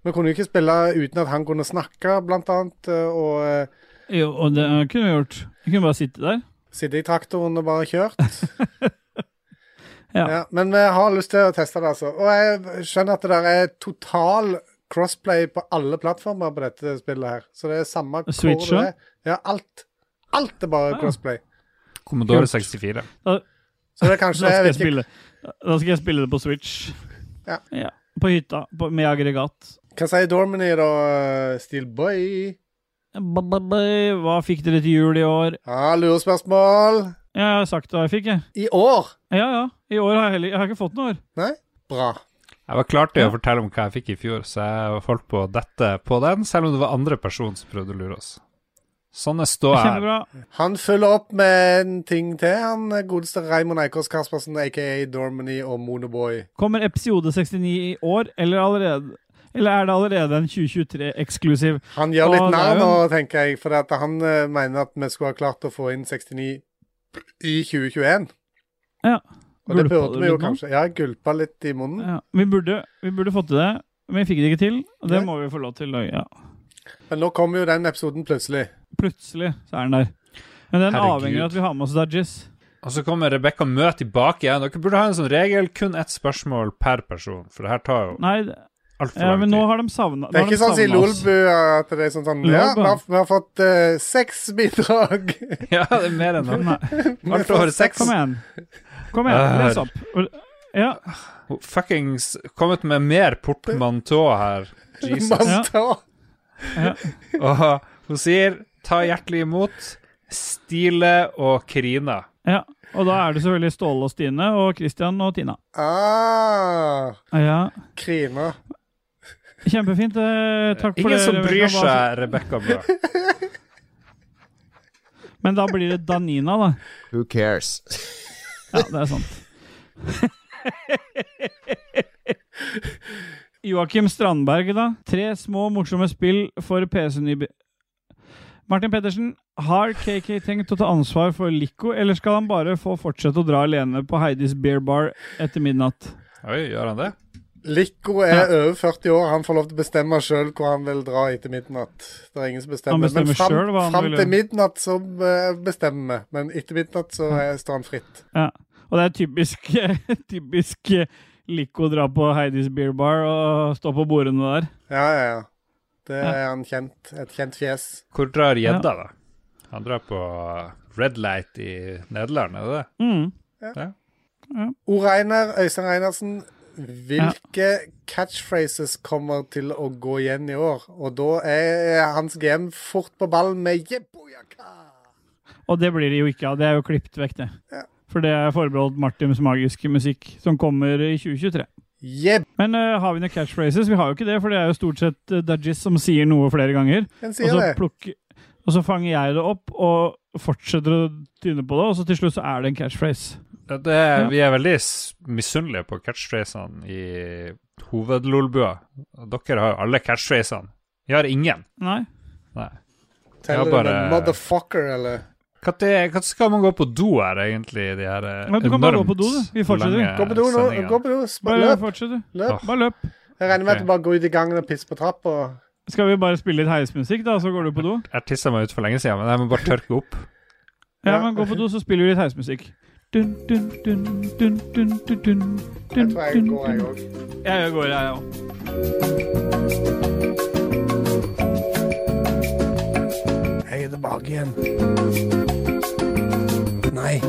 Speaker 2: Vi kunne jo ikke spille uten at han kunne snakke, blant annet. eh, Og eh,
Speaker 3: Jo, og det kunne vi gjort. Vi kunne bare sitte der.
Speaker 2: sitte i traktoren og bare kjørt.
Speaker 3: Ja.
Speaker 2: Ja, men vi har lyst til å teste det, altså. Og jeg skjønner at det der er total crossplay på alle plattformer på dette spillet her. Så det er samme hvor
Speaker 3: Switch,
Speaker 2: det
Speaker 3: ja? Ah.
Speaker 2: er. Ja, alt. Alt er bare crossplay.
Speaker 1: Commodore
Speaker 3: Kult.
Speaker 1: 64.
Speaker 2: Så det er
Speaker 3: Da
Speaker 2: kanskje jeg
Speaker 3: skal jeg
Speaker 2: vet ikke,
Speaker 3: spille, da skal jeg spille det på Switch.
Speaker 2: Ja.
Speaker 3: På hytta. På, med aggregat.
Speaker 2: Hva sier Dormany, da? eh, Steelboy?
Speaker 3: Ba-ba-ba. Hva fikk dere til jul i år?
Speaker 2: Ja, lurespørsmål.
Speaker 3: Ja, jeg har sagt hva jeg fikk, jeg.
Speaker 2: I år?
Speaker 3: Ja, ja. I år har jeg heller Jeg har ikke fått noe år.
Speaker 2: Nei? Bra.
Speaker 1: Jeg var klar til å fortelle om hva jeg fikk i fjor, så jeg holdt på å dette på den, selv om det var andre person som prøvde å lure oss. Sånne står jeg her.
Speaker 3: Kjempebra.
Speaker 2: Han følger opp med en ting til, han godeste Raymond Eikås Kaspersen, aka Dormany og Monoboy.
Speaker 3: Kommer episode 69 i år, eller, allerede, eller er det allerede en 2023-eksklusiv?
Speaker 2: Han gjør litt
Speaker 3: Å,
Speaker 2: narr
Speaker 3: det er
Speaker 2: nå,
Speaker 3: jo
Speaker 2: tenker jeg, for at han eh, mener at vi skulle ha klart å få inn 69 i 2021.
Speaker 3: Ja.
Speaker 2: Og det
Speaker 3: Gulpa
Speaker 2: burde
Speaker 3: du
Speaker 2: vi jo
Speaker 3: litt nå?
Speaker 2: kanskje. Ja, jeg gulpa litt i munnen.
Speaker 3: Ja, vi, burde, vi burde fått til det, men vi fikk det ikke til. Og det
Speaker 2: Nei.
Speaker 3: må vi få lov til. å- Ja.
Speaker 2: Men nå kommer jo den episoden plutselig.
Speaker 3: Plutselig så er den der. Men den
Speaker 1: Herregud.
Speaker 3: avhenger av at vi har med oss Dudgies.
Speaker 1: Og så kommer Rebekka Mø tilbake igjen. Dere burde ha en sånn regel, kun ett spørsmål per person, for det her tar jo
Speaker 3: Nei, det-
Speaker 1: altfor
Speaker 3: ja,
Speaker 1: lang
Speaker 3: men
Speaker 1: tid.
Speaker 3: nå har de savna
Speaker 2: Det er ikke sånn som i Lolbu at det er sånn sånn Ja,
Speaker 3: Lolbu,
Speaker 2: vi
Speaker 3: ja.
Speaker 2: har, vi har fått eh, seks bidrag.
Speaker 1: Ja, det er mer enn det. Alt over seks.
Speaker 3: Kom igjen. Kom igjen, les opp. Ja,
Speaker 1: Hun Fuckings kommet med mer portmantå her. Jesus.
Speaker 2: Man tar-
Speaker 1: Og hun sier ta hjertelig imot Stile og Krina.
Speaker 3: ja. Og da er det selvfølgelig Ståle og Stine og Christian og Tina.
Speaker 2: Ah,
Speaker 3: Ja,
Speaker 2: Krina.
Speaker 3: Kjempefint. eh, Takk for
Speaker 1: Ingen
Speaker 3: det.
Speaker 1: som
Speaker 3: Rebecca.
Speaker 1: bryr
Speaker 3: Bare-
Speaker 1: seg, Rebekka Mø.
Speaker 3: Men da blir det Danina, da.
Speaker 7: Who cares?
Speaker 3: Ja, det er sant. Joakim Strandberg, da. Tre små, morsomme spill for PC-nyby... Martin Pettersen, har KK tenkt å ta ansvar for Lico, eller skal han bare få fortsette å dra alene på Heidis Beer Bar etter midnatt?
Speaker 1: Oi, gjør han det?
Speaker 2: Lico er over 40 år. Han får lov til å bestemme sjøl hvor han vil dra etter midnatt. Det er ingen som bestemmer.
Speaker 3: Han bestemmer
Speaker 2: Men
Speaker 3: selv hva han
Speaker 2: fram
Speaker 3: vil
Speaker 2: til
Speaker 3: gjøre.
Speaker 2: midnatt så eh, bestemmer vi. Men etter midnatt så eh, står han fritt.
Speaker 3: Ja. Og det er typisk, typisk Lico å dra på Heidis Beer Bar og stå på bordene der.
Speaker 2: Ja, ja, ja. Det er han kjent. Et kjent fjes.
Speaker 1: Hvor drar gjedda, da? Han drar på Red Light i Nederland, er det det?
Speaker 3: Mm.
Speaker 2: O. Reiner, Øystein Reinersen. Hvilke catchphrases kommer til å gå igjen i år? Og da er hans GM fort på ballen med Jebojaka!
Speaker 3: Og det blir det jo ikke av. Det er jo klippet vekk, det. For det er forbeholdt Martins magiske musikk, som kommer i 2023.
Speaker 2: Jeb...
Speaker 3: Men øh, har vi noen catchphrases? Vi har jo ikke det, for det er jo stort sett uh, Dudgies som sier noe flere ganger.
Speaker 2: Han
Speaker 3: Og
Speaker 2: sier
Speaker 3: så,
Speaker 2: det.
Speaker 3: plukker, og så fanger jeg det opp og fortsetter å tyne på det, og så til slutt så er det en catchphrase.
Speaker 1: Det er, Vi er veldig s- misunnelige på catchphrasene i hovedlolbua. Dere har jo alle catchphrasene. Vi har ingen.
Speaker 3: Nei.
Speaker 1: Nei. Ja,
Speaker 2: Teller du
Speaker 1: bare-
Speaker 2: med motherfucker, eller?
Speaker 1: Hva det- hva skal man gå på do her, egentlig? De her eh,
Speaker 3: Ja, du kan bare gå på do, du. Vi fortsetter.
Speaker 1: lange
Speaker 2: Gå på do nå.
Speaker 1: sendingene.
Speaker 2: Gå på do. Sp-
Speaker 3: Bare
Speaker 2: Løp.
Speaker 3: fortsett, du.
Speaker 2: løp.
Speaker 3: Bare løp.
Speaker 2: Jeg regner med at
Speaker 1: Ok.
Speaker 2: du bare går ut i gangen og pisser på trappa.
Speaker 3: Skal vi bare spille litt heismusikk, da, så går du på do?
Speaker 1: Jeg tissa meg ut for lenge siden, men jeg må bare tørke opp.
Speaker 3: Ja,
Speaker 2: Ja.
Speaker 3: men gå på do, så spiller vi litt heismusikk. Dun, dun, dun, dun, dun, dun, dun,
Speaker 2: Jeg
Speaker 3: dun,
Speaker 2: tror jeg
Speaker 3: dun,
Speaker 2: går, jeg
Speaker 3: dun.
Speaker 2: òg.
Speaker 3: Ja, jeg går, jeg òg.
Speaker 2: Jeg er tilbake igjen. Nei.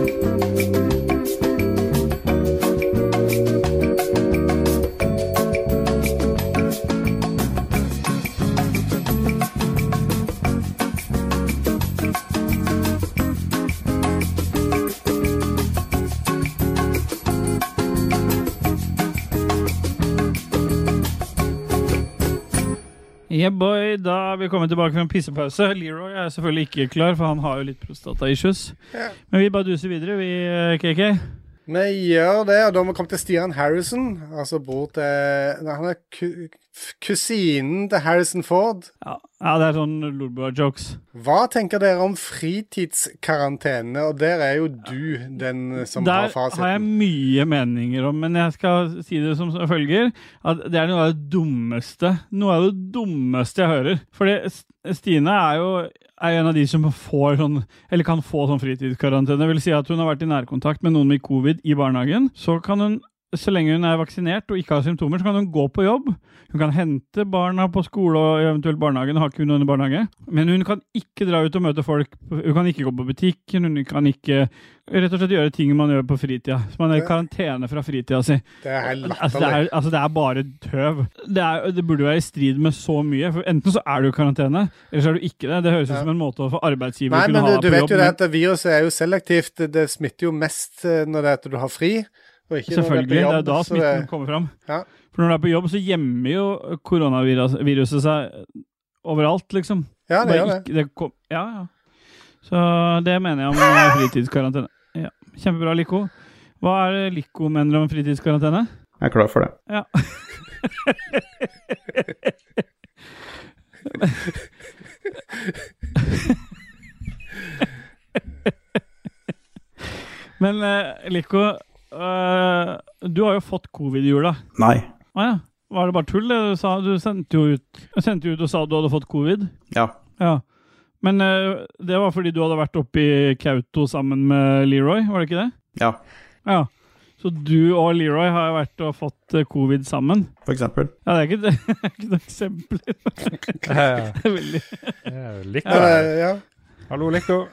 Speaker 3: Yeah, boy. Da er vi kommet tilbake fra en pissepause. Leroy er selvfølgelig ikke klar, for han har jo litt prostata-issues. Men vi bare duser videre, vi, eh, KK.
Speaker 2: Vi gjør det, og da har vi kommet til Stian Harrison. Altså bror til Nei, Han er ku kusinen til Harrison Ford.
Speaker 3: Ja, ja det er sånn Lolbua-jokes.
Speaker 2: Hva tenker dere om fritidskarantene? Og der er jo du den som
Speaker 3: Der
Speaker 2: har fasiten.
Speaker 3: har jeg mye meninger om, men jeg skal si det som følger. At det er noe av det dummeste Noe av det dummeste jeg hører. Fordi S- Stine er jo er en av de som får sånn, eller kan få sånn fritidskarantene. Det vil si at hun har vært i nærkontakt med noen med covid i barnehagen. Så kan hun, så lenge hun er vaksinert og ikke har symptomer, så kan hun gå på jobb. Hun kan hente barna på skole og eventuelt barnehagen, har ikke hun noen barnehage. Men hun kan ikke dra ut og møte folk. Hun kan ikke gå på butikken, hun kan ikke rett og slett gjøre ting man gjør på fritida. Så man er i karantene fra fritida si.
Speaker 2: Det er helt
Speaker 3: Altså det,
Speaker 2: latterlig.
Speaker 3: er, altså, det er bare tøv. Det, er, det burde være i strid med så mye. For enten så er du i karantene, eller så er du ikke det. Det høres ut som en måte for arbeidsgiver
Speaker 2: Nei,
Speaker 3: å
Speaker 2: men du,
Speaker 3: kunne ha
Speaker 2: du
Speaker 3: deg på
Speaker 2: vet
Speaker 3: jobb.
Speaker 2: jo det
Speaker 3: men-
Speaker 2: at viruset er jo selektivt. Det, det smitter jo mest eh, når det er at du har fri. Og ikke
Speaker 3: Selvfølgelig. Det
Speaker 2: Når du er på
Speaker 3: er
Speaker 2: jobb,
Speaker 3: da
Speaker 2: så eh,
Speaker 3: smitten
Speaker 2: det-
Speaker 3: kommer fram.
Speaker 2: Ja.
Speaker 3: For når du er på jobb, så gjemmer jo koronaviruset seg overalt, liksom.
Speaker 2: Ja, det
Speaker 3: Bare
Speaker 2: gjør det.
Speaker 3: ikke- det kom, ja, ja. Så det mener jeg om eh, fritidskarantene. Ja. Kjempebra, Lico. Hva er det Lico mener om fritidskarantene?
Speaker 10: Jeg er klar for det.
Speaker 3: Men eh, Lico, eh, du har jo fått covid i jula.
Speaker 10: Nei.
Speaker 3: Å ja. Var det bare tull? det Du, sa, du sendte jo ut, sendte jo ut og sa du hadde fått covid.
Speaker 10: Ja.
Speaker 3: Ja. Men eh, det var fordi du hadde vært oppe i Kautokeino sammen med Leroy, var det ikke det?
Speaker 10: Ja.
Speaker 3: Ja. Så du og Leroy har vært og fått eh, covid sammen?
Speaker 10: For eksempel.
Speaker 3: Ja, det er ikke, det er ikke noe eksempel.
Speaker 1: Ja,
Speaker 3: Det er veldig-
Speaker 1: ja. Lico
Speaker 2: Ja,
Speaker 1: her.
Speaker 2: det- eh, ja.
Speaker 1: Hallo, Lico.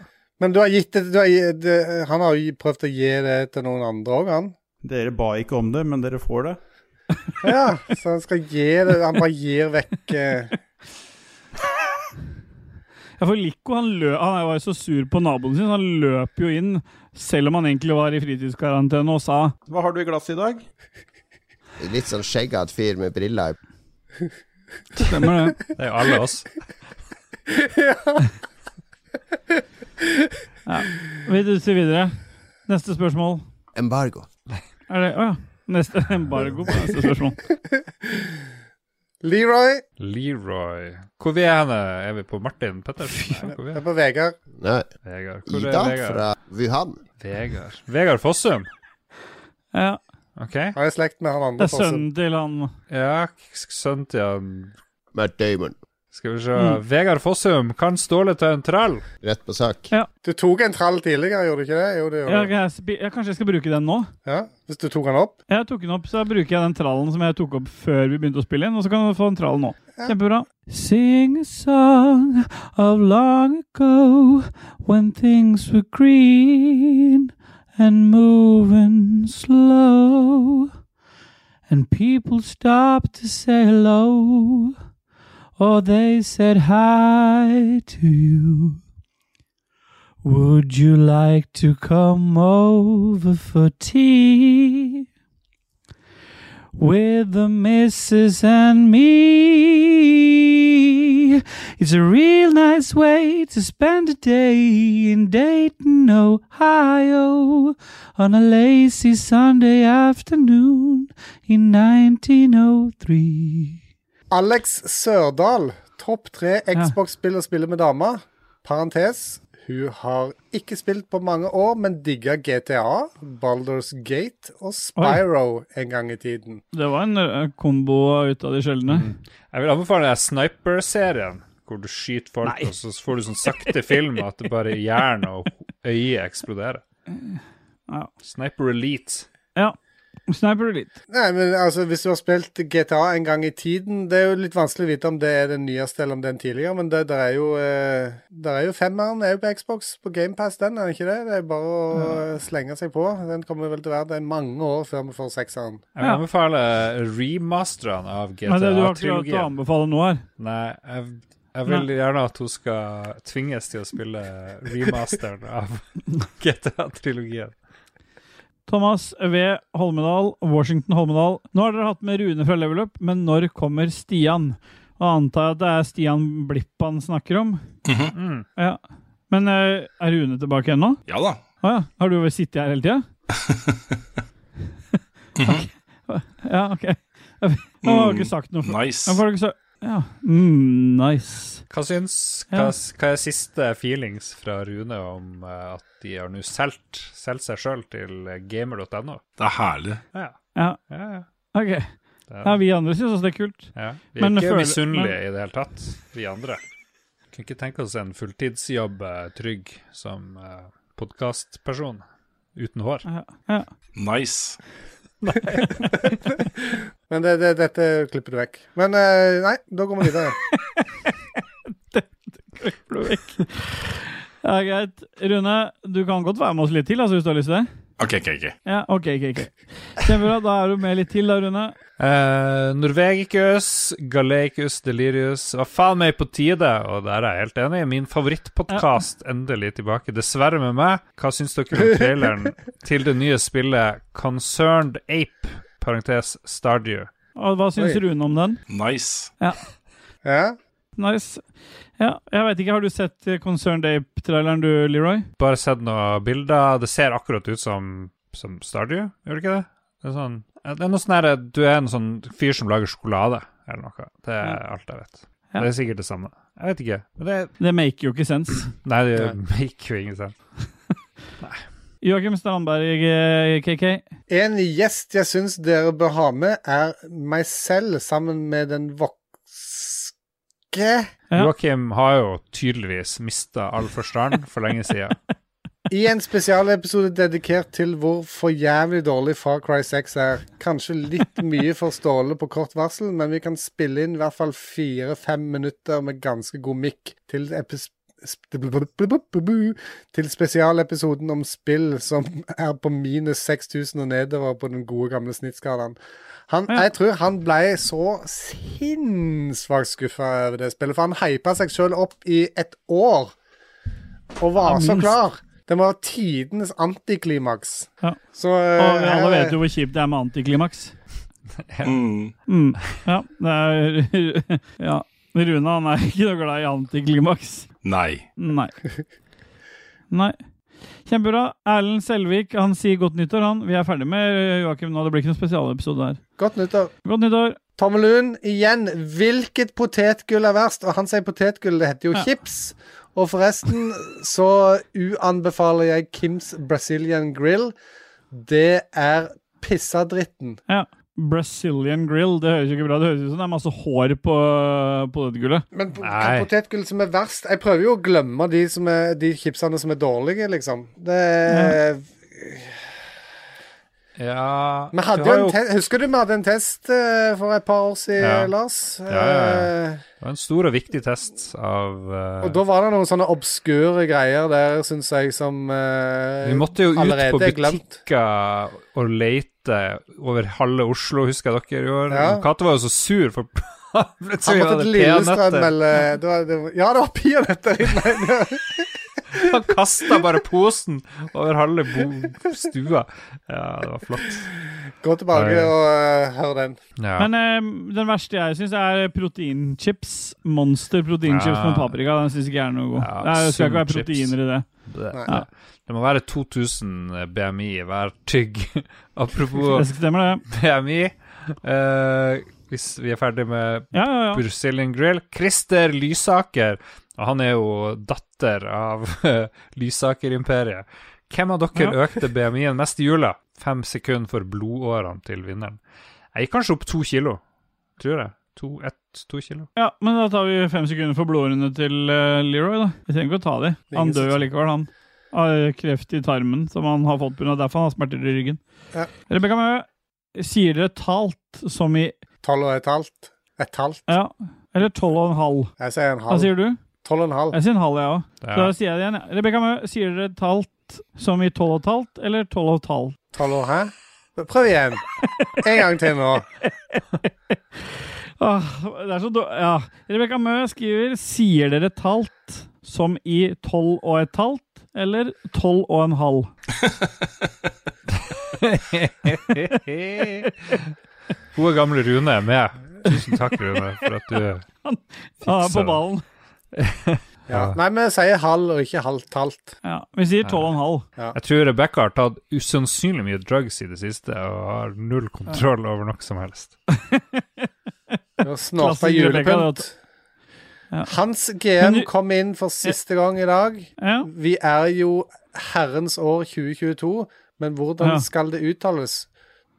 Speaker 2: Men du har gitt det, du har, gi- det Han har jo prøvd å gi det til noen andre òg, han.
Speaker 10: Dere ba ikke om det, men dere får det.
Speaker 2: Ja, så han skal gi det Han bare gir vekk eh,
Speaker 3: Ja, for Lico han lø, han var jo så sur på naboen sin, så han løp jo inn, selv om han egentlig var i fritidskarantene, og sa
Speaker 10: Hva har du i glasset i dag?
Speaker 7: Litt sånn skjeggete fyr med briller.
Speaker 3: Stemmer det?
Speaker 1: Det er jo alle oss.
Speaker 3: Vi duser videre. Neste spørsmål.
Speaker 7: Embargo.
Speaker 3: Er det Å ja. Neste embargo på neste spørsmål.
Speaker 2: Leroy
Speaker 1: Leroy. Hvor vi er henne? Er vi på Martin Pettersen? Nei, hvor vi
Speaker 2: det
Speaker 1: er?
Speaker 2: er på Vegard.
Speaker 7: Nei,
Speaker 1: Vegard. Hvor
Speaker 7: Ida
Speaker 1: er Vegard?
Speaker 7: fra Wuhan.
Speaker 1: Vegard. Vegard Fossum.
Speaker 3: Ja,
Speaker 1: OK.
Speaker 2: Han er i slekt med han
Speaker 3: det
Speaker 2: andre.
Speaker 3: er sønnen til han
Speaker 1: Ja, sønnen til han
Speaker 7: Matt Damon.
Speaker 1: Skal vi se.
Speaker 3: Mm.
Speaker 1: Vegard Fossum kan Ståle til en trall.
Speaker 7: Rett på sak.
Speaker 2: Du tok en trall tidligere, gjorde du ikke det? Jo, det
Speaker 3: ja,
Speaker 2: gjorde du.
Speaker 3: jeg, spi- ja, Kanskje jeg skal bruke den nå?
Speaker 2: Ja, Hvis du tok han opp?
Speaker 3: Jeg tok den opp, så bruker jeg den trallen som jeg tok opp før vi begynte å spille inn, og så kan du få den trallen nå. Kjempebra. Sing a song of long ago when things were green and moving slow and people stopped to say hello or they said hi to you. Would you like to come over for tea? with the missus and me. way. It's a real nice way to spend a day in Dayton, Ohio, on a lazy Sunday afternoon in 1903.
Speaker 2: Alex Sørdal, topp tre Xbox-spill å spille med dama. Parentes. Hun har ikke spilt på mange år, men digga GTA, Baldur's Gate og Spyro en gang i tiden.
Speaker 3: Det var en eh, kombo ut av de sjeldne.
Speaker 1: Jeg vil anbefale den der sniper-serien, hvor du skyter folk,
Speaker 3: Nei.
Speaker 1: og så får du sånn sakte film at det bare jern og øyet eksploderer.
Speaker 3: Ja.
Speaker 1: Sniper Elite.
Speaker 3: Ja. Sniper Elite.
Speaker 2: Nei, men altså, Hvis du har spilt GTA en gang i tiden Det er jo litt vanskelig å vite om det er den nyeste eller om den tidligere, men det, der er jo eh, Der er jo femmeren er jo på Xbox, på GamePass, den, er det ikke det? Det er bare å eh, slenge seg på. Den kommer vel til å være det mange år før vi får sekseren.
Speaker 1: Jeg vil anbefale remasterne av
Speaker 3: Men det du har ikke lov til å
Speaker 1: GTA-trilogien.
Speaker 3: anbefale nå, her
Speaker 1: Nei, jeg, jeg vil gjerne at hun skal tvinges til å spille remasteren av GTA-trilogien.
Speaker 3: Thomas V. Holmedal, Washington Holmedal. Nå har dere hatt med Rune fra Level Up, men når kommer Stian? Og antar jeg at det er Stian Blipp han snakker om.
Speaker 1: Mm.
Speaker 3: Ja. Men eh, er Rune tilbake ennå?
Speaker 11: Ja da.
Speaker 3: Å ja. Har du vel sittet her hele tida?
Speaker 11: Mhm.
Speaker 3: Ja, OK. Han har jo ikke sagt noe.
Speaker 11: Mm. Nice.
Speaker 3: Han får ikke sa- ja. Mm, nice.
Speaker 1: Hva syns
Speaker 3: Ja.
Speaker 1: hva, hva er siste feelings fra Rune om eh, at de har nå solgt solgt seg sjøl til eh, gamer.no?
Speaker 11: Det er herlig.
Speaker 1: Ja.
Speaker 3: Ja.
Speaker 1: Ja, ja.
Speaker 3: OK. Ja, vi andre syns også det er kult.
Speaker 1: Ja, vi er
Speaker 3: Men
Speaker 1: ikke
Speaker 3: føler-
Speaker 1: misunnelige i det hele tatt, vi andre. Kunne ikke tenke oss en fulltidsjobb eh, trygg som eh, podkastperson uten hår.
Speaker 3: Ja. ja.
Speaker 11: Nice.
Speaker 2: Men det, det, dette klipper du vekk. Men eh, nei, da går vi videre.
Speaker 3: Klipper du vekk. Ja, greit. Rune, du kan godt være med oss litt til altså, hvis du har lyst til det.
Speaker 11: OK, OK. ok.
Speaker 3: Ja, ok, ok, ok. Kjempebra, da er du med litt til da, Rune.
Speaker 1: Eh, Norvegicus, Galeicus, Delirius var faen meg på tide, og der er jeg helt enig. Min favorittpodkast endelig tilbake, dessverre med meg. Hva syns dere om traileren til det nye spillet Concerned Ape, parentes Stardew?
Speaker 3: Og hva syns
Speaker 2: Oi.
Speaker 3: Rune om den?
Speaker 11: Nice.
Speaker 2: Ja?
Speaker 3: Nice. Ja, jeg vet ikke, har du sett eh, Concerned Ape-traileren du, Leroy?
Speaker 1: Bare sett noen bilder. Det ser akkurat ut som, som Stardew, gjør det ikke det? Det er, sånn, det er noe sånn her Du er en sånn fyr som lager sjokolade, eller noe. Det er alt jeg vet.
Speaker 3: Ja.
Speaker 1: Det er sikkert det samme. Jeg vet ikke. Men det
Speaker 3: Det maker jo ikke sens.
Speaker 1: Nei, det make jo ingen sense.
Speaker 3: Joakim Strandberg, eh, KK.
Speaker 2: En gjest jeg syns dere bør ha med, er meg selv sammen med den vokske
Speaker 3: Ja.
Speaker 1: Joakim har jo tydeligvis mista all forstand for lenge siden.
Speaker 2: i en spesialepisode dedikert til hvor for jævlig dårlig Far Cry 6 er. Kanskje litt mye for Ståle på kort varsel, men vi kan spille inn i hvert fall fire-fem minutter med ganske god mikk til epis... sp- Til spesialepisoden om spill som er på minus 6000 og nedover på den gode gamle snittskalaen. Han,
Speaker 3: Ja.
Speaker 2: Jeg tror han ble så sinnssvakt skuffa over det spillet, for han hypa seg sjøl opp i et år og var så klar. Den var tidenes antiklimaks.
Speaker 3: Ja.
Speaker 2: Så eh,
Speaker 3: Og vi
Speaker 2: her-
Speaker 3: alle vet jo hvor kjipt det er med antiklimaks.
Speaker 11: Mm.
Speaker 3: Mm. Ja, det er Ja. Rune, han er ikke noe glad i antiklimaks.
Speaker 11: Nei.
Speaker 3: Nei. Nei. Kjempebra. Erlend Selvik han sier godt nyttår, han. Vi er ferdig med eh, Joakim nå. Det blir ikke noen spesialepisode her.
Speaker 2: Godt nyttår.
Speaker 3: Godt nyttår.
Speaker 2: Tommelun, igjen, hvilket potetgull er verst? Og han sier potetgull, det heter jo
Speaker 3: Ja.
Speaker 2: chips. Og forresten så uanbefaler jeg Kims Brazilian Grill. Det er pissadritten.
Speaker 3: Ja. Brazilian grill, det høres jo ikke bra Det høres ut som det er masse hår på potetgullet.
Speaker 2: Men po- hva
Speaker 1: Nei.
Speaker 2: potetgull som er verst Jeg prøver jo å glemme de, som er, de chipsene som er dårlige, liksom. Det er
Speaker 1: Ja
Speaker 2: Vi hadde
Speaker 1: du har
Speaker 2: jo en te Husker du vi hadde en test eh, for et par år siden,
Speaker 1: Ja.
Speaker 2: Lars?
Speaker 1: ja,
Speaker 2: Eh,
Speaker 1: Det var en stor og viktig test av eh,
Speaker 2: og da var det noen sånne obskure greier der, syns jeg, som eh,
Speaker 1: Vi måtte jo ut
Speaker 2: allerede
Speaker 1: på
Speaker 2: er glemt.
Speaker 1: butikker og lete over halve Oslo, husker jeg dere gjorde.
Speaker 2: Ja.
Speaker 1: Katte var jo så sur for
Speaker 2: Han
Speaker 1: plutselig
Speaker 2: måtte
Speaker 1: hadde
Speaker 2: til Lillestrøm
Speaker 1: peanøtter.
Speaker 2: eller det var, det var, Ja, det var peanøtter! Nei,
Speaker 1: Han kasta bare posen over halve bo stua. Ja, det var flott.
Speaker 2: Gå tilbake
Speaker 3: Ja, ja.
Speaker 2: og eh, hør den.
Speaker 3: Men eh, den verste jeg syns, er proteinchips. Monster proteinchips
Speaker 1: Ja.
Speaker 3: med paprika. Den syns ikke jeg er noe god.
Speaker 1: Ja,
Speaker 3: det er- skal ikke være
Speaker 1: sunn chips.
Speaker 3: proteiner i det.
Speaker 1: Det,
Speaker 3: Ja.
Speaker 1: det må være 2000 BMI hver tygg.
Speaker 3: Det
Speaker 1: Apropos
Speaker 3: stemmer, det.
Speaker 1: BMI. eh, hvis vi er ferdig med
Speaker 3: Ja, ja, ja.
Speaker 1: Brazilian Grill. Christer Lysaker. Og han er jo datter av eh, Lysaker-imperiet. Hvem av dere
Speaker 3: Ja.
Speaker 1: økte BMI-en mest i jula? Fem sekunder for blodårene til vinneren. Jeg gikk kanskje opp to kilo, tror jeg. To, ett, to kilo.
Speaker 3: Ja, men da tar vi fem sekunder for blodårene til eh, Leroy, da. Vi trenger ikke å ta de.
Speaker 2: er
Speaker 3: Han
Speaker 2: ingen
Speaker 3: dør jo
Speaker 2: som-
Speaker 3: allikevel, han. Av kreft i tarmen, som han har fått pga. derfor han har smerter i ryggen.
Speaker 2: Ja.
Speaker 3: Rebekka Mø, sier dere talt som i
Speaker 2: Tolv og et halvt. Et halvt.
Speaker 3: Ja, eller tolv og en halv?
Speaker 2: Jeg sier en
Speaker 3: Hva
Speaker 2: halv.
Speaker 3: sier du?
Speaker 2: Tolv og en halv.
Speaker 3: Jeg sier en halv, jeg òg.
Speaker 1: Ja.
Speaker 3: Så da sier jeg det igjen. jeg. Rebekka Mø, sier dere talt som i tolv og et halvt, eller tolv og et halvt?
Speaker 2: Tolv og hæ? Prøv igjen. En gang til nå.
Speaker 3: Åh, Ah, det er så dår- Ja. Rebekka Mø skriver Sier dere talt som i tolv og et halvt, eller tolv og en halv?
Speaker 1: Gode gamle Rune er med. Tusen takk, Rune, for at du
Speaker 3: Ja,
Speaker 1: fikser
Speaker 3: på
Speaker 1: det.
Speaker 3: ballen.
Speaker 2: Ja. Nei, vi sier halv og ikke halvt halvt.
Speaker 3: Ja, vi sier tolv og en halv.
Speaker 1: Jeg tror Rebekka har tatt usannsynlig mye drugs i det siste og har null kontroll over noe som helst.
Speaker 2: Og Snorta
Speaker 3: Klassisk Rebecca,
Speaker 2: julepynt.
Speaker 3: Ja.
Speaker 2: Hans
Speaker 3: Men
Speaker 2: GM
Speaker 3: du-
Speaker 2: kom inn for siste gang i dag.
Speaker 3: Ja.
Speaker 2: Vi er jo herrens år 2022, men hvordan
Speaker 3: Ja.
Speaker 2: skal det uttales?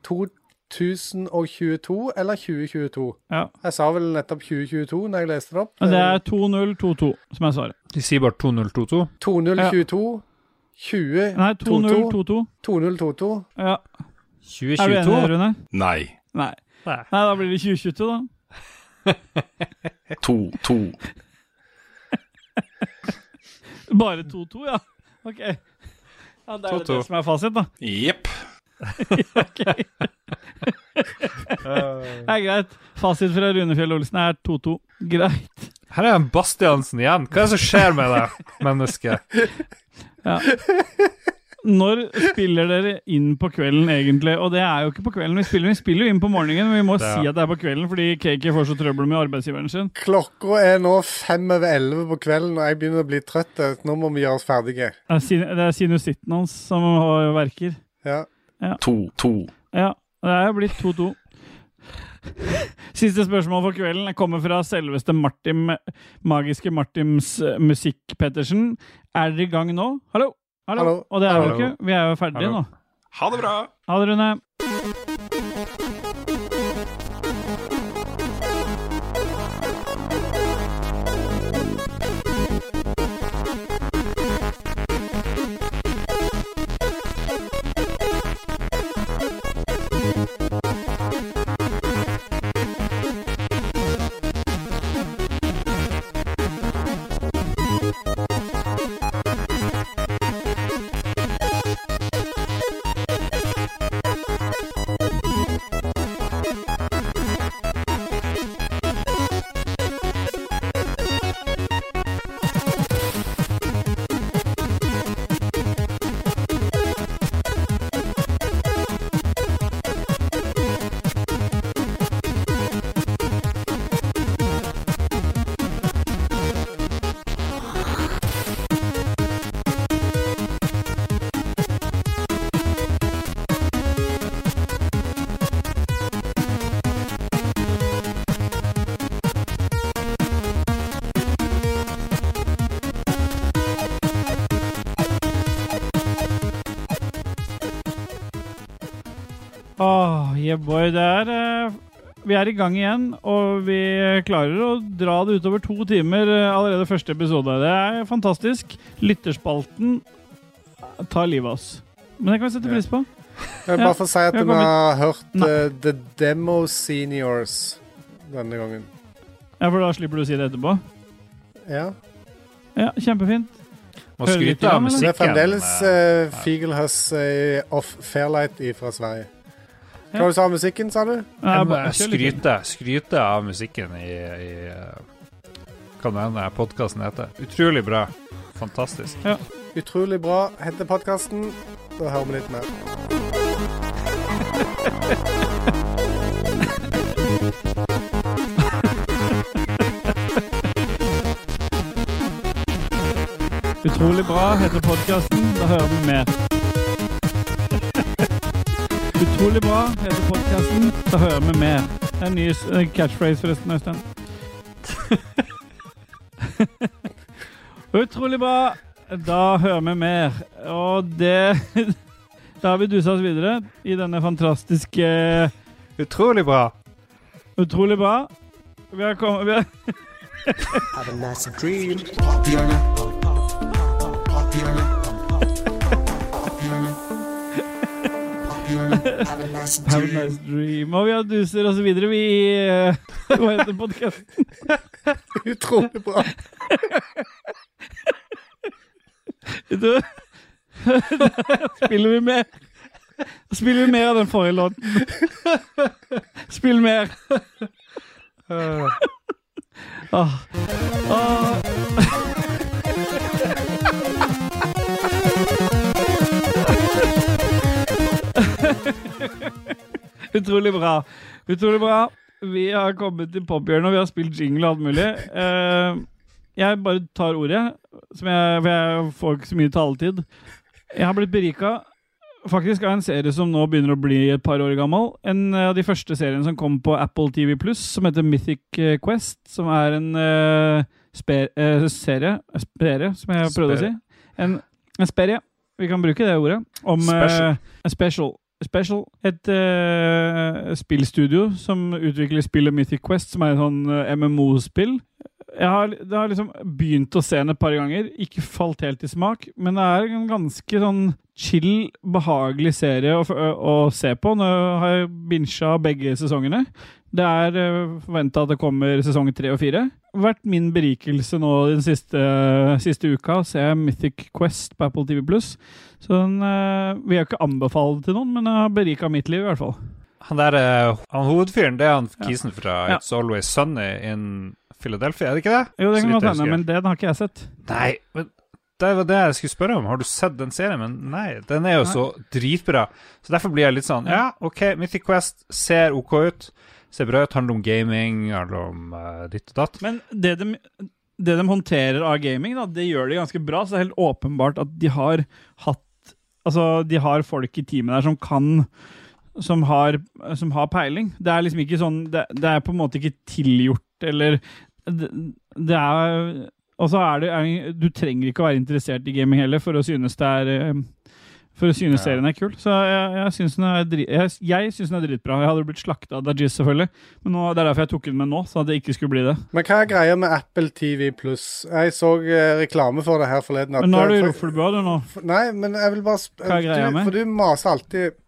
Speaker 2: 2022 eller 2022?
Speaker 3: Ja.
Speaker 2: Jeg sa vel nettopp 2022 når jeg leste det opp.
Speaker 3: Men det er 2-0-2-2 som er svaret.
Speaker 1: De sier bare 2022.
Speaker 2: 2022, 20,
Speaker 3: Nei,
Speaker 2: 22,
Speaker 3: 2-0-2-2.
Speaker 2: 2022.
Speaker 3: Ja. Er du enig,
Speaker 1: 2022?
Speaker 3: Rune?
Speaker 11: Nei.
Speaker 3: Nei. Nei, da blir det 2022, da.
Speaker 11: To, to.
Speaker 3: Bare 2-2, ja. Ok. Ja, Det er
Speaker 1: 2-2.
Speaker 3: jo det som er fasit, da.
Speaker 11: Jepp.
Speaker 3: Det er greit. Fasit fra Runefjell Olsen er 2-2. Greit.
Speaker 1: Her er en Bastiansen igjen. Hva er det som skjer med deg, menneske?
Speaker 3: Når spiller dere inn på kvelden, egentlig? Og det er jo ikke på kvelden vi spiller, vi spiller jo inn på morgenen. Men vi må
Speaker 1: Det-
Speaker 3: si at det er på kvelden, fordi KK får så trøbbel med arbeidsgiveren sin.
Speaker 2: Klokka er nå fem over elleve på kvelden, og jeg begynner å bli trøtt. Nå må vi gjøre oss ferdige.
Speaker 3: Det er sin- det er sinusitten hans som har- verker.
Speaker 2: Ja.
Speaker 11: To, to.
Speaker 3: Ja, det er jo blitt 2-2. Siste spørsmål for kvelden kommer fra selveste Martin, magiske Martins eh, Musikk Pettersen. Er dere i gang nå? Hallo? Hallo?
Speaker 2: Hallo.
Speaker 3: Og det er
Speaker 1: Hallo.
Speaker 3: vi ikke. Vi er jo ferdige
Speaker 1: Hallo.
Speaker 3: nå.
Speaker 11: Ha det bra.
Speaker 3: Ha det, Rune. Åh, yeah boy, det er eh, Vi er i gang igjen, og vi klarer å dra det utover to timer eh, allerede første episode. Det er fantastisk. Lytterspalten tar livet av oss. Men det kan vi sette pris på.
Speaker 2: Jeg vil
Speaker 3: Ja,
Speaker 2: bare få si at
Speaker 3: jeg
Speaker 2: vi
Speaker 3: kommer-
Speaker 2: har hørt
Speaker 3: Nei.
Speaker 2: eh, The Demo Seniors denne gangen.
Speaker 3: Ja, For da slipper du å si det etterpå.
Speaker 2: Ja.
Speaker 3: Ja, kjempefint.
Speaker 1: Må
Speaker 3: Hører vi
Speaker 1: skryte
Speaker 3: til
Speaker 1: av
Speaker 3: dem, eller?
Speaker 2: Så det
Speaker 1: musikken.
Speaker 2: er fremdeles
Speaker 1: eh,
Speaker 2: uh, Figelhus eh, Off Fairlight fra Sverige. Hva
Speaker 3: Ja.
Speaker 2: du sa om musikken, sa du?
Speaker 3: Nei,
Speaker 1: jeg må
Speaker 3: bare kjør litt.
Speaker 1: skryte, skryte av musikken i, i eh, Hva den podkasten heter. Utrolig bra. Fantastisk.
Speaker 2: Utrolig bra heter podkasten. Da hører vi litt mer.
Speaker 3: Utrolig bra heter podkasten. Da hører vi mer. Utrolig bra heter podkasten. Da hører vi mer. Det er en ny s- eh, catchphrase forresten, Øystein. Utrolig bra. Da hører vi mer. Og det Da har vi dusa oss videre i denne fantastiske eh,
Speaker 1: Utrolig bra.
Speaker 3: Utrolig bra. Vi har kommet vi har
Speaker 6: Have a nice dream. Have a nice
Speaker 3: Have a nice dream. Og vi har duser og så videre, vi eh, Hva heter podkasten?
Speaker 2: Utrolig bra.
Speaker 3: Du Spiller vi mer? Spiller vi mer av den forrige låten? Spill mer. Åh. Åh. Utrolig bra. Utrolig bra. Vi har kommet til pophjørnet, og vi har spilt jingle og alt mulig. Eh, jeg bare tar ordet, som jeg, for jeg får ikke så mye taletid. Jeg har blitt berika faktisk av en serie som nå begynner å bli et par år gammel. En av de første seriene som kom på Apple TV som heter Mythic eh, Quest. Som er en eh, spe, eh, serie Spere, som jeg prøvde å
Speaker 1: Spere.
Speaker 3: si. En, en sperie. Vi kan bruke det ordet. Om
Speaker 1: Special.
Speaker 3: eh, en special. Special, et eh, spillstudio som utvikler spillet Mythic Quest, som er et sånn eh, MMO-spill. Jeg har, det har liksom begynt å se den et par ganger, ikke falt helt i smak, men det er en ganske sånn chill, behagelig serie å, f- å, å se på. Nå har jeg binsja begge sesongene. Det er eh, forventa at det kommer sesong tre og fire. Vært min berikelse nå den siste, siste uka å se Mythic Quest på Apple TV Så den eh, vil jeg ikke anbefale til noen, men den har berika mitt liv i hvert fall.
Speaker 1: Han der eh, han hovedfyren, det er han kisen fra
Speaker 3: Ja.
Speaker 1: It's Always Sunny in Philadelphia, er det ikke det?
Speaker 3: Jo, det
Speaker 1: Så vidt jeg
Speaker 3: kan godt hende,
Speaker 1: husker.
Speaker 3: men den har ikke jeg sett.
Speaker 1: Nei, men det var det jeg skulle spørre om. Har du sett den serien? Men nei, den er jo
Speaker 3: Nei.
Speaker 1: så dritbra. Så derfor blir jeg litt sånn Ja, OK, Mythic Quest ser OK ut. Ser bra ut. Handler om gaming, handler om eh, ditt og datt.
Speaker 3: Men det de, det de håndterer av gaming, da, det gjør de ganske bra. Så det er helt åpenbart at de har hatt Altså, de har folk i teamet der som kan Som har, som har peiling. Det er liksom ikke sånn Det, det er på en måte ikke tilgjort, eller Det, det er Og så er det er, Du trenger ikke å være interessert i gaming heller for å synes det er eh, for å synes serien er kul. Så jeg, jeg syns den er, dri, jeg, jeg synes den er dritbra. Jeg hadde blitt slakta av Dajis, selvfølgelig. Men nå, det er derfor jeg tok den med nå, så at det ikke skulle bli det.
Speaker 2: Men hva er greia med Apple TV pluss? Jeg så eh, reklame for det her forleden. at-
Speaker 3: Men nå er du i Roffelbua, du nå.
Speaker 2: For- Nei, men jeg vil bare sp
Speaker 3: Hva er greia
Speaker 2: du,
Speaker 3: med?
Speaker 2: For du maser alltid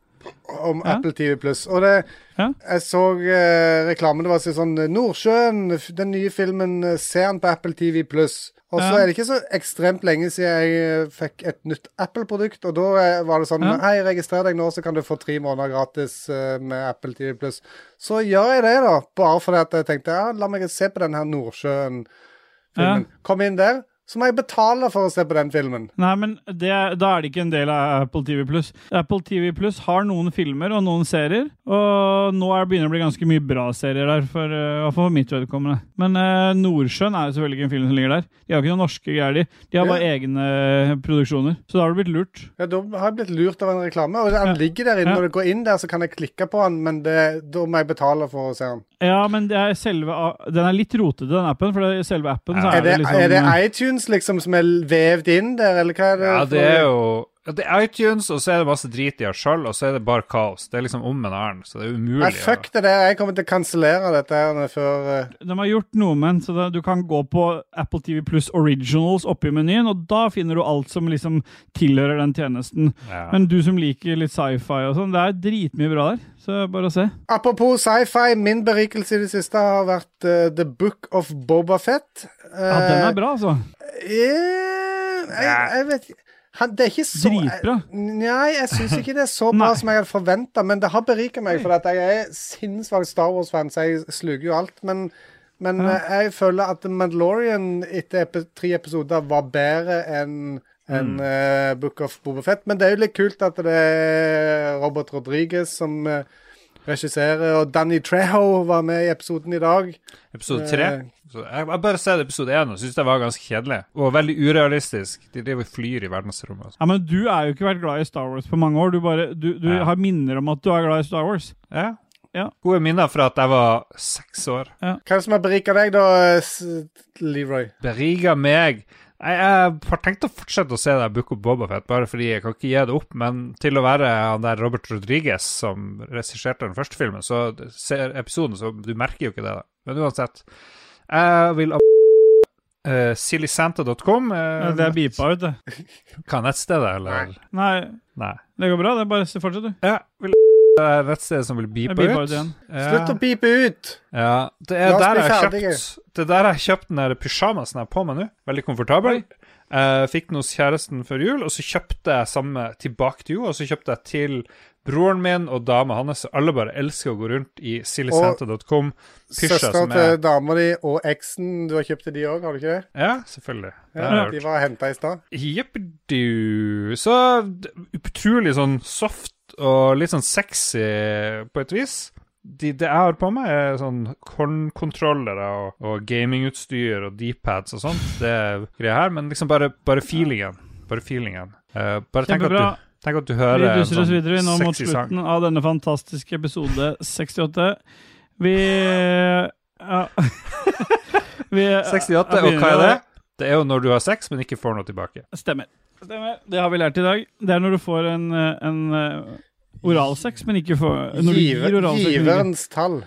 Speaker 2: om
Speaker 3: Ja.
Speaker 2: Apple TV pluss. Og det, jeg så eh, reklamen det var sånn Nordsjøen, f- den nye filmen, eh, ser han på Apple TV pluss. Og så
Speaker 3: Ja.
Speaker 2: er det ikke så ekstremt lenge siden jeg eh, fikk et nytt Apple-produkt, og da eh, var det sånn
Speaker 3: Ja.
Speaker 2: Hei, registrer deg nå, så kan du få tre måneder gratis eh, med Apple TV pluss. Så gjør jeg det, da. Bare fordi at jeg tenkte ja, la meg se på den her Nordsjøen-filmen. Kom inn der, så må jeg betale for å se på den filmen.
Speaker 3: Nei, men det, da er det ikke en del av Apple TV Pluss. Apple TV Pluss har noen filmer og noen serier, og nå er det begynner det å bli ganske mye bra serier der, for, eh, i hvert fall for mitt vedkommende. Men eh, Nordsjøen er jo selvfølgelig ikke en film som ligger der. De har ikke noen norske greier, de. De har bare egne eh, produksjoner. Så da har du blitt lurt.
Speaker 2: Ja, Da har jeg blitt lurt av en reklame. Og den ligger der inne.
Speaker 3: Ja.
Speaker 2: Når du går inn der, så kan jeg klikke på den, men det, da må jeg betale for å se den.
Speaker 3: Ja, men det er selve, den er litt rotete, den appen, for det, i selve appen så
Speaker 2: Er
Speaker 3: er
Speaker 2: det,
Speaker 3: det liksom
Speaker 2: er det iTunes liksom som er vevd inn der, eller hva er det?
Speaker 1: Ja,
Speaker 2: for-
Speaker 1: det er jo ja, det er iTunes, og så er det masse drit de har sjøl, og så er det bare kaos. Det er liksom om en annen, så det er umulig.
Speaker 2: Nei, fuck det der. Jeg kommer til å kansellere dette her før eh,
Speaker 3: De har gjort noe med den, så da- du kan gå på Apple TV Pluss Originals oppi menyen, og da finner du alt som liksom tilhører den tjenesten.
Speaker 1: Ja.
Speaker 3: Men du som liker litt sci-fi og sånn, det er dritmye bra der, så bare å se.
Speaker 2: Apropos sci-fi, min berikelse i det siste har vært eh, The Book of Eh, Bobafett.
Speaker 3: Ja, den er bra, altså.
Speaker 2: Eh, jeg, jeg vet ikke han, det er ikke så,
Speaker 3: Dritbra.
Speaker 2: Jeg, nei, jeg syns ikke det er så bra som jeg hadde forventa, men det har berika meg, for at jeg er sinnssvak Star Wars-fan, så jeg sluker jo alt. Men, men
Speaker 3: Ja.
Speaker 2: eh, jeg føler at The Mandalorian etter epi- tre episoder var bedre enn
Speaker 3: Mm.
Speaker 2: enn eh, Book of Bobofett. Men det er jo litt kult at det er Robert Rodriguez som eh, regisserer, og Danny Treho var med i episoden i dag.
Speaker 1: Episode tre.
Speaker 2: Eh,
Speaker 1: Så Jeg jeg bare ser episode én og syns det var ganske kjedelig. Og veldig urealistisk. De driver og flyr i verdensrommet. og sånn.
Speaker 3: Ja, men du er jo ikke vært glad i Star Wars på mange år. Du, bare, du, du har minner om at du er glad i Star Wars.
Speaker 1: Ja. Gode minner fra at jeg var seks år.
Speaker 2: Hva er det som har berika deg, da, eh, s- Leroy?
Speaker 1: Beriga meg. Jeg, jeg har tenkt å fortsette å se det Book of Bobafett, bare fordi jeg kan ikke gi det opp. Men til å være han der Robert Rodriguez som regisserte den første filmen, så ser episoden, så du merker jo ikke det. da. Men uansett. Jeg vil ab... Uh, Sillysanta.com. eh,
Speaker 3: Ja, det er beepa ut, det.
Speaker 1: Hva er nettstedet, eller?
Speaker 3: Nei,
Speaker 1: Nei.
Speaker 3: det går bra. Det er bare å fortsette, du.
Speaker 1: Ja, vil Det er nettstedet som vil beepe ut.
Speaker 3: beepa ut igjen.
Speaker 1: Ja.
Speaker 2: Slutt å pipe ut!
Speaker 1: Ja, det er
Speaker 2: La oss
Speaker 1: der
Speaker 2: bli
Speaker 1: jeg har
Speaker 2: ferdige.
Speaker 1: kjøpt Det er der jeg har kjøpt den der pysjamasen jeg har på meg nå. Veldig komfortabel. Eh, fikk den hos kjæresten før jul, og så kjøpte jeg samme tilbake til henne. Og så kjøpte jeg til broren min og dama hans. så Alle bare elsker å gå rundt i sillysanta.com. Pysja
Speaker 2: Søstera
Speaker 1: som
Speaker 2: til
Speaker 1: er
Speaker 2: dama di og eksen, du har kjøpt til de òg, har du ikke det?
Speaker 1: Ja, selvfølgelig. Det har
Speaker 2: Ja,
Speaker 1: jeg
Speaker 2: de
Speaker 1: hørt.
Speaker 2: var henta i stad.
Speaker 1: Jeppedu. Så d- utrolig sånn soft og litt sånn sexy på et vis. De, det jeg har på meg, er sånn kornkontrollere og, og gamingutstyr og D-pads og sånt. Det er greia her, men liksom bare, bare feelingen. Bare feelingen. Eh, bare tenk at, du,
Speaker 3: Kjempebra.
Speaker 1: tenk at du
Speaker 3: Vi
Speaker 1: hører en
Speaker 3: duser oss
Speaker 1: sånn
Speaker 3: videre nå mot
Speaker 1: sexy sang.
Speaker 3: slutten av denne fantastiske episode 68. Vi eh, ja. Vi
Speaker 1: 68, Eh, og hva er det? Det er jo når du har sex, men ikke får noe tilbake.
Speaker 3: Stemmer. Stemmer. Det har vi lært i dag. Det er når du får en, eh, en eh, oralsex, men ikke får Når du
Speaker 2: Giver-
Speaker 3: gir oralsex. men ikke-
Speaker 2: Giverens tall.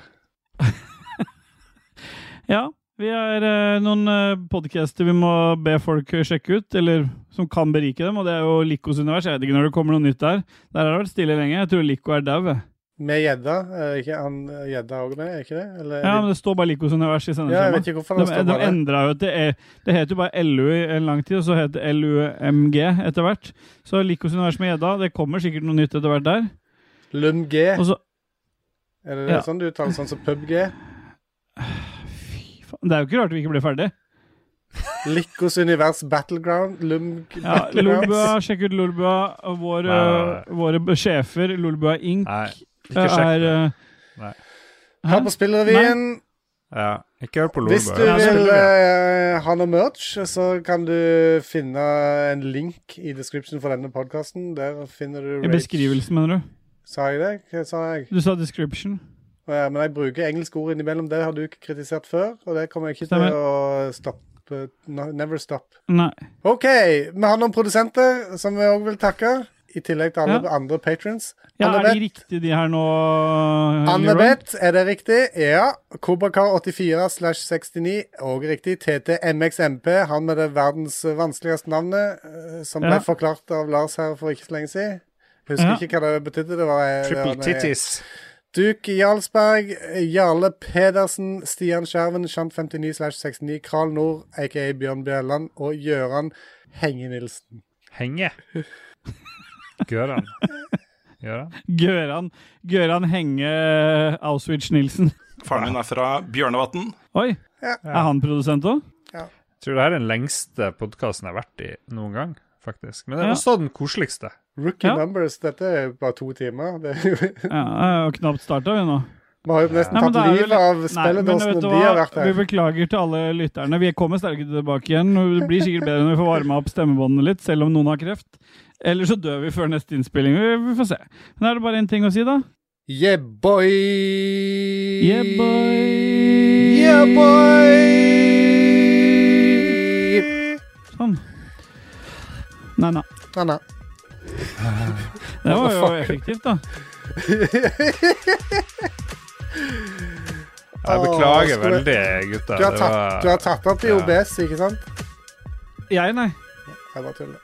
Speaker 3: Ja. Vi har eh, noen eh, podcaster vi må be folk eh, sjekke ut, eller som kan berike dem, og det er jo Likos univers. Jeg vet ikke når det kommer noe nytt der. Der har det vært stille lenge. Jeg tror Liko er dau. jeg.
Speaker 2: Med gjedda. Er ikke han eh, gjedda òg med, er ikke det? Eller,
Speaker 3: Ja, men det står bare Likos univers i
Speaker 2: Ja, jeg vet
Speaker 3: sendeskjemaet.
Speaker 2: ikke hvorfor
Speaker 3: De,
Speaker 2: han står
Speaker 3: de
Speaker 2: bare
Speaker 3: endra jo til E- Det het jo bare LU i en lang tid, og så het det LUMG etter hvert. Så Likos univers med gjedda, det kommer sikkert noe nytt etter hvert der.
Speaker 2: LUMG.
Speaker 3: Og så,
Speaker 2: Er det
Speaker 3: Ja.
Speaker 2: sånn du uttaler sånn som PubG?
Speaker 3: faen, det er jo ikke rart vi ikke ble ferdig.
Speaker 2: Likos univers battleground? LUMG
Speaker 3: Ja,
Speaker 2: battlegrounds?
Speaker 3: Lolbua, sjekk ut Lolbua. og Våre,
Speaker 1: Nei,
Speaker 3: våre sjefer, Lolbua Inc.
Speaker 1: Nei, ikke sjekk
Speaker 3: er
Speaker 1: det.
Speaker 3: eh,
Speaker 1: Nei.
Speaker 2: Her på Spillrevyen.
Speaker 1: Ja, ikke hør på Lolbua.
Speaker 2: Hvis du
Speaker 3: Ja,
Speaker 2: vil
Speaker 3: selvfølgelig.
Speaker 2: eh, ha noe merch, så kan du finne en link i description for denne podkasten. Der finner du
Speaker 3: I
Speaker 2: Rage.
Speaker 3: beskrivelsen, mener du?
Speaker 2: Sa jeg det? Hva sa jeg?
Speaker 3: Du sa description.
Speaker 2: Ja, men jeg bruker engelske ord innimellom. Det har du ikke kritisert før, og det kommer jeg ikke
Speaker 3: Stemmer.
Speaker 2: til å stoppe. No, never stop.
Speaker 3: Nei.
Speaker 2: OK. Vi har noen produsenter som vi òg vil takke. I tillegg til alle
Speaker 3: Ja.
Speaker 2: andre patrons.
Speaker 3: Ja, er de
Speaker 2: Annabeth,
Speaker 3: riktige, de her nå? eh, Leroy?
Speaker 2: Annabeth, er det riktig? Ja. Kobrakar84 slash 69, òg riktig. TTMXMP, han med det verdens vanskeligste navnet, eh, som
Speaker 3: Ja.
Speaker 2: ble forklart av Lars her for ikke så lenge siden. Husker
Speaker 3: Ja.
Speaker 2: ikke hva det betydde. Det var, eh, det var
Speaker 1: Triple titties.
Speaker 2: Duke Jarlsberg, Jarle Pedersen, Stian Skjerven, Shant59 slash 69, Kral Nord, aka Bjørn Bjelland, og Gjøran Henge-Nilsen.
Speaker 1: Henge. Gøran. Gøran?
Speaker 3: Gøran, Gøran Henge eh, Auschwitz-Nielsen.
Speaker 11: Faren min er fra Bjørnevatn.
Speaker 3: Oi, er han produsent òg?
Speaker 1: Jeg tror det her er den lengste podkasten jeg har vært i noen gang, faktisk. Men det er
Speaker 3: Ja.
Speaker 1: også den koseligste.
Speaker 2: Rookie
Speaker 3: Ja.
Speaker 2: numbers, dette er jo bare to timer. Det er jo,
Speaker 3: Ja, jeg har knapt starta, vi nå.
Speaker 2: vi har jo nesten
Speaker 3: Nei, men det
Speaker 2: tatt
Speaker 3: er
Speaker 2: livet
Speaker 3: vel-
Speaker 2: av
Speaker 3: Nei, men
Speaker 2: spilledåsene
Speaker 3: vet du
Speaker 2: de har
Speaker 3: hva?
Speaker 2: vært her.
Speaker 3: Vi beklager til alle lytterne. Vi kommer sterke tilbake igjen. og Det blir sikkert bedre når vi får varma opp stemmebåndene litt, selv om noen har kreft. Eller så dør vi før neste innspilling. Vi vi får se. Men er det bare én ting å si, da?
Speaker 2: Yeah, boy!
Speaker 3: Yeah, boy!
Speaker 2: Yeah,
Speaker 3: Sånn. Nei, nei.
Speaker 2: Nei, nei.
Speaker 3: Det var jo effektivt, da.
Speaker 1: Jeg beklager
Speaker 2: Åh, skulle-
Speaker 1: veldig,
Speaker 2: Du
Speaker 1: gutter.
Speaker 2: har
Speaker 1: Det
Speaker 2: tatt,
Speaker 1: var-
Speaker 2: du har tatt opp i
Speaker 1: Ja.
Speaker 2: OBS, ikke sant?
Speaker 3: Jeg, nei.
Speaker 2: Jeg bare tuller.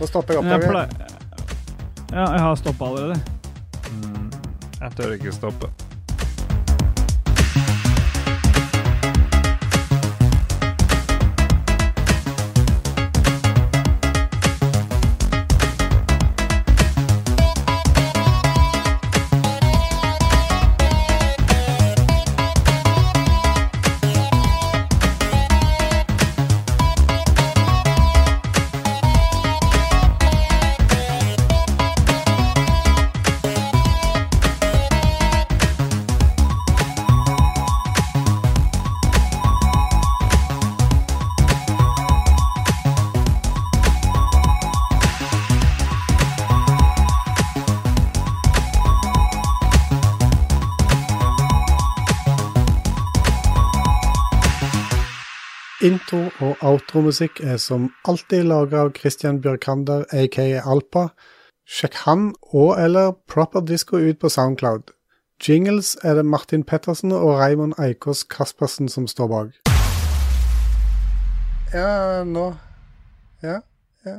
Speaker 2: Nå stopper jeg
Speaker 3: Jeg
Speaker 2: opptaket.
Speaker 3: pleier Ja, jeg har stoppa allerede.
Speaker 1: Jeg tør ikke stoppe.
Speaker 12: Intro- og outromusikk er som alltid laga av Christian Bjørkander, aka Alpa. Sjekk han og eller Proper Disco ut på Soundcloud. Jingles er det Martin Pettersen og Raymond Eikås Kaspersen som står bak.
Speaker 2: Ja, nå Ja, ja.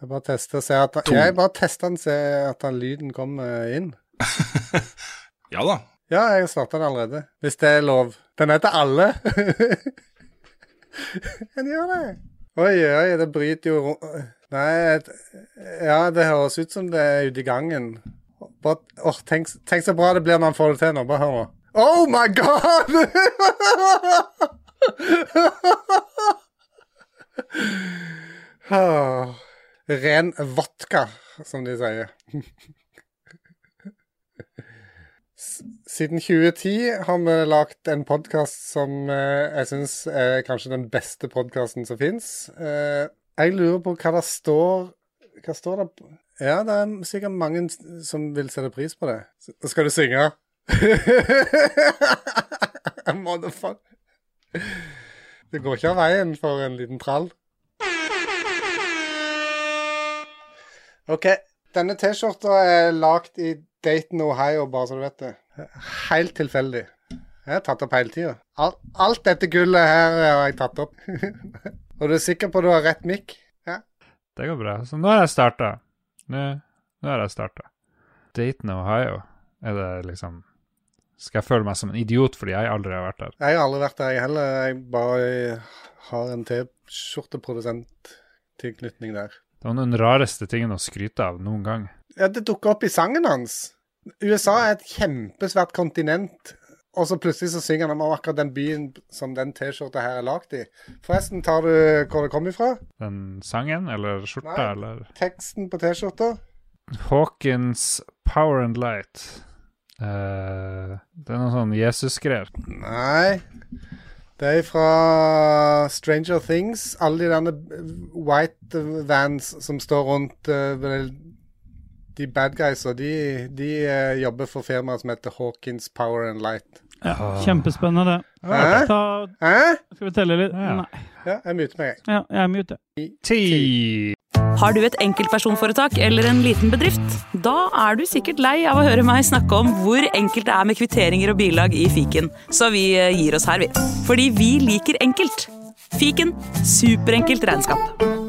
Speaker 2: Jeg bare tester se at
Speaker 11: To.
Speaker 2: Jeg bare tester den, se at den lyden kommer inn.
Speaker 11: Ja da.
Speaker 2: Ja, jeg starta den allerede. Hvis det er lov. Den er til alle. Den gjør det. Oi, oi, det bryter jo ro- Nei, et- ja, det høres ut som det er ute i gangen. Bare, åh, tenk, tenk så bra det blir når han får det til nå. Bare hør nå. Oh my god! Ah, Ren vodka, som de sier. S- Siden 2010 har vi lagt en podkast som eh, jeg syns er kanskje den beste podkasten som fins. Jeg lurer på hva det står Hva står det på? Ja, det er sikkert mange s- som vil sette pris på det. S- Skal du synge? Motherfucker. Det går ikke av veien for en liten trall. OK. Denne T-skjorta er lagd i Dayton, Ohio, bare så du vet det. Helt tilfeldig. Jeg har tatt opp hele tida. Alt, alt dette gullet her har jeg tatt opp. Og du er sikker på du har rett mikk?
Speaker 1: Det går bra. Så nå har jeg starta. Nå, nå har jeg starta. Dayton, Ohio. Er det liksom Skal jeg føle meg som en idiot fordi jeg aldri har vært der?
Speaker 2: Jeg har aldri vært der, jeg heller. Jeg bare har en T-skjorteprodusenttilknytning der.
Speaker 1: Det var noen rareste tingene å skryte av noen gang.
Speaker 2: Ja, det dukka opp i sangen hans. USA er et kjempesvært kontinent, og så plutselig så synger han om akkurat den byen som den T-skjorta her er lagd i. Forresten, tar du hvor det kommer ifra?
Speaker 1: Den sangen eller skjorta
Speaker 2: Nei.
Speaker 1: eller
Speaker 2: Teksten på T-skjorta?
Speaker 1: Hawkins Power and Light. Eh, det er noe sånn Jesus-greier.
Speaker 2: Nei. Det er fra Stranger Things. Alle de derne eh, white vans som står rundt eh, vel, de bad guysa, de, de eh, jobber for firmaet som heter Hawkins Power and Light.
Speaker 3: Ja, kjempespennende, det.
Speaker 2: Ah. Hæ?
Speaker 3: Ta,
Speaker 2: Hæ?
Speaker 3: skal vi telle litt? Nei.
Speaker 2: Ja, jeg muter meg, jeg.
Speaker 3: Ja, jeg er mute.
Speaker 1: Ti.
Speaker 13: Har du et enkeltpersonforetak eller en liten bedrift? Da er du sikkert lei av å høre meg snakke om hvor enkelt det er med kvitteringer og bilag i fiken, så vi eh, gir oss her, vi. Fordi vi liker enkelt. Fiken superenkelt regnskap.